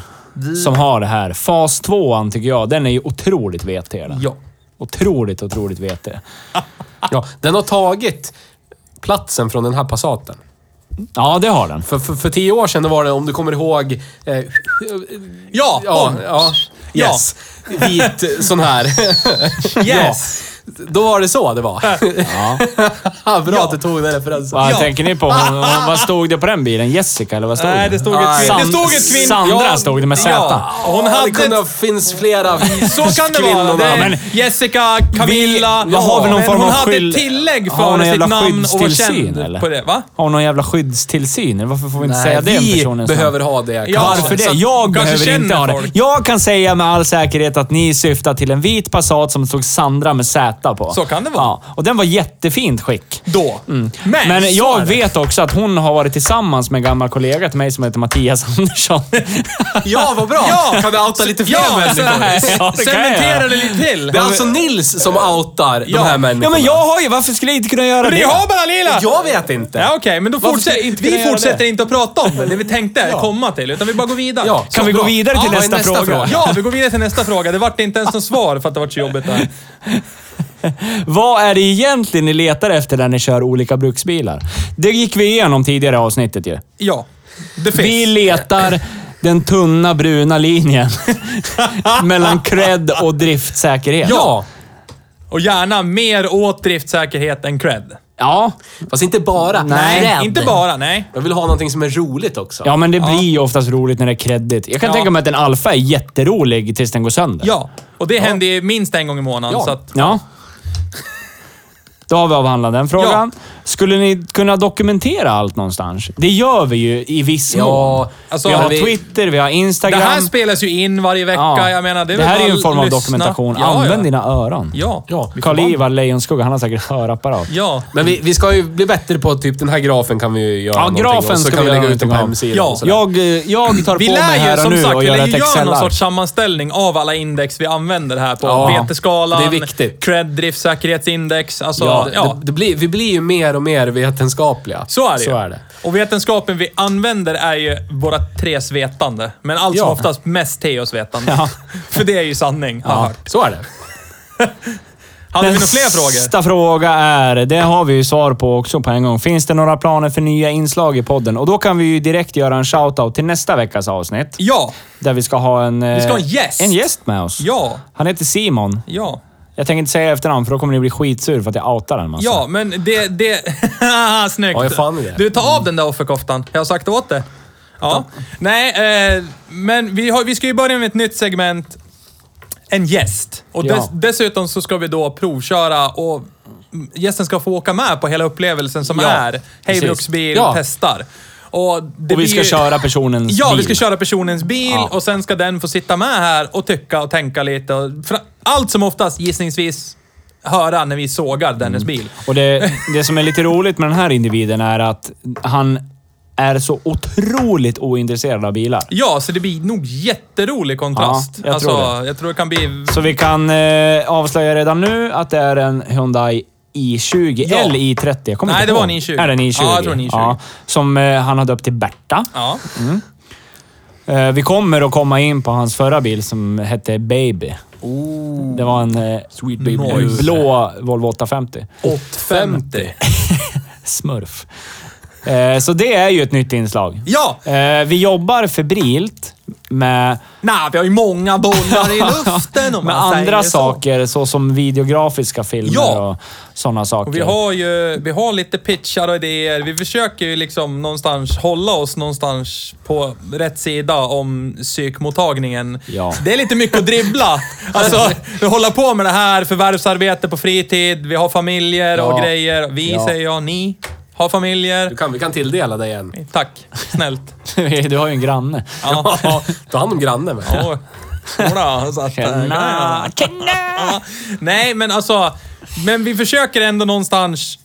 Speaker 1: som har det här. Fas 2 tycker jag, den är ju otroligt VT. Den.
Speaker 3: Ja.
Speaker 1: Otroligt, otroligt VT.
Speaker 2: Ja, den har tagit platsen från den här Passaten.
Speaker 1: Ja, det har den.
Speaker 2: För, för, för tio år sedan var det, om du kommer ihåg... Eh,
Speaker 3: Ja!
Speaker 2: ja,
Speaker 3: hon.
Speaker 2: ja,
Speaker 3: Ja.
Speaker 2: yes. Vit sån här. (laughs)
Speaker 3: Yes!
Speaker 2: Ja, då var det så det var. (laughs)
Speaker 1: Ja.
Speaker 2: Bra att du tog den referensen.
Speaker 1: Vad
Speaker 3: Ja.
Speaker 1: tänker ni på? Hon, hon, vad stod det på den bilen? Jessica, eller vad stod
Speaker 3: Nej, det stod ett
Speaker 1: San-
Speaker 3: kvin- det stod ett kvin-
Speaker 1: Sandra
Speaker 3: Ja.
Speaker 1: stod det med Z.
Speaker 3: Ja. Hon
Speaker 2: Ja,
Speaker 3: hade
Speaker 2: det kunde
Speaker 3: ett-
Speaker 2: ha- finns flera
Speaker 3: Så kan det vara.
Speaker 2: kvinnorna.
Speaker 3: Det är
Speaker 1: Men-
Speaker 3: Jessica, Camilla.
Speaker 1: Vi- har vi någon
Speaker 3: men
Speaker 1: form
Speaker 3: hon
Speaker 1: av
Speaker 3: hade
Speaker 1: skyll-
Speaker 3: tillägg
Speaker 1: Har hon
Speaker 3: för
Speaker 1: någon jävla
Speaker 3: sitt namn och var
Speaker 1: skyddstillsyn,
Speaker 3: känd
Speaker 1: eller?
Speaker 3: på det. Va?
Speaker 1: Har hon någon jävla skyddstillsyn? eller Varför får vi inte säga det om
Speaker 2: vi
Speaker 1: personen? som-
Speaker 2: behöver ha det.
Speaker 3: Ja.
Speaker 2: kanske.
Speaker 1: Varför
Speaker 3: så
Speaker 1: det?
Speaker 3: att
Speaker 1: Jag
Speaker 3: hon kanske
Speaker 1: behöver inte
Speaker 3: känner
Speaker 1: ha det.
Speaker 3: folk.
Speaker 1: Jag kan säga med all säkerhet att ni syftar till en vit Passat som stod Sandra med Z på.
Speaker 3: Så kan det vara.
Speaker 1: Ja, och den var jättefint skick.
Speaker 3: Då. Men,
Speaker 1: Mm. Men,
Speaker 3: så
Speaker 1: jag
Speaker 3: är det.
Speaker 1: vet också att hon har varit tillsammans med en gammal kollega till mig som heter Mattias (laughs) Andersson.
Speaker 2: Ja, vad bra!
Speaker 3: Ja.
Speaker 2: Kan vi outa lite fler
Speaker 3: Ja,
Speaker 2: människor?
Speaker 3: så här.
Speaker 1: Ja, det kan jag
Speaker 3: Cementera
Speaker 1: göra.
Speaker 3: det lite till.
Speaker 2: Det är alltså Nils som outar de här människorna.
Speaker 1: ja, men jag har ju... Varför skulle jag inte kunna göra
Speaker 3: Vi
Speaker 1: det?
Speaker 3: har bara lila!
Speaker 2: Jag vet inte.
Speaker 3: Ja, okej, men då
Speaker 2: Varför
Speaker 3: fortsätter,
Speaker 2: ska jag inte kunna
Speaker 3: vi
Speaker 2: göra
Speaker 3: fortsätter
Speaker 2: det?
Speaker 3: inte att prata om det, det vi tänkte komma till, utan vi bara går vidare.
Speaker 2: Ja,
Speaker 3: Så
Speaker 1: Kan vi
Speaker 3: bra.
Speaker 1: gå vidare till
Speaker 2: Ja,
Speaker 1: nästa,
Speaker 2: nästa
Speaker 1: fråga?
Speaker 2: fråga.
Speaker 3: Ja, vi går vidare till nästa fråga. Det vart inte ens något svar för att det vart så jobbigt där.
Speaker 1: Vad är det egentligen ni letar efter när ni kör olika bruksbilar? Det gick vi igenom tidigare i avsnittet ju.
Speaker 3: Ja, det finns.
Speaker 1: Vi letar den tunna
Speaker 3: (laughs)
Speaker 1: bruna linjen mellan cred och driftsäkerhet.
Speaker 2: Ja.
Speaker 3: Och gärna mer åt driftsäkerhet än cred.
Speaker 1: Ja,
Speaker 2: Fast inte bara.
Speaker 1: Nej.
Speaker 2: Rädd.
Speaker 3: Inte bara, nej.
Speaker 2: Jag vill ha någonting som är roligt också.
Speaker 1: ja men det blir ju oftast roligt när det är kreddigt. Jag kan
Speaker 3: Ja.
Speaker 1: tänka mig att en Alfa är jätterolig tills den går sönder.
Speaker 3: Ja, och det händer ju minst en gång i månaden.
Speaker 2: Ja.
Speaker 3: Så att,
Speaker 1: Ja. Då har vi avhandlat den frågan. Skulle ni kunna dokumentera allt någonstans? Det gör vi ju i viss
Speaker 2: Ja,
Speaker 1: mån.
Speaker 3: alltså,
Speaker 1: vi har
Speaker 2: vi-
Speaker 1: Twitter, vi har
Speaker 3: det
Speaker 1: Instagram.
Speaker 3: här spelas ju in varje vecka.
Speaker 1: Ja.
Speaker 3: Jag menar, det är
Speaker 1: det
Speaker 3: väl
Speaker 1: här är ju
Speaker 3: bara
Speaker 1: en form av
Speaker 3: lyssna.
Speaker 1: dokumentation.
Speaker 3: Ja,
Speaker 1: Använd
Speaker 3: ja.
Speaker 1: dina öron.
Speaker 3: Ja.
Speaker 2: Ja.
Speaker 3: Vi får bara-
Speaker 1: Karl-Ivar Lejonskugga, han har säkert hörapparat.
Speaker 3: Ja.
Speaker 2: Men vi, vi ska ju bli bättre på typ den här grafen kan vi ju göra
Speaker 1: Ja,
Speaker 2: någonting
Speaker 1: grafen
Speaker 2: av, så
Speaker 1: ska
Speaker 2: kan
Speaker 1: vi
Speaker 2: vi lägga
Speaker 1: göra
Speaker 2: ut den på
Speaker 1: någonting av.
Speaker 2: hemsidan.
Speaker 3: Ja.
Speaker 2: och sådär.
Speaker 1: Jag, eh, jag tar
Speaker 3: Vi
Speaker 1: på mig
Speaker 3: lär ju
Speaker 1: här och
Speaker 3: som
Speaker 1: nu
Speaker 3: sagt,
Speaker 1: och
Speaker 3: vi
Speaker 1: gör
Speaker 3: lär
Speaker 1: ett
Speaker 3: ju göra någon
Speaker 1: Excel-ark.
Speaker 3: sorts sammanställning av alla index vi använder här på
Speaker 2: Ja,
Speaker 3: veteskalan,
Speaker 2: det är viktigt.
Speaker 3: cred, driftsäkerhetsindex. Alltså,
Speaker 2: Ja,
Speaker 3: ja,
Speaker 2: Det, det blir, vi blir ju mer och mer vetenskapliga.
Speaker 3: Så är det, ju.
Speaker 1: Så är det.
Speaker 3: Och vetenskapen vi använder är ju våra tre svetande. Men allt som
Speaker 1: Ja.
Speaker 3: oftast mest Teos vetande.
Speaker 1: Ja.
Speaker 3: (laughs) För det är ju sanning, har jag
Speaker 1: Ja.
Speaker 3: hört.
Speaker 2: Så är det.
Speaker 3: Hade vi några fler frågor?
Speaker 1: Nästa fråga är, det har vi ju svar på också på en gång. Finns det några planer för nya inslag i podden? Och då kan vi ju direkt göra en shoutout till nästa veckas avsnitt.
Speaker 3: Ja,
Speaker 1: Där vi ska ha en... Vi
Speaker 3: ska ha en gäst.
Speaker 1: En gäst med oss.
Speaker 3: ja,
Speaker 1: Han heter Simon.
Speaker 3: ja.
Speaker 1: Jag tänker inte säga efternamn för då kommer ni bli skitsur för att jag outar alltså. en massa.
Speaker 3: Ja, men det... det (laughs) snyggt!
Speaker 2: Ja, jag fan det.
Speaker 3: Du,
Speaker 1: Mm.
Speaker 3: ta av den där offerkoftan. Jag har sagt åt det. Ja. Nej, eh, men vi, har, vi ska ju börja med ett nytt segment. En gäst. Och
Speaker 1: Ja.
Speaker 3: dess, dessutom så ska vi då provköra och mm, gästen ska få åka med på hela upplevelsen som
Speaker 1: Ja,
Speaker 3: är Hej
Speaker 1: precis.
Speaker 3: Bruksbil
Speaker 2: Ja.
Speaker 3: testar. Och, det
Speaker 1: Och vi ska
Speaker 3: blir ju-
Speaker 1: köra personens
Speaker 3: Ja,
Speaker 1: bil.
Speaker 3: vi ska köra personens bil
Speaker 1: Ja.
Speaker 3: och sen ska den få sitta med här och tycka och tänka lite. Och fra- allt som oftast gissningsvis höra när vi sågar dennes bil. (laughs)
Speaker 1: Och det, det som är lite roligt med den här individen är att han är så otroligt ointresserad av bilar.
Speaker 3: Ja, så det blir nog jätterolig kontrast.
Speaker 1: Ja, jag
Speaker 3: alltså,
Speaker 1: tror
Speaker 3: jag tror det kan bli...
Speaker 1: Så vi kan eh, avslöja redan nu att det är en Hyundai i20
Speaker 3: Ja.
Speaker 1: eller i30. Jag kommer
Speaker 3: Nej,
Speaker 1: inte
Speaker 3: det var
Speaker 1: ihåg.
Speaker 3: en i20.
Speaker 1: Är det en i20?
Speaker 3: Ja, jag tror en i20.
Speaker 1: som eh, han har döpt till Berta.
Speaker 3: Ja.
Speaker 1: Eh, vi kommer att komma in på hans förra bil som hette Baby. Det var en, eh,
Speaker 2: Sweet baby.
Speaker 1: en blå Volvo 850.
Speaker 3: 850.
Speaker 1: Smurf. Eh, så det är ju ett nytt inslag.
Speaker 3: Ja!
Speaker 1: Eh, vi jobbar febrilt med,
Speaker 3: Nej, vi har ju många bollar i luften om
Speaker 1: med
Speaker 3: man säger
Speaker 1: andra
Speaker 3: så.
Speaker 1: saker, såsom videografiska filmer
Speaker 3: Ja.
Speaker 1: och sådana saker.
Speaker 3: Och vi har ju vi har lite pitchar och idéer. Vi försöker ju liksom någonstans hålla oss någonstans på rätt sida om psykmottagningen.
Speaker 1: Ja.
Speaker 3: Det är lite mycket att dribbla.
Speaker 1: (laughs)
Speaker 3: Alltså, vi håller på med det här, förvärvsarbete på fritid, vi har familjer och
Speaker 1: Ja.
Speaker 3: grejer. Vi
Speaker 1: Ja.
Speaker 3: säger jag, ni har
Speaker 2: Du
Speaker 3: familjer.
Speaker 2: kan, vi kan tilldela dig en.
Speaker 3: Tack, snällt.
Speaker 1: (laughs) du har ju en granne.
Speaker 3: Ja.
Speaker 2: Ta hand om grannen med.
Speaker 3: (laughs) Ja. Jodå, så att, eh,
Speaker 1: Tjena!
Speaker 3: Ja. Nej, men alltså... Men vi försöker ändå någonstans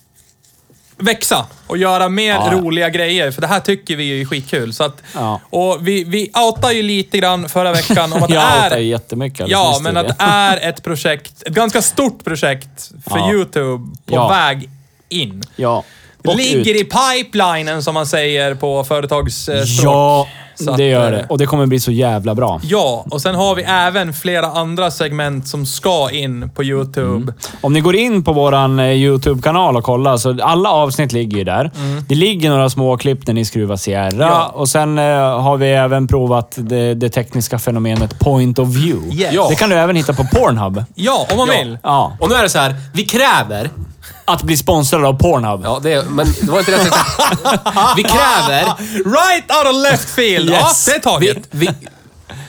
Speaker 3: växa och göra mer
Speaker 1: Ja.
Speaker 3: roliga grejer, för det här tycker vi ju är skitkul. Så att,
Speaker 1: Ja.
Speaker 3: Och vi, vi outade ju lite grann förra veckan
Speaker 1: (laughs)
Speaker 3: om att det
Speaker 1: Jag outar
Speaker 3: är...
Speaker 1: ju jättemycket. alldeles
Speaker 3: Ja,
Speaker 1: nyss
Speaker 3: men
Speaker 1: till
Speaker 3: att det är ett projekt, ett ganska stort projekt för
Speaker 1: Ja.
Speaker 3: YouTube på
Speaker 1: Ja.
Speaker 3: väg in.
Speaker 1: Ja. Och
Speaker 3: Ligger
Speaker 1: ut.
Speaker 3: i pipelinen som man säger på eh, företagsspråk.
Speaker 1: Ja,
Speaker 3: Så att,
Speaker 1: det
Speaker 3: eh,
Speaker 1: gör det. Och det kommer bli så jävla bra.
Speaker 3: Ja, och sen har vi även flera andra segment som ska in på YouTube.
Speaker 1: Om ni går in på vår YouTube-kanal och kollar, så alla avsnitt ligger ju där. Det ligger några små klipp när ni skruvar Sierra.
Speaker 3: Mm. Ja.
Speaker 1: Och sen eh, har vi även provat det, det tekniska fenomenet point of view.
Speaker 3: Yes.
Speaker 1: Det kan du även hitta på Pornhub.
Speaker 3: Ja, om man
Speaker 2: Ja.
Speaker 3: vill.
Speaker 1: Ja.
Speaker 2: Och nu är det så här. Vi kräver...
Speaker 1: Att bli sponsrad av Pornhub.
Speaker 2: Ja, det, men det var inte det jag tänkte.
Speaker 1: (laughs)
Speaker 2: Vi kräver...
Speaker 3: (laughs) Right out of left field!
Speaker 2: Yes.
Speaker 3: Ja, det är taget.
Speaker 2: Vi, vi,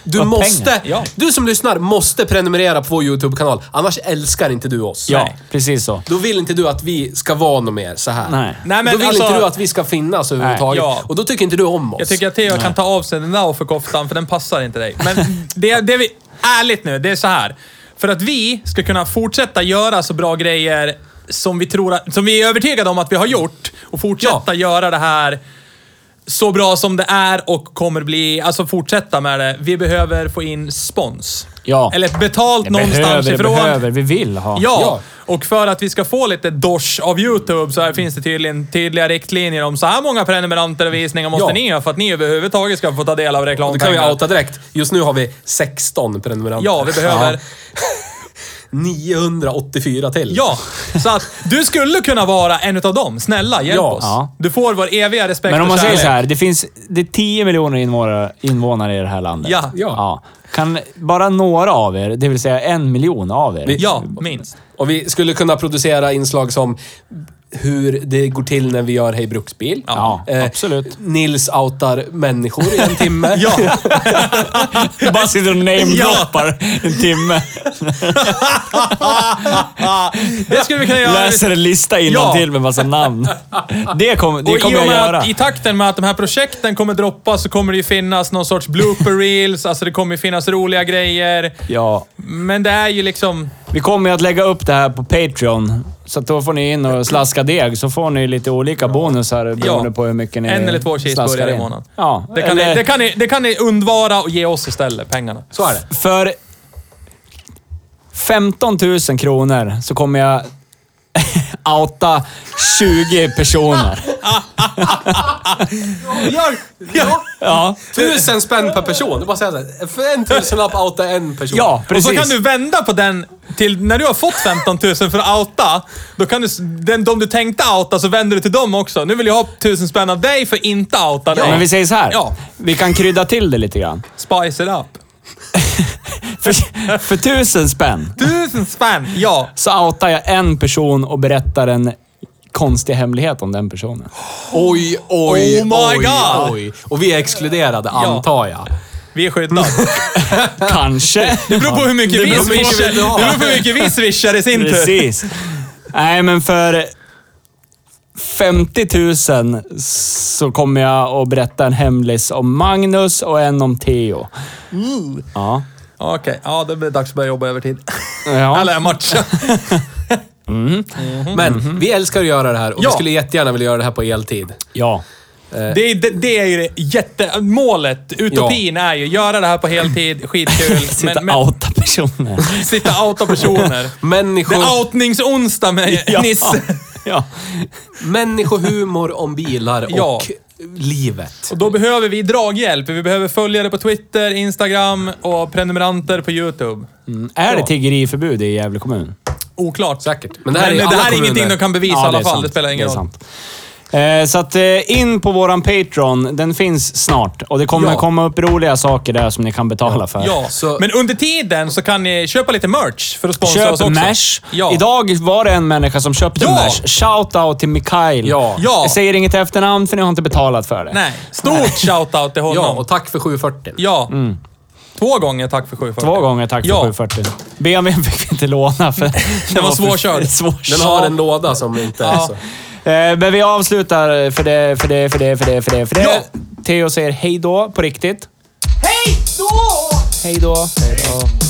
Speaker 2: du
Speaker 1: Och
Speaker 2: måste...
Speaker 1: pengar.
Speaker 3: Ja.
Speaker 2: Du som lyssnar måste prenumerera på vår YouTube-kanal. Annars älskar inte du oss.
Speaker 1: Ja,
Speaker 3: Nej.
Speaker 1: precis så.
Speaker 2: Då vill inte du att vi ska vara något mer så här.
Speaker 1: Nej.
Speaker 3: Nej, men
Speaker 2: då vill
Speaker 3: alltså-
Speaker 2: inte du att vi ska finnas överhuvudtaget.
Speaker 3: Nej, ja.
Speaker 2: Och då tycker inte du om oss.
Speaker 3: Jag tycker att Theo kan ta av sig den där offerkoftan, för den passar inte dig. Men det, det vi... Ärligt nu, det är så här. För att vi ska kunna fortsätta göra så bra grejer som vi, tror att, som vi är övertygade om att vi har gjort och fortsätta göra det här så bra som det är och kommer bli, alltså fortsätta med det. Vi behöver få in spons.
Speaker 1: Ja.
Speaker 3: Eller betalt
Speaker 1: Det
Speaker 3: någonstans
Speaker 1: behöver, det
Speaker 3: ifrån.
Speaker 1: behöver. Vi vill ha.
Speaker 3: Ja.
Speaker 2: Ja.
Speaker 3: och för att vi ska få lite dosh av YouTube så här finns det tydligen tydliga riktlinjer om så här många prenumeranter och visningar måste
Speaker 2: Ja.
Speaker 3: ni ha för att ni överhuvudtaget ska få ta del av
Speaker 2: Då kan vi
Speaker 3: reklampengar.
Speaker 2: outa direkt. Just nu har vi 16 prenumeranter.
Speaker 3: Ja, vi behöver...
Speaker 2: 984 till.
Speaker 3: Ja, så att du skulle kunna vara en utav dem. Snälla, hjälp
Speaker 2: Ja.
Speaker 3: oss.
Speaker 1: Ja.
Speaker 3: Du får vår eviga respekt
Speaker 1: Men om
Speaker 3: och
Speaker 1: man säger
Speaker 3: kärlek.
Speaker 1: så här, det finns det är 10 miljoner invånare, invånare i det här landet.
Speaker 3: Ja.
Speaker 2: Ja.
Speaker 1: Kan bara några av er, det vill säga en miljon av er.
Speaker 3: Ja, minst.
Speaker 2: Och vi skulle kunna producera inslag som hur det går till när vi gör Hej Bruksbil. Eh,
Speaker 1: Ja, absolut.
Speaker 2: Nils outar människor i en timme.
Speaker 3: (laughs) Ja,
Speaker 1: (laughs) Bara sitter och namedroppar en timme.
Speaker 3: det skulle vi kunna göra.
Speaker 1: Läser en lista innantill med massa namn. Det, kom, det
Speaker 3: Och i,
Speaker 1: kommer
Speaker 3: och
Speaker 1: jag
Speaker 3: med
Speaker 1: göra.
Speaker 3: Att, I takten med att de här projekten kommer droppa så kommer det ju finnas någon sorts blooper reels, alltså det kommer ju finnas roliga grejer.
Speaker 1: Ja.
Speaker 3: Men det är ju liksom...
Speaker 1: Vi kommer ju att lägga upp det här på Patreon. Så att då får ni in och slaska deg, så får ni lite olika bonusar beroende
Speaker 3: Ja.
Speaker 1: på hur mycket ni
Speaker 3: En eller två
Speaker 1: slaskar
Speaker 3: cheeseburgare i
Speaker 1: in.
Speaker 3: månaden.
Speaker 1: Ja.
Speaker 3: Det kan, ni,
Speaker 1: eller-
Speaker 3: det, kan ni, det kan ni undvara och ge oss istället pengarna.
Speaker 2: Så är det.
Speaker 1: För 15 000 kronor så kommer jag (laughs) outa 20 personer.
Speaker 2: Ja, ja.
Speaker 1: Ja,
Speaker 2: Tusen spänn per person. Det är bara att säga såhär. För en tusenlapp outa en person.
Speaker 1: ja precis.
Speaker 3: Och så kan du vända på den till när du har fått 15 000 för att outa. Då kan du, s- den, de du tänkte outa så vänder du till dem också. Nu vill jag ha 1000 spänn av dig för inte outa dig.
Speaker 1: Men vi säger så här.
Speaker 3: Ja.
Speaker 1: Vi kan krydda till det lite grann.
Speaker 3: Spice it up.
Speaker 1: För, för tusen spänn
Speaker 3: 1000 spänn, ja.
Speaker 1: så outar jag en person och berättar en konstig hemlighet om den personen.
Speaker 2: Oj, oj,
Speaker 3: Oh my
Speaker 2: oj,
Speaker 3: God.
Speaker 2: oj. Och vi är exkluderade, antar jag.
Speaker 3: Vi är skyddade.
Speaker 1: Kanske.
Speaker 3: Det beror på hur mycket
Speaker 2: Det
Speaker 3: vi
Speaker 2: beror på hur mycket
Speaker 3: swishar.
Speaker 2: vi vill ha.
Speaker 3: Det beror på hur mycket vi swishar i sin tur.
Speaker 1: Precis. Nej, men för 50 000 så kommer jag att berätta en hemlis om Magnus och en om Theo. Ja.
Speaker 3: Okej, ja det blir dags att börja jobba övertid.
Speaker 1: ja.
Speaker 3: Eller matcha.
Speaker 2: Men vi älskar att göra det här och
Speaker 3: Mhm. Ja.
Speaker 2: vi skulle jättegärna vilja göra det här på eltid.
Speaker 1: ja.
Speaker 3: Det är, det, det är ju det jätte... Målet, utopin är ju göra det här på
Speaker 1: (laughs)
Speaker 3: heltid, skitkul.
Speaker 1: Sitta outa
Speaker 3: (laughs)
Speaker 1: personer.
Speaker 3: sitta outa personer. Det
Speaker 2: Människor,
Speaker 3: är outningsonsdag
Speaker 1: (laughs)
Speaker 3: med Nisse.
Speaker 1: Ja.
Speaker 2: människohumor om bilar och
Speaker 3: Ja.
Speaker 2: livet.
Speaker 3: Och då behöver vi draghjälp. Vi behöver följare på Twitter, Instagram och prenumeranter på YouTube.
Speaker 1: Är det
Speaker 2: Ja.
Speaker 1: tiggeriförbud i Jävle kommun?
Speaker 3: Oklart.
Speaker 2: Säkert. Men
Speaker 3: Men
Speaker 2: det här är, i alla
Speaker 3: det här är
Speaker 2: kommuner.
Speaker 3: ingenting de kan bevisa i
Speaker 1: Ja,
Speaker 3: alla
Speaker 1: är
Speaker 3: fall.
Speaker 1: sant.
Speaker 3: Det spelar ingen
Speaker 1: är
Speaker 3: roll.
Speaker 1: sant. Eh, så att eh, in på våran Patreon. Den finns snart och det kommer
Speaker 2: Ja.
Speaker 1: komma upp roliga saker där som ni kan betala för.
Speaker 3: Ja,
Speaker 2: Så-
Speaker 3: men under tiden så kan ni köpa lite merch för att sponsra oss också.
Speaker 1: Köp Nash.
Speaker 3: Ja.
Speaker 1: Idag var det en människa som köpte
Speaker 3: Ja.
Speaker 1: Nash. Shout-out till Mikael.
Speaker 2: Ja.
Speaker 3: Ja.
Speaker 1: Jag säger inget efternamn för ni har inte betalat för det.
Speaker 3: Nej, stort
Speaker 1: (laughs)
Speaker 3: shoutout till honom.
Speaker 2: Ja, och tack för 740.
Speaker 3: Ja. Två gånger tack för 740.
Speaker 1: Mm. Två gånger tack för
Speaker 3: Ja.
Speaker 1: 740. BMWn fick vi inte låna
Speaker 3: (laughs)
Speaker 1: för den
Speaker 3: var
Speaker 1: för-
Speaker 3: svårkörd.
Speaker 1: svårkörd.
Speaker 2: Den har en låda som inte är så...
Speaker 1: Eh, Men vi avslutar för det, för det, för det, för det, för det. För det.
Speaker 3: Ja.
Speaker 1: Theo säger hej då på riktigt. Hej då! Hej då. Hej då.